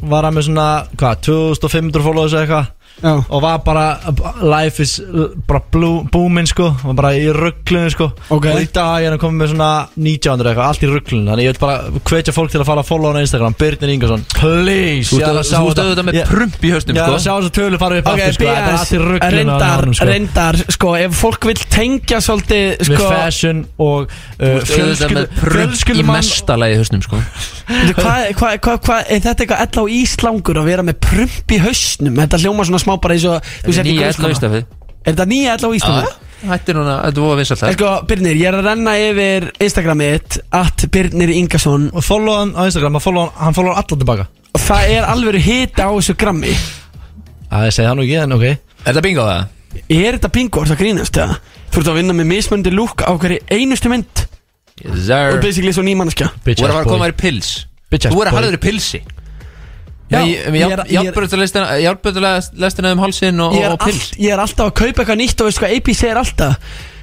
[SPEAKER 4] var hann með svona, hvað, 2500 followers eða eitthvað Og var bara, life is l- bara blú- booming sko Var bara í rugglunni sko
[SPEAKER 2] Ok.
[SPEAKER 4] Og í dag er hann komið með svona 1900 eitthvað, allt í rugglunni Þannig ég vil bara hvetja fólk til að fara að follow hann á Instagram Birnir Ingarsson, please
[SPEAKER 3] Þú
[SPEAKER 4] ég er að
[SPEAKER 3] ert-
[SPEAKER 4] sjá
[SPEAKER 3] þú ert
[SPEAKER 4] þetta.
[SPEAKER 3] auðvitað með
[SPEAKER 4] Ég-
[SPEAKER 3] prump í höstum
[SPEAKER 4] Ég er
[SPEAKER 3] sko
[SPEAKER 4] að sjá þess að tölu fara upp
[SPEAKER 2] Ok,
[SPEAKER 4] aftur sko Það er allt í
[SPEAKER 2] BS,
[SPEAKER 4] rugglunni
[SPEAKER 2] reyndar, reyndar, sko, ef fólk vil tengja svolítið,
[SPEAKER 4] Við
[SPEAKER 2] sko
[SPEAKER 4] fashion og uh,
[SPEAKER 3] Þú ert auðvitað með prump í
[SPEAKER 4] fjölskyldumann
[SPEAKER 3] mesta lagi í höstum sko
[SPEAKER 2] Veitu, Hvað, hvað, hvað, hvað, er þetta eitthvað ell á íslangur að vera með prump í hausnum? Þetta hljóma svona smá bara eins og þú
[SPEAKER 3] Þetta er
[SPEAKER 2] sért í
[SPEAKER 3] nýja
[SPEAKER 2] grunnskóla.
[SPEAKER 3] ell á Íslandi.
[SPEAKER 2] Er þetta nýja ell á íslangur?
[SPEAKER 3] Þetta er núna, þetta er voða vinsalt
[SPEAKER 2] En
[SPEAKER 3] það
[SPEAKER 2] sko, Birnir, ég er að renna yfir Instagramið þitt, at Birnir Ingarsson
[SPEAKER 4] Og follow hann á Instagram, hann follow, hann follow allar tilbaka
[SPEAKER 2] Það er alveg hita á þessu grammi
[SPEAKER 4] Það segði hann nú ekki, en ok Er
[SPEAKER 3] þetta bingo það?
[SPEAKER 2] Er þetta bingo, er það grínast, eða? Þú ert að vinna með mismöndi lúk á hverju einustu mynd
[SPEAKER 3] Yes, sir.
[SPEAKER 2] Og basically svo nýmannskja
[SPEAKER 3] Þú er að fara að koma þér í pils
[SPEAKER 2] Bitch ass
[SPEAKER 3] Þú er að
[SPEAKER 2] boy.
[SPEAKER 3] harður í pilsi
[SPEAKER 2] Já, ég er- ég er-
[SPEAKER 3] Járbröðulegstuna um halsin og,
[SPEAKER 2] ég er,
[SPEAKER 3] og pils
[SPEAKER 2] all, ég er alltaf að kaupa eitthvað nýtt og veist hvað AP segir alltaf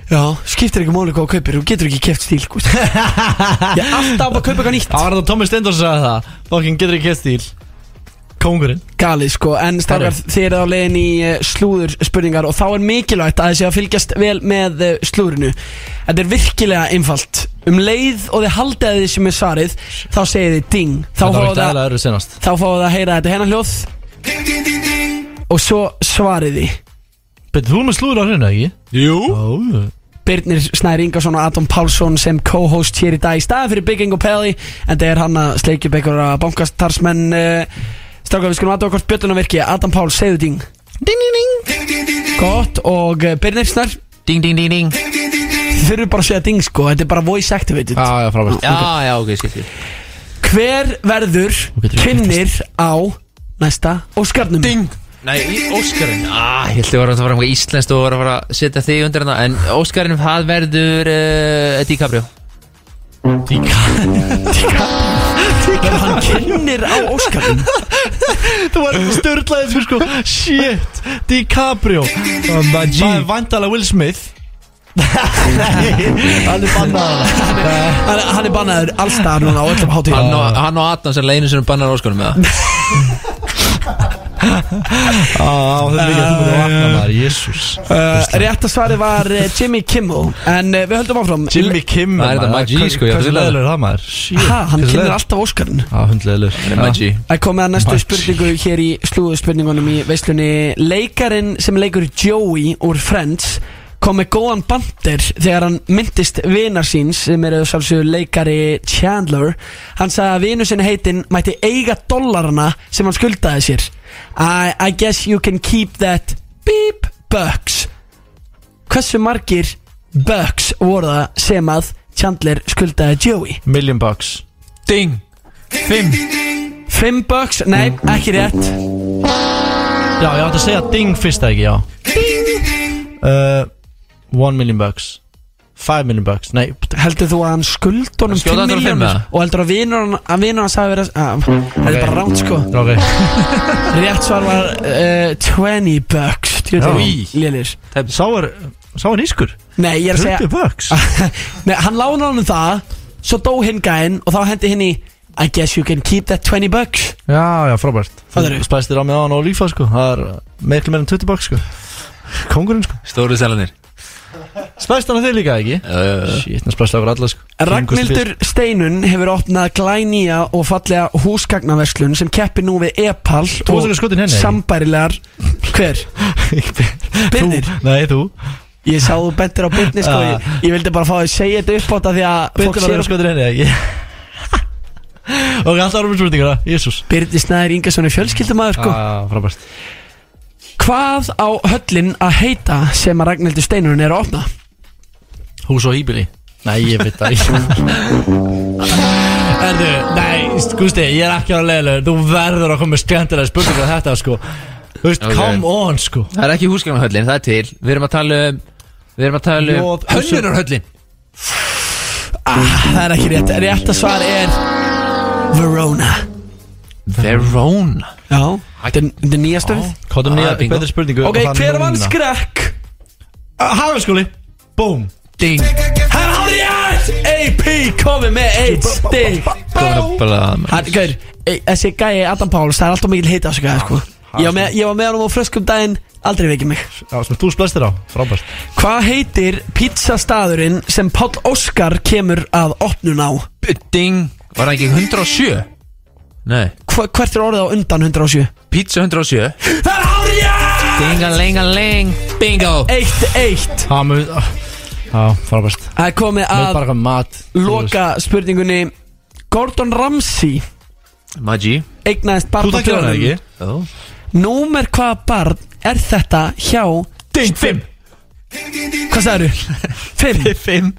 [SPEAKER 2] Já, skiptir ekki máli hvað þú kaupir, þú getur ekki keft stíl gúst. Ég er alltaf að kaupa eitthvað nýtt
[SPEAKER 4] Það var þetta Tommy Stendur sem sagði það Fokkin getur ekki kett stíl Kóngurinn
[SPEAKER 2] Galið sko, en starkar
[SPEAKER 4] Herri.
[SPEAKER 2] þið eru á leiðin í eh, slúður spurningar og þá er mikilvægt að þið séu að fylgjast vel með eh, slúðrinu Þetta er virkilega einfalt Um leið og þið haldið að þið sem er svarið þá segir þið ding Þá
[SPEAKER 4] Þetta var
[SPEAKER 2] fáið
[SPEAKER 4] ekki
[SPEAKER 2] það-
[SPEAKER 4] aðlega öðru senast
[SPEAKER 2] þá fáið það að heyra þetta hennar hljóð og svo svarið því
[SPEAKER 4] Betur þú er með slúður á hreinu, ekki?
[SPEAKER 2] Jú
[SPEAKER 4] Ó,
[SPEAKER 2] Birnir Snær Ingarsson og Adam Pálsson sem co-host hér í dag í staðan fyrir Bygging og Pelli en það er hann að sleikja upp einhverja bankastarsmenn uh, stráka við skulum aðdóða hvort bjötuna virki Adam Pál, segðu ding ding ding ding gott og eh, Birnir Snær
[SPEAKER 3] ding ding ding ding
[SPEAKER 2] þið þurfum bara að segja ding sko þetta er bara voice activated
[SPEAKER 4] ah, já, frábært
[SPEAKER 3] Já, já, ok, skilti
[SPEAKER 2] hver verður kynir á næsta Óskarnum ding
[SPEAKER 3] Nei, í Óskarinn ah, Ég ætti að vera að fara um eitthvað íslenskt og vera að fara að setja þig undir hana En Óskarinn, það verður uh, DiCaprio
[SPEAKER 2] Verður hann kynir á Óskarnum
[SPEAKER 4] Þú var störtlaðið fyrir sko Shit, DiCaprio Það er vandalega Will Smith Hann er bannaður
[SPEAKER 2] Hann hann er bannaður allstaðar núna á öllum hátíðum
[SPEAKER 3] hann, og- hann og Adam sem leginu sem bannar Óskarinn með það
[SPEAKER 4] Á, það Ah, er mikið að þú búið að vakna maður, jésús
[SPEAKER 2] Uh, rétta svari var eh, Jimmy Kimmel En uh, við höldum áfram
[SPEAKER 4] Jimmy Kimmel
[SPEAKER 3] Það er þetta Maggi, sko, ég ætla
[SPEAKER 4] Hversu
[SPEAKER 3] að-
[SPEAKER 4] leðilegur er það maður?
[SPEAKER 2] Ha, hann
[SPEAKER 4] Shit, hversu
[SPEAKER 2] kynir
[SPEAKER 4] leiðilegur?
[SPEAKER 2] alltaf Óskarinn
[SPEAKER 4] Já, hundleðilegur
[SPEAKER 3] Hann er Maggi
[SPEAKER 2] Það komið að næstu
[SPEAKER 4] Maggi.
[SPEAKER 2] spurningu hér í slúðu spurningunum í veislunni Leikarin sem leikur Joey úr Friends kom með góðan bandir þegar hann myndist vinar síns sem er sjálfsögur leikari Chandler hann sagði að vinu sinni heitinn mætti eiga dollarana sem hann skuldaði sér I, I guess you can keep that beep bucks hversu margir bucks voru það sem að Chandler skuldaði Joey
[SPEAKER 4] Million bucks
[SPEAKER 3] Ding
[SPEAKER 2] Fimm 5 bucks, nei, ekki rétt
[SPEAKER 4] Já, ég átti að segja ding fyrst eða ekki, já uh, One million bucks Five million bucks, nei
[SPEAKER 2] Heldur þú að hann skuld honum
[SPEAKER 4] Skjóta
[SPEAKER 2] 5
[SPEAKER 4] þetta á fimm,
[SPEAKER 2] miljónir
[SPEAKER 4] eða?
[SPEAKER 2] og heldur að vinur hann að vinur hans hafi verið að, það er bara ránt sko
[SPEAKER 4] okay.
[SPEAKER 2] rétt svar var uh, 20 bucks
[SPEAKER 4] Í.
[SPEAKER 2] lélir
[SPEAKER 4] Sá er, sá er nýskur
[SPEAKER 2] nei ég er að segja
[SPEAKER 4] 20 bucks
[SPEAKER 2] nei, hann lána honum það svo dó hinn gæinn og þá hendi hinn í I guess you can keep that 20 bucks
[SPEAKER 4] Já, já, frábært
[SPEAKER 2] Það eru.
[SPEAKER 4] Spæstir á mig á hann og lífa, sko Það er meiklu meira en 20 bucks, sko Kongurinn, sko
[SPEAKER 3] Stóru selanir
[SPEAKER 4] Spæst hann að þig líka, ekki?
[SPEAKER 3] Uh,
[SPEAKER 4] Shit, hann spæst okkur alla, sko
[SPEAKER 2] Ragnhildur Steinun hefur opnað glænýja og fallega húsgagnaverslun sem keppir nú við e-pall
[SPEAKER 4] Þú varst ekki skotin henni, ekki?
[SPEAKER 2] sambærilegar Hver? Birnir
[SPEAKER 4] Nei, þú
[SPEAKER 2] Ég sá þú bentir á Birnir sko
[SPEAKER 4] Ah.
[SPEAKER 2] ég, ég vildi bara fá að segja þetta upp á þetta því að sko.
[SPEAKER 4] Bittu var að vera skotur henni, ekki? Ok, alltaf erum við spurningar, að, jésús
[SPEAKER 2] Birnir Snæður Ingarsson er fjölskyldumæður sko
[SPEAKER 3] ah,
[SPEAKER 4] Já, frábært
[SPEAKER 2] Hvað á höllin að heita sem að Ragnhildur Steinun er að opna?
[SPEAKER 4] Hús og hýbili Nei, ég veit það ekki Erðu, nei, Gusti, ég er ekki á leiðilegur Þú verður að koma með skemmtilega spurningar þetta, sko Þú veist,
[SPEAKER 3] Ok.
[SPEAKER 4] come on, sko
[SPEAKER 3] Það er ekki húsgagnahöllin, það er til Við erum að tala um Við erum að tala um
[SPEAKER 4] Jóð-
[SPEAKER 3] Hönnunarhöllin
[SPEAKER 2] Ah, það er ekki rétt Rétt að svar er Verona
[SPEAKER 3] Verona
[SPEAKER 2] Já, þetta er- þetta er nýja stöð
[SPEAKER 4] Hvað
[SPEAKER 3] Ah,
[SPEAKER 4] er nýja, betri spurningu
[SPEAKER 2] Ok,
[SPEAKER 4] og það er
[SPEAKER 2] hver vann
[SPEAKER 4] núna.
[SPEAKER 2] skrekk?
[SPEAKER 4] Ah, Hagaskóli Búm
[SPEAKER 3] Ding
[SPEAKER 2] Hann hafði rétt AP komið með eitt stig
[SPEAKER 3] Bara
[SPEAKER 2] Hann, gaur, e- þessi gæi Adam Páls Það er alltaf mikil hita á þessu gæi, sko Ég var með- ég var með hann á fröskum daginn Aldrei veikið mig
[SPEAKER 4] Já, sem þú splæstir á, frábært
[SPEAKER 2] Hvað heitir pizzastaðurinn sem Páll Óskar kemur að opnun á?
[SPEAKER 3] Ding Var það ekki 107? Nei
[SPEAKER 2] Hva, hvert er orðið á undan 107?
[SPEAKER 3] Pizza 107
[SPEAKER 2] Það er hárið
[SPEAKER 3] Dingalingaling Bingo
[SPEAKER 2] Eitt, eitt
[SPEAKER 4] Já, mjög Já, frábært
[SPEAKER 2] Það er komið
[SPEAKER 4] Mjög bara
[SPEAKER 2] að
[SPEAKER 4] eitthvað mat
[SPEAKER 2] loka spurningunni Gordon Ramsay
[SPEAKER 3] Maggi
[SPEAKER 2] eignaðist barn á
[SPEAKER 4] Þú takkir hana
[SPEAKER 2] dögunum.
[SPEAKER 4] ekki
[SPEAKER 3] Ó
[SPEAKER 2] Númer hvaða barn er þetta hjá
[SPEAKER 4] Ding, fimm
[SPEAKER 2] Hvað sagður? Fimm?
[SPEAKER 4] Fimm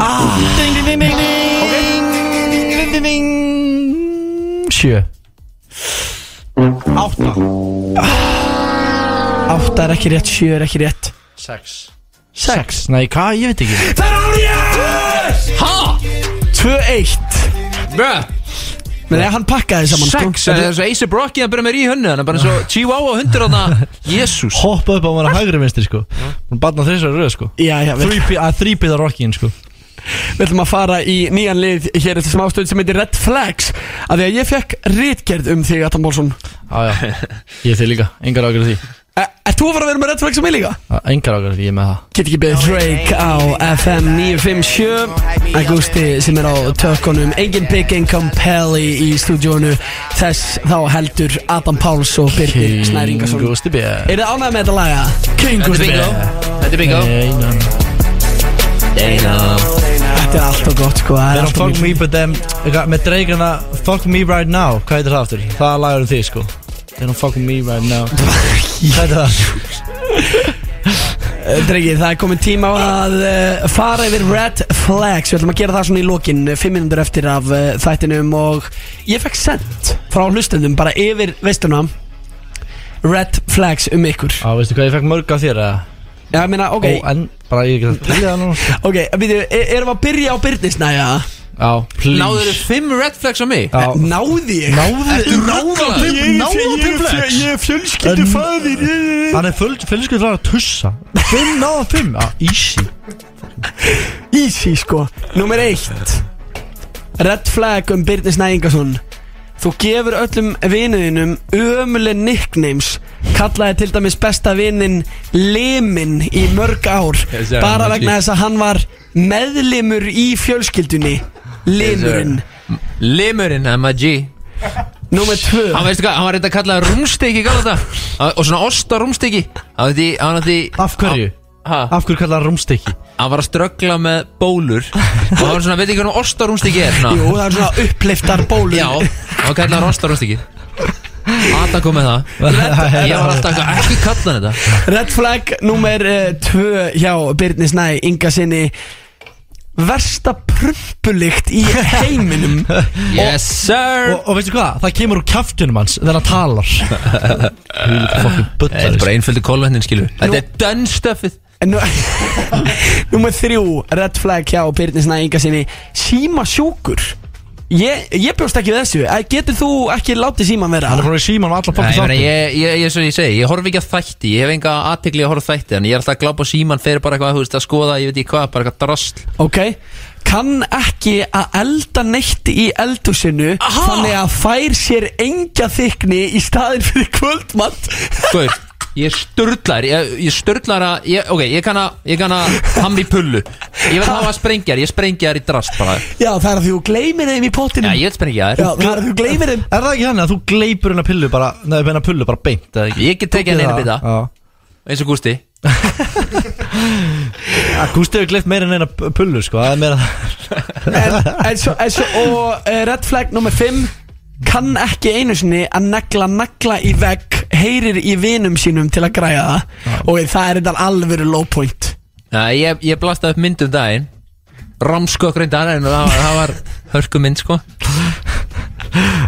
[SPEAKER 2] Ah,
[SPEAKER 4] Ding, ding, ding, ding, ding Ding, ding, ding Sjö Átta
[SPEAKER 2] Ah. átta er ekki rétt, sjö er ekki rétt
[SPEAKER 4] Sex
[SPEAKER 2] Sex
[SPEAKER 4] Nei, hvað, ég veit ekki
[SPEAKER 2] Það er árið!
[SPEAKER 3] Ha?
[SPEAKER 2] Tvö eitt
[SPEAKER 3] Bruh
[SPEAKER 2] Men þegar hann pakkaði saman
[SPEAKER 3] Sex Það
[SPEAKER 2] sko.
[SPEAKER 3] er svo Ace Brocky Það byrja með í hönnu Þannig bara svo
[SPEAKER 4] Ah.
[SPEAKER 3] Chihuahua 100 Þannig Jésús
[SPEAKER 4] Hoppa upp á mér að hægri minnstri, sko Hún batna þrjusar röð, sko
[SPEAKER 2] Já, já, við,
[SPEAKER 4] Þrípi- Að þrýpiða rockin, sko
[SPEAKER 2] við ætlum að fara í nýjan lið hér eftir smástöð sem heitir Red Flags af því að ég fekk rítgerð um þig, Adam Bólsson
[SPEAKER 4] Já, já Ég er þig líka Engar ágjörð því
[SPEAKER 2] Er E, þú að fara að vera með Red Flags sem ég líka?
[SPEAKER 4] Engar ágjörð því, ég er með það
[SPEAKER 2] Get ekki beðið Drake á FM 957 Agusti sem er á tökkunum Engin Big Income Pelli í stúdíónu Þess þá heldur Adam Páls og Birgir Snæringarsson
[SPEAKER 4] Gusti B
[SPEAKER 2] Er þið ánægð með þetta laga? King
[SPEAKER 3] Þetta er
[SPEAKER 2] Gusti
[SPEAKER 3] bingo
[SPEAKER 2] Björn.
[SPEAKER 3] Þetta er bingo
[SPEAKER 4] Einan
[SPEAKER 3] Bingo
[SPEAKER 2] Þetta er alltaf gott sko Það
[SPEAKER 4] Það
[SPEAKER 2] er
[SPEAKER 4] er hann
[SPEAKER 2] alltaf
[SPEAKER 4] Fuck
[SPEAKER 2] mjög
[SPEAKER 4] Me But Them eitthvað, Með dreikana Fuck Me Right Now Hvað heitir það aftur? Það er lagur um þig sko Það er hann Fuck Me Right Now Hvað heitir það?
[SPEAKER 2] Drengi, það er komin tíma á að uh, fara yfir Red Flags Við ætlum að gera það svona í lokin eh, Fimm minútur eftir af uh, þættinum Og ég fekk sendt frá hlustendum Bara yfir veistuna Red Flags um ykkur
[SPEAKER 4] Á, veistu hvað ég fekk mörg af þér eða?
[SPEAKER 2] Já, ég meina, ok
[SPEAKER 4] Ó, en Bara ég get að tellja það nú sko.
[SPEAKER 2] Ok, býtu, e- erum við að byrja á byrnisnæja?
[SPEAKER 4] Á, please
[SPEAKER 3] Náður þið fimm red flags á mig?
[SPEAKER 4] Já,
[SPEAKER 2] Náði ég?
[SPEAKER 4] Náðu
[SPEAKER 3] Náður
[SPEAKER 4] Ég- ég- ég- ég
[SPEAKER 2] er fjölskyldu fæðir
[SPEAKER 4] Hann er fölskvöld frá að tussa Fimm náða fimm Já, easy
[SPEAKER 2] Easy sko Númer eitt Red flag um Birnir Snæingason Þú gefur öllum vinuðinum ömuleg nicknames Kallaði til dæmis besta vinin Limin í mörg ár
[SPEAKER 3] Yes, sir.
[SPEAKER 2] Bara vegna þess að hann var meðlimur í fjölskyldunni Limurinn
[SPEAKER 3] Limurinn að Maggi
[SPEAKER 2] Númer tvö
[SPEAKER 3] Hann veistu hvað, hann var reynda að kalla rúmstykki gala þetta Og svona osta rúmstykki Hann var því, hann var því
[SPEAKER 4] Af hverju?
[SPEAKER 3] Ha?
[SPEAKER 4] Af hverju kallar það rúmstykki?
[SPEAKER 3] Hann var að ströggla með bólur Og hann var svona, veit ekki hvernig osta rúmstykki er svona
[SPEAKER 2] Jú, það er svona uppliftar bólur
[SPEAKER 3] Já, hann kallaði hann osta rúmstykki Adam kom með það Ég var alltaf eitthvað, ekki kalla hann þetta
[SPEAKER 2] eh, Red flag nummer 2 hjá Birni Snæ Inga sinni versta prumpulikt í heiminum
[SPEAKER 3] Yes sir
[SPEAKER 4] Og, og veistu hvað, það kemur úr kjaftunum hans þegar hann talar Þetta
[SPEAKER 3] er bara einföldi kólvendin skilur Þetta er done stuffið
[SPEAKER 2] Númer þrjú, red flag hjá Byrni Snæinga sinni Símasjúkur Ég, ég bjóst ekki við þessu Eh, Getur þú ekki látið síman vera? Hann
[SPEAKER 4] er bara í síman og alla
[SPEAKER 3] Nei, ég, meina, ég, ég, ég, svo ég segi, ég horf ekki að þætti Ég hef enga aðtekli að horfa á þætti En ég er alltaf að glápa á síman fyrir bara eitthvað þú veist, að skoða, ég veit ekki hvað, bara eitthvað drasl
[SPEAKER 2] Ok, kann ekki að elda neitt í eldhúsinu Þannig að fær sér engja þykni í staðin fyrir kvöldmatt
[SPEAKER 3] Guður, ég er störtlar Ég, ég störtlar að, ég, ok, ég kann að Ég kann að hamra í pullu Ég vil hafa að sprengja þær, ég sprengja þær í drasl bara
[SPEAKER 2] Já, það er að þú gleymir þeim í pottinum
[SPEAKER 3] Já, ég vil sprengja
[SPEAKER 2] Já, það
[SPEAKER 3] þær
[SPEAKER 2] er að þú gleymir þeim
[SPEAKER 4] Er það ekki þannig að þú gleipur hennar pillu bara Nei, hennar pullu bara beint eða ekki?
[SPEAKER 3] Ég get tekið henni einu bita Eins og Gústi
[SPEAKER 4] Ja, Gústi hefur gleipt meira en eina p- pullu sko Það er meira
[SPEAKER 2] en, en svo, en svo, Og uh, red flag nummer 5 Kann ekki einu sinni að negla negla í vegg Heyrir í vinum sínum til að græja það Og það er þetta alvöru low point
[SPEAKER 3] Já, ég, ég blasta upp mynd um daginn Ramskök reyndar en það var, það var hörku mynd sko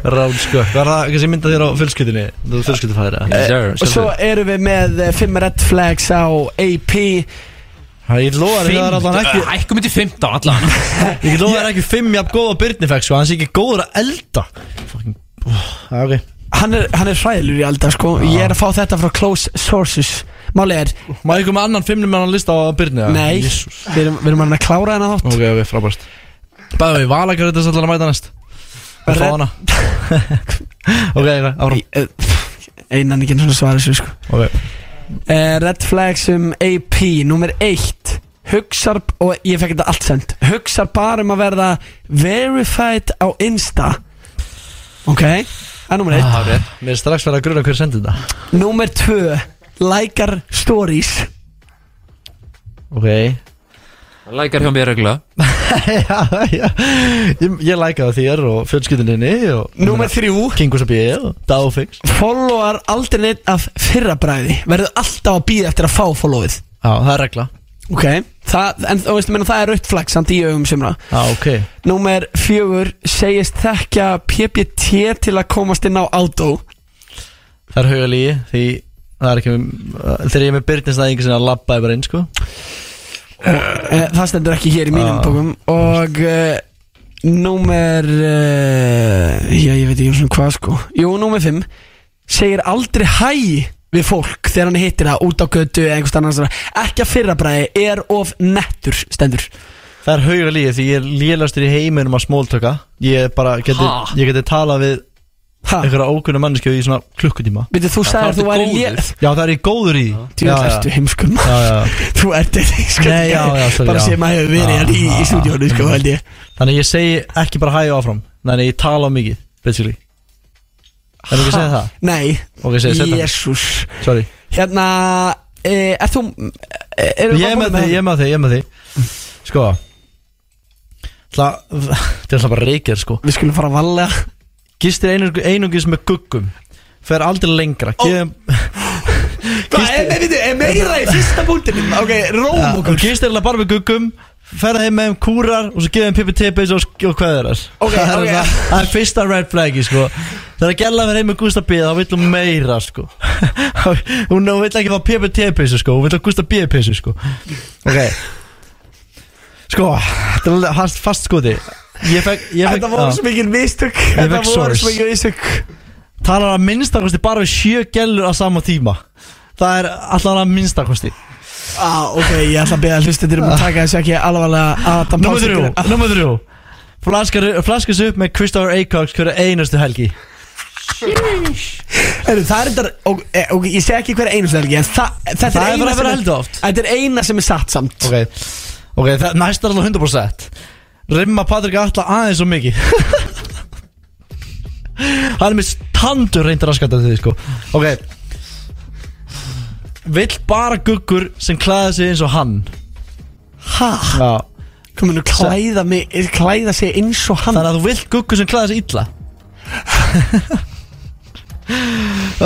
[SPEAKER 4] Rán sko Var það kannski mynda þér á fjölskyldinni Þú fjölskyldufæðir
[SPEAKER 3] Yes, sir,
[SPEAKER 2] Og svo erum við með 5 red flags á AP
[SPEAKER 4] Ég lofa þér, það er allan ekki
[SPEAKER 3] Hækkum þetta í 15 allan
[SPEAKER 4] Ég lofa þér ekki fimm jafn góð á Byrni fekk sko Hann sé ekki góður að elda Fucking oh, okay.
[SPEAKER 2] Hann er, hann er hræðilur í alltaf sko Ég er að fá þetta frá close sources Máli er
[SPEAKER 4] Má ég koma annan fimmnum með hann lista á Byrni eða?
[SPEAKER 2] Nei,
[SPEAKER 4] Jesus.
[SPEAKER 2] við erum, við erum að klára hennar þátt
[SPEAKER 4] Ok, ok, frábært Bæðum við valakar þetta allan að mæta næst Og fá
[SPEAKER 2] Red-
[SPEAKER 4] hana Ok, ok, áfram
[SPEAKER 2] eh, Einan ekki svona svara þessu sko
[SPEAKER 4] Ok
[SPEAKER 2] Eh, Red flags um AP Númer eitt Hugsar, og ég fekk þetta allt send Hugsar bara um að verða verified á Insta Ok, það er númer eitt
[SPEAKER 4] Árið. Mér er strax verið að gruna hver sendi þetta
[SPEAKER 2] Númer tvö Lækar stories
[SPEAKER 4] Ok
[SPEAKER 3] Lækar hjá mér regla
[SPEAKER 4] já, já. Ég, ég læka það þér og fjölskylduninni og
[SPEAKER 2] Númer þrjú
[SPEAKER 4] Kingus að bíða og Dagfix
[SPEAKER 2] Followar aldrei neitt af fyrra bræði Verður alltaf að býða eftir að fá followið
[SPEAKER 4] Já, það er regla
[SPEAKER 2] Ok, það, en þú veist, menna, það er rautt flagg samt í augum sumra
[SPEAKER 4] Já, ok
[SPEAKER 2] Númer fjögur segist þekkja PPT til að komast inn á Outdo
[SPEAKER 4] Það er huga lígi því það er ekki Þegar ég er með Byrnins það einhvers veginn að labba ég bara inn sko
[SPEAKER 2] Eh, Það stendur ekki hér í mínum
[SPEAKER 4] Ah.
[SPEAKER 2] bókum Og uh, Númer uh, Já, ég veit ekki svona hvað sko Jú, númer 5 Segir aldrei hæ við fólk Þegar hann hittir það út á götu eða einhvers annars staðar. Ekki að fyrra bræði er of nettur Stendur
[SPEAKER 4] Það er huga lígi því ég er lélastur í heiminum að smóltöka Ég bara geti,
[SPEAKER 2] Ha?
[SPEAKER 4] ég geti talað við
[SPEAKER 2] Ha?
[SPEAKER 4] einhverja ókunna manneski í svona klukkutíma
[SPEAKER 2] Býttu, þú sagðir að þú væri lé-
[SPEAKER 4] Já, það er ég góður í
[SPEAKER 2] Djú, ertu heimskur maður.
[SPEAKER 4] Já, já
[SPEAKER 2] Þú ert eitt
[SPEAKER 4] Nei, já, já, sorry,
[SPEAKER 2] Bara
[SPEAKER 4] já.
[SPEAKER 2] sem að hefur verið
[SPEAKER 4] Já,
[SPEAKER 2] hérna í,
[SPEAKER 4] já,
[SPEAKER 2] í stúdíónu sko,
[SPEAKER 4] já.
[SPEAKER 2] held ég
[SPEAKER 4] Þannig að ég segi ekki bara hæg áfram Þannig að ég tala of mikið, basically Erum við ekki að segja það?
[SPEAKER 2] Nei
[SPEAKER 4] Ok, segðu setna.
[SPEAKER 2] Jésús
[SPEAKER 4] Sorry
[SPEAKER 2] Hérna eh, Er þú eh, Erum
[SPEAKER 4] Ég er með því, ég er með því, ég er með því Sko Það Þetta er alltaf bara reykir, sko
[SPEAKER 2] Við skulum fara að valja
[SPEAKER 4] Gistir einung, einungis með guggum Fer aldrei lengra Gefum
[SPEAKER 2] Hvað er, er, er meira í fyrsta búndinum? Ok, róm
[SPEAKER 4] oh,
[SPEAKER 2] okkur
[SPEAKER 4] Gistir alveg bara með guggum Ferða heim með þeim kúrar Og svo gefum þeim pippi tippi Og, og hvað er þess
[SPEAKER 2] Ok,
[SPEAKER 4] það, er
[SPEAKER 2] ok.
[SPEAKER 4] það, það er fyrsta red flaggi, sko Það er að gæla með heim með Gústa B Það vill hún meira, sko Hún hún vill ekki fá pippi tippi, sko Hún vill að Gústa B pissu, sko Ok Sko, þetta er alveg fast, fast skoti Ég fekk ég fekk-
[SPEAKER 2] Þetta voru
[SPEAKER 4] já.
[SPEAKER 2] svo mikil mistök
[SPEAKER 4] Ég
[SPEAKER 2] Þetta
[SPEAKER 4] fekk
[SPEAKER 2] voru
[SPEAKER 4] source.
[SPEAKER 2] svo mikil mistök
[SPEAKER 4] talar að minnstakosti bara við sjö gellur á sama tíma það er allan að minnstakosti
[SPEAKER 2] ah, Ok, ég ætla að beða hlustendur um að taka þessu ekki alvarlega Adam
[SPEAKER 4] Númer
[SPEAKER 2] Pálsson-
[SPEAKER 4] þrjú, nummer þrjú Flaskar- Flaskas upp með Kristófur Eikoks hverja einustu helgi
[SPEAKER 2] Ah, Heyrðu, Það er þetta, og, e, og ég segi ekki hver einu helgi En það, þetta er
[SPEAKER 4] Það er bara
[SPEAKER 2] eina
[SPEAKER 4] að vera heldur oft.
[SPEAKER 2] Þetta er eina sem er satt samt
[SPEAKER 4] Ok, okay það, næst er alveg 100% Rimma Patrik Alla aðeins og mikið Hann er með standur reyndir að skatta því sko Ok Vill bara guggur sem klæða sig eins og hann
[SPEAKER 2] Ha,
[SPEAKER 4] Já
[SPEAKER 2] kominu klæða, mig, eh, klæða sig eins og hann
[SPEAKER 4] Þannig að þú vilt guggu sem klæða sig illa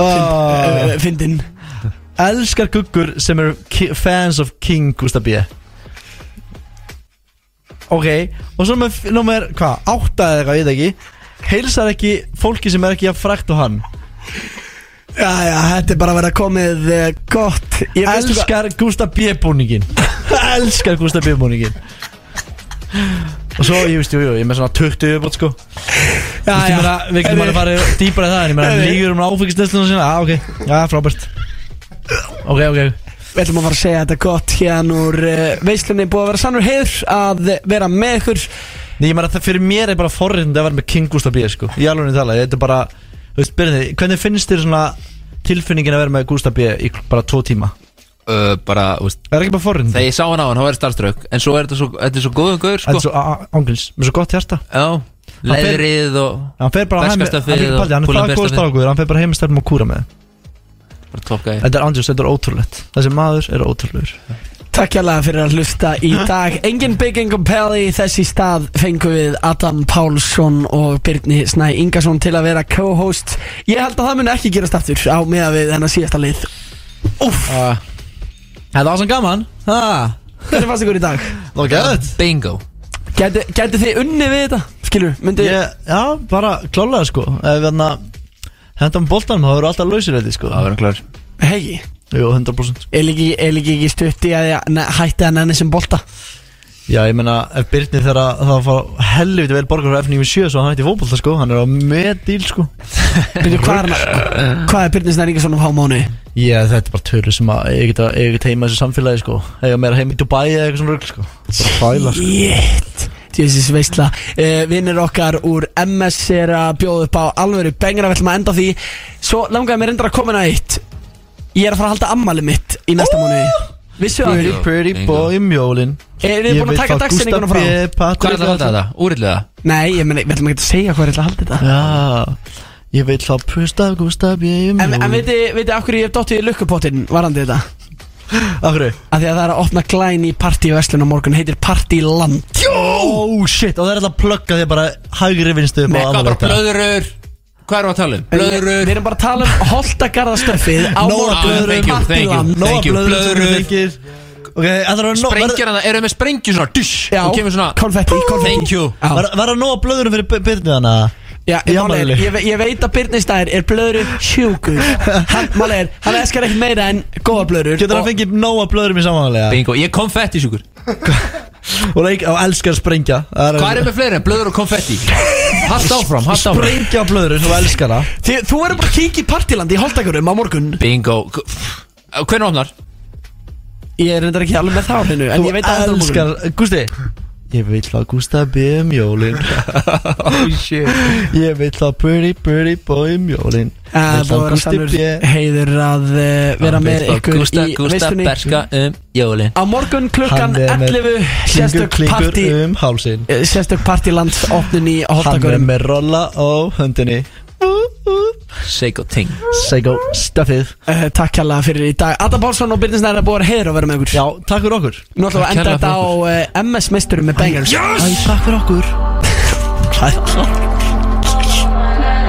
[SPEAKER 4] oh,
[SPEAKER 2] Eh, Fyndin
[SPEAKER 4] Elskar guggur sem eru ki- fans of King Gustaf B Ok, og svo nummer, nummer hvað, átta eða eitthvað, ég veit ekki Heilsar ekki fólki sem er ekki að frækt og hann
[SPEAKER 2] Já, já, þetta er bara að vera komið uh, gott Ég veistu hvað-
[SPEAKER 4] Elskar Gustaf B. búningin Elskar Gustaf B. búningin Og svo, ég veist, jú, jú, ég er með svona 20 yfirbót, sko Já,
[SPEAKER 2] já.
[SPEAKER 4] já meira, Við getum alveg farið dýpar í það En ég meina,
[SPEAKER 2] Nei, nei.
[SPEAKER 4] lígur um áfengislestunum sína Já, ok, já, frábært Ok, ok
[SPEAKER 2] Við ætlum að fara að segja þetta gott hérna úr uh, veislunni búið að vera sannur heiður að vera með ykkur
[SPEAKER 4] Nei, ég meina, það fyrir mér er bara forrind að vera með King Gustaf B, sko Í alveg tala, þetta er bara Þú veist, byrðið, hvernig finnst þér svona tilfinningin að vera með Gustaf B í bara tvo tíma?
[SPEAKER 3] uh, bara, úst,
[SPEAKER 4] Er ekki bara forrind?
[SPEAKER 3] Þegar ég sá hann á hann, þá var ég starstruck En svo er þetta svo, þetta er svo góðum gaur
[SPEAKER 4] Þetta
[SPEAKER 3] sko.
[SPEAKER 4] er svo ángils, með svo gott hjarta
[SPEAKER 3] Já,
[SPEAKER 4] Hann fer-
[SPEAKER 3] leðrið og
[SPEAKER 4] Hann fer bara heim, hann
[SPEAKER 3] Ferskasta
[SPEAKER 4] fer ekki
[SPEAKER 3] fyrir
[SPEAKER 4] paldi, hann
[SPEAKER 3] og
[SPEAKER 4] er
[SPEAKER 3] kúlan
[SPEAKER 4] það góð
[SPEAKER 3] besta fyrir.
[SPEAKER 4] strákur, hann fer bara heim með stelpum og kúra með þeim.
[SPEAKER 3] Bara top guy
[SPEAKER 4] Þetta er andjós, þetta er ótrúlegt Þessi maður er ótrúlegur
[SPEAKER 2] Takk hérlega fyrir að hlusta í dag Engin Big Income Pally Þessi stað fengum við Adam Pálsson og Birni Snæ Ingarsson til að vera co-host Ég held að það mun ekki gerast aftur á meða við hennar síðasta lið Úff
[SPEAKER 3] Ah.
[SPEAKER 4] Þetta var sem gaman
[SPEAKER 2] Hvernig fannst ykkur í dag?
[SPEAKER 4] Það var gæðið
[SPEAKER 3] Bingo
[SPEAKER 2] Gæti, gæti þið unni við þetta? Skilur, myndi
[SPEAKER 4] ég, Já, bara klálega sko Ef hann hendan boltanum, þá verður alltaf lausir þetta sko Það
[SPEAKER 3] verður klár
[SPEAKER 2] Hegi
[SPEAKER 4] Jú, sko. 100%
[SPEAKER 2] Er líki, er líki ekki stutt í að ég ne- hætti að nenni sem bolta
[SPEAKER 4] Já, ég meina, ef Birnir þegar að- það fá helviti vel borgar frá F97 Svo hann hætti fótbolta sko, hann er á með díl sko
[SPEAKER 2] Byrju, hvað er, hann- hvað er Birni Snæ Ingarsson á hámáni?
[SPEAKER 4] Já, þetta er bara tölur sem að eiga ekki- eiga ekki heima í þessu samfélagi sko Eiga meira heima í Dubai eða eitthvað svona rugl sko Bara fæla sko
[SPEAKER 2] Jétt Jésus veistla uh, Vinnir okkar úr MS er að bjóða upp á alvöru bengra Við ætlum að enda á því Svo langaði mér endur að koma inn að eitt Ég er að fara að halda ammali mitt í næsta oh! mánu Vissu að
[SPEAKER 4] Pretty, pretty boy um mjólin
[SPEAKER 2] Eruð þið búin að taka dagsetninguna frá?
[SPEAKER 3] Hvað er það að halda þetta? Úrillega?
[SPEAKER 2] Nei, ég meni, við ætlum ekki að segja hvað er að halda þetta
[SPEAKER 4] Já, ég veit þá Pusta, Gústa, B.M.
[SPEAKER 2] En, en veitu, veitu, af hverju ég hef dottið í lukkupottin varandi þetta?
[SPEAKER 4] Af hverju?
[SPEAKER 2] Af því að það er að opna glæn í partíverslun á morgun Heitir Partíland
[SPEAKER 4] Jó! Oh shit, og það er alltaf að plugga því bara hægri vinstu upp á
[SPEAKER 3] Hvað bara
[SPEAKER 4] aðalvöld.
[SPEAKER 3] blöðurur? Hvað erum við að tala um? Blöðurur
[SPEAKER 2] Við erum bara að tala um holtagarðastöfið á
[SPEAKER 3] Nóa blöðrum,
[SPEAKER 2] morgun Partíland
[SPEAKER 3] Nóa blöðrum
[SPEAKER 2] blöðrum.
[SPEAKER 4] Ok, það er nóg
[SPEAKER 3] Sprengjar hana, eru við með sprengjur svona Dush,
[SPEAKER 2] Já.
[SPEAKER 3] og kemur svona
[SPEAKER 2] Konfetti, konfetti
[SPEAKER 3] Thank you
[SPEAKER 4] Var var það nóg að blöðurum fyrir Bi- Birnu hana?
[SPEAKER 2] Já, málið
[SPEAKER 4] Í
[SPEAKER 2] er,
[SPEAKER 4] afmælinu.
[SPEAKER 2] ég, ve- ég veit að Birnir Stær er blöðurinn sjúkur Hann, mál er, hann eskar ekkert meira en góða blöður
[SPEAKER 4] Getur hann fengið nóg að blöðurum í samanlega?
[SPEAKER 3] Bingo, ég er konfetti sjúkur
[SPEAKER 4] Og leik- og elskar að sprengja
[SPEAKER 3] Hvað erum við fleiri en blöður og konfetti? Hald áfram, hald áfram
[SPEAKER 4] Sprengja á blöðurum og elskar það
[SPEAKER 2] Þi, Þú verður bara að kíkja í partílandi í holtagurum á morgun
[SPEAKER 3] Bingo Hvernig opnar?
[SPEAKER 2] Ég er reyndar ekki alveg með þá hennu En ég veit að
[SPEAKER 4] Þú
[SPEAKER 2] það er á
[SPEAKER 4] elskar,
[SPEAKER 2] morgun
[SPEAKER 4] Gústi Ég vil að Gústa byrja um jólin Oh shit
[SPEAKER 2] Eh,
[SPEAKER 4] Ég vil að pretty pretty boy um jólin
[SPEAKER 2] Það er
[SPEAKER 4] Vill
[SPEAKER 2] búið að vera
[SPEAKER 4] að
[SPEAKER 2] Ah,
[SPEAKER 4] Gústi
[SPEAKER 2] sannur
[SPEAKER 4] B.
[SPEAKER 2] heiður að eh, vera með ykkur
[SPEAKER 3] Gústa,
[SPEAKER 2] í
[SPEAKER 3] Gústa,
[SPEAKER 2] veistunni
[SPEAKER 3] berska um jólin
[SPEAKER 2] Á morgun klukkan
[SPEAKER 4] Hann er með
[SPEAKER 2] 11
[SPEAKER 4] Klingur
[SPEAKER 2] Sérstök
[SPEAKER 4] klingur
[SPEAKER 2] partí
[SPEAKER 4] um hálsin
[SPEAKER 2] eh, Sérstök partílands opnun í
[SPEAKER 4] Hann er
[SPEAKER 2] holtagurum
[SPEAKER 4] með rolla á höndinni
[SPEAKER 3] Seiko ting
[SPEAKER 4] Sego stuffið
[SPEAKER 2] uh, Takk hérlega fyrir í dag Adam Pálsson og Birnir Snær er búið að heiður að vera með ykkur
[SPEAKER 4] Já, takk fyrir okkur
[SPEAKER 2] Nú ætlum við að enda
[SPEAKER 3] Kærlega
[SPEAKER 2] þetta á eh,
[SPEAKER 3] fyrir
[SPEAKER 2] uh, MS-meisturum með Bangers
[SPEAKER 4] Æ, takk fyrir okkur
[SPEAKER 2] Hvað er það?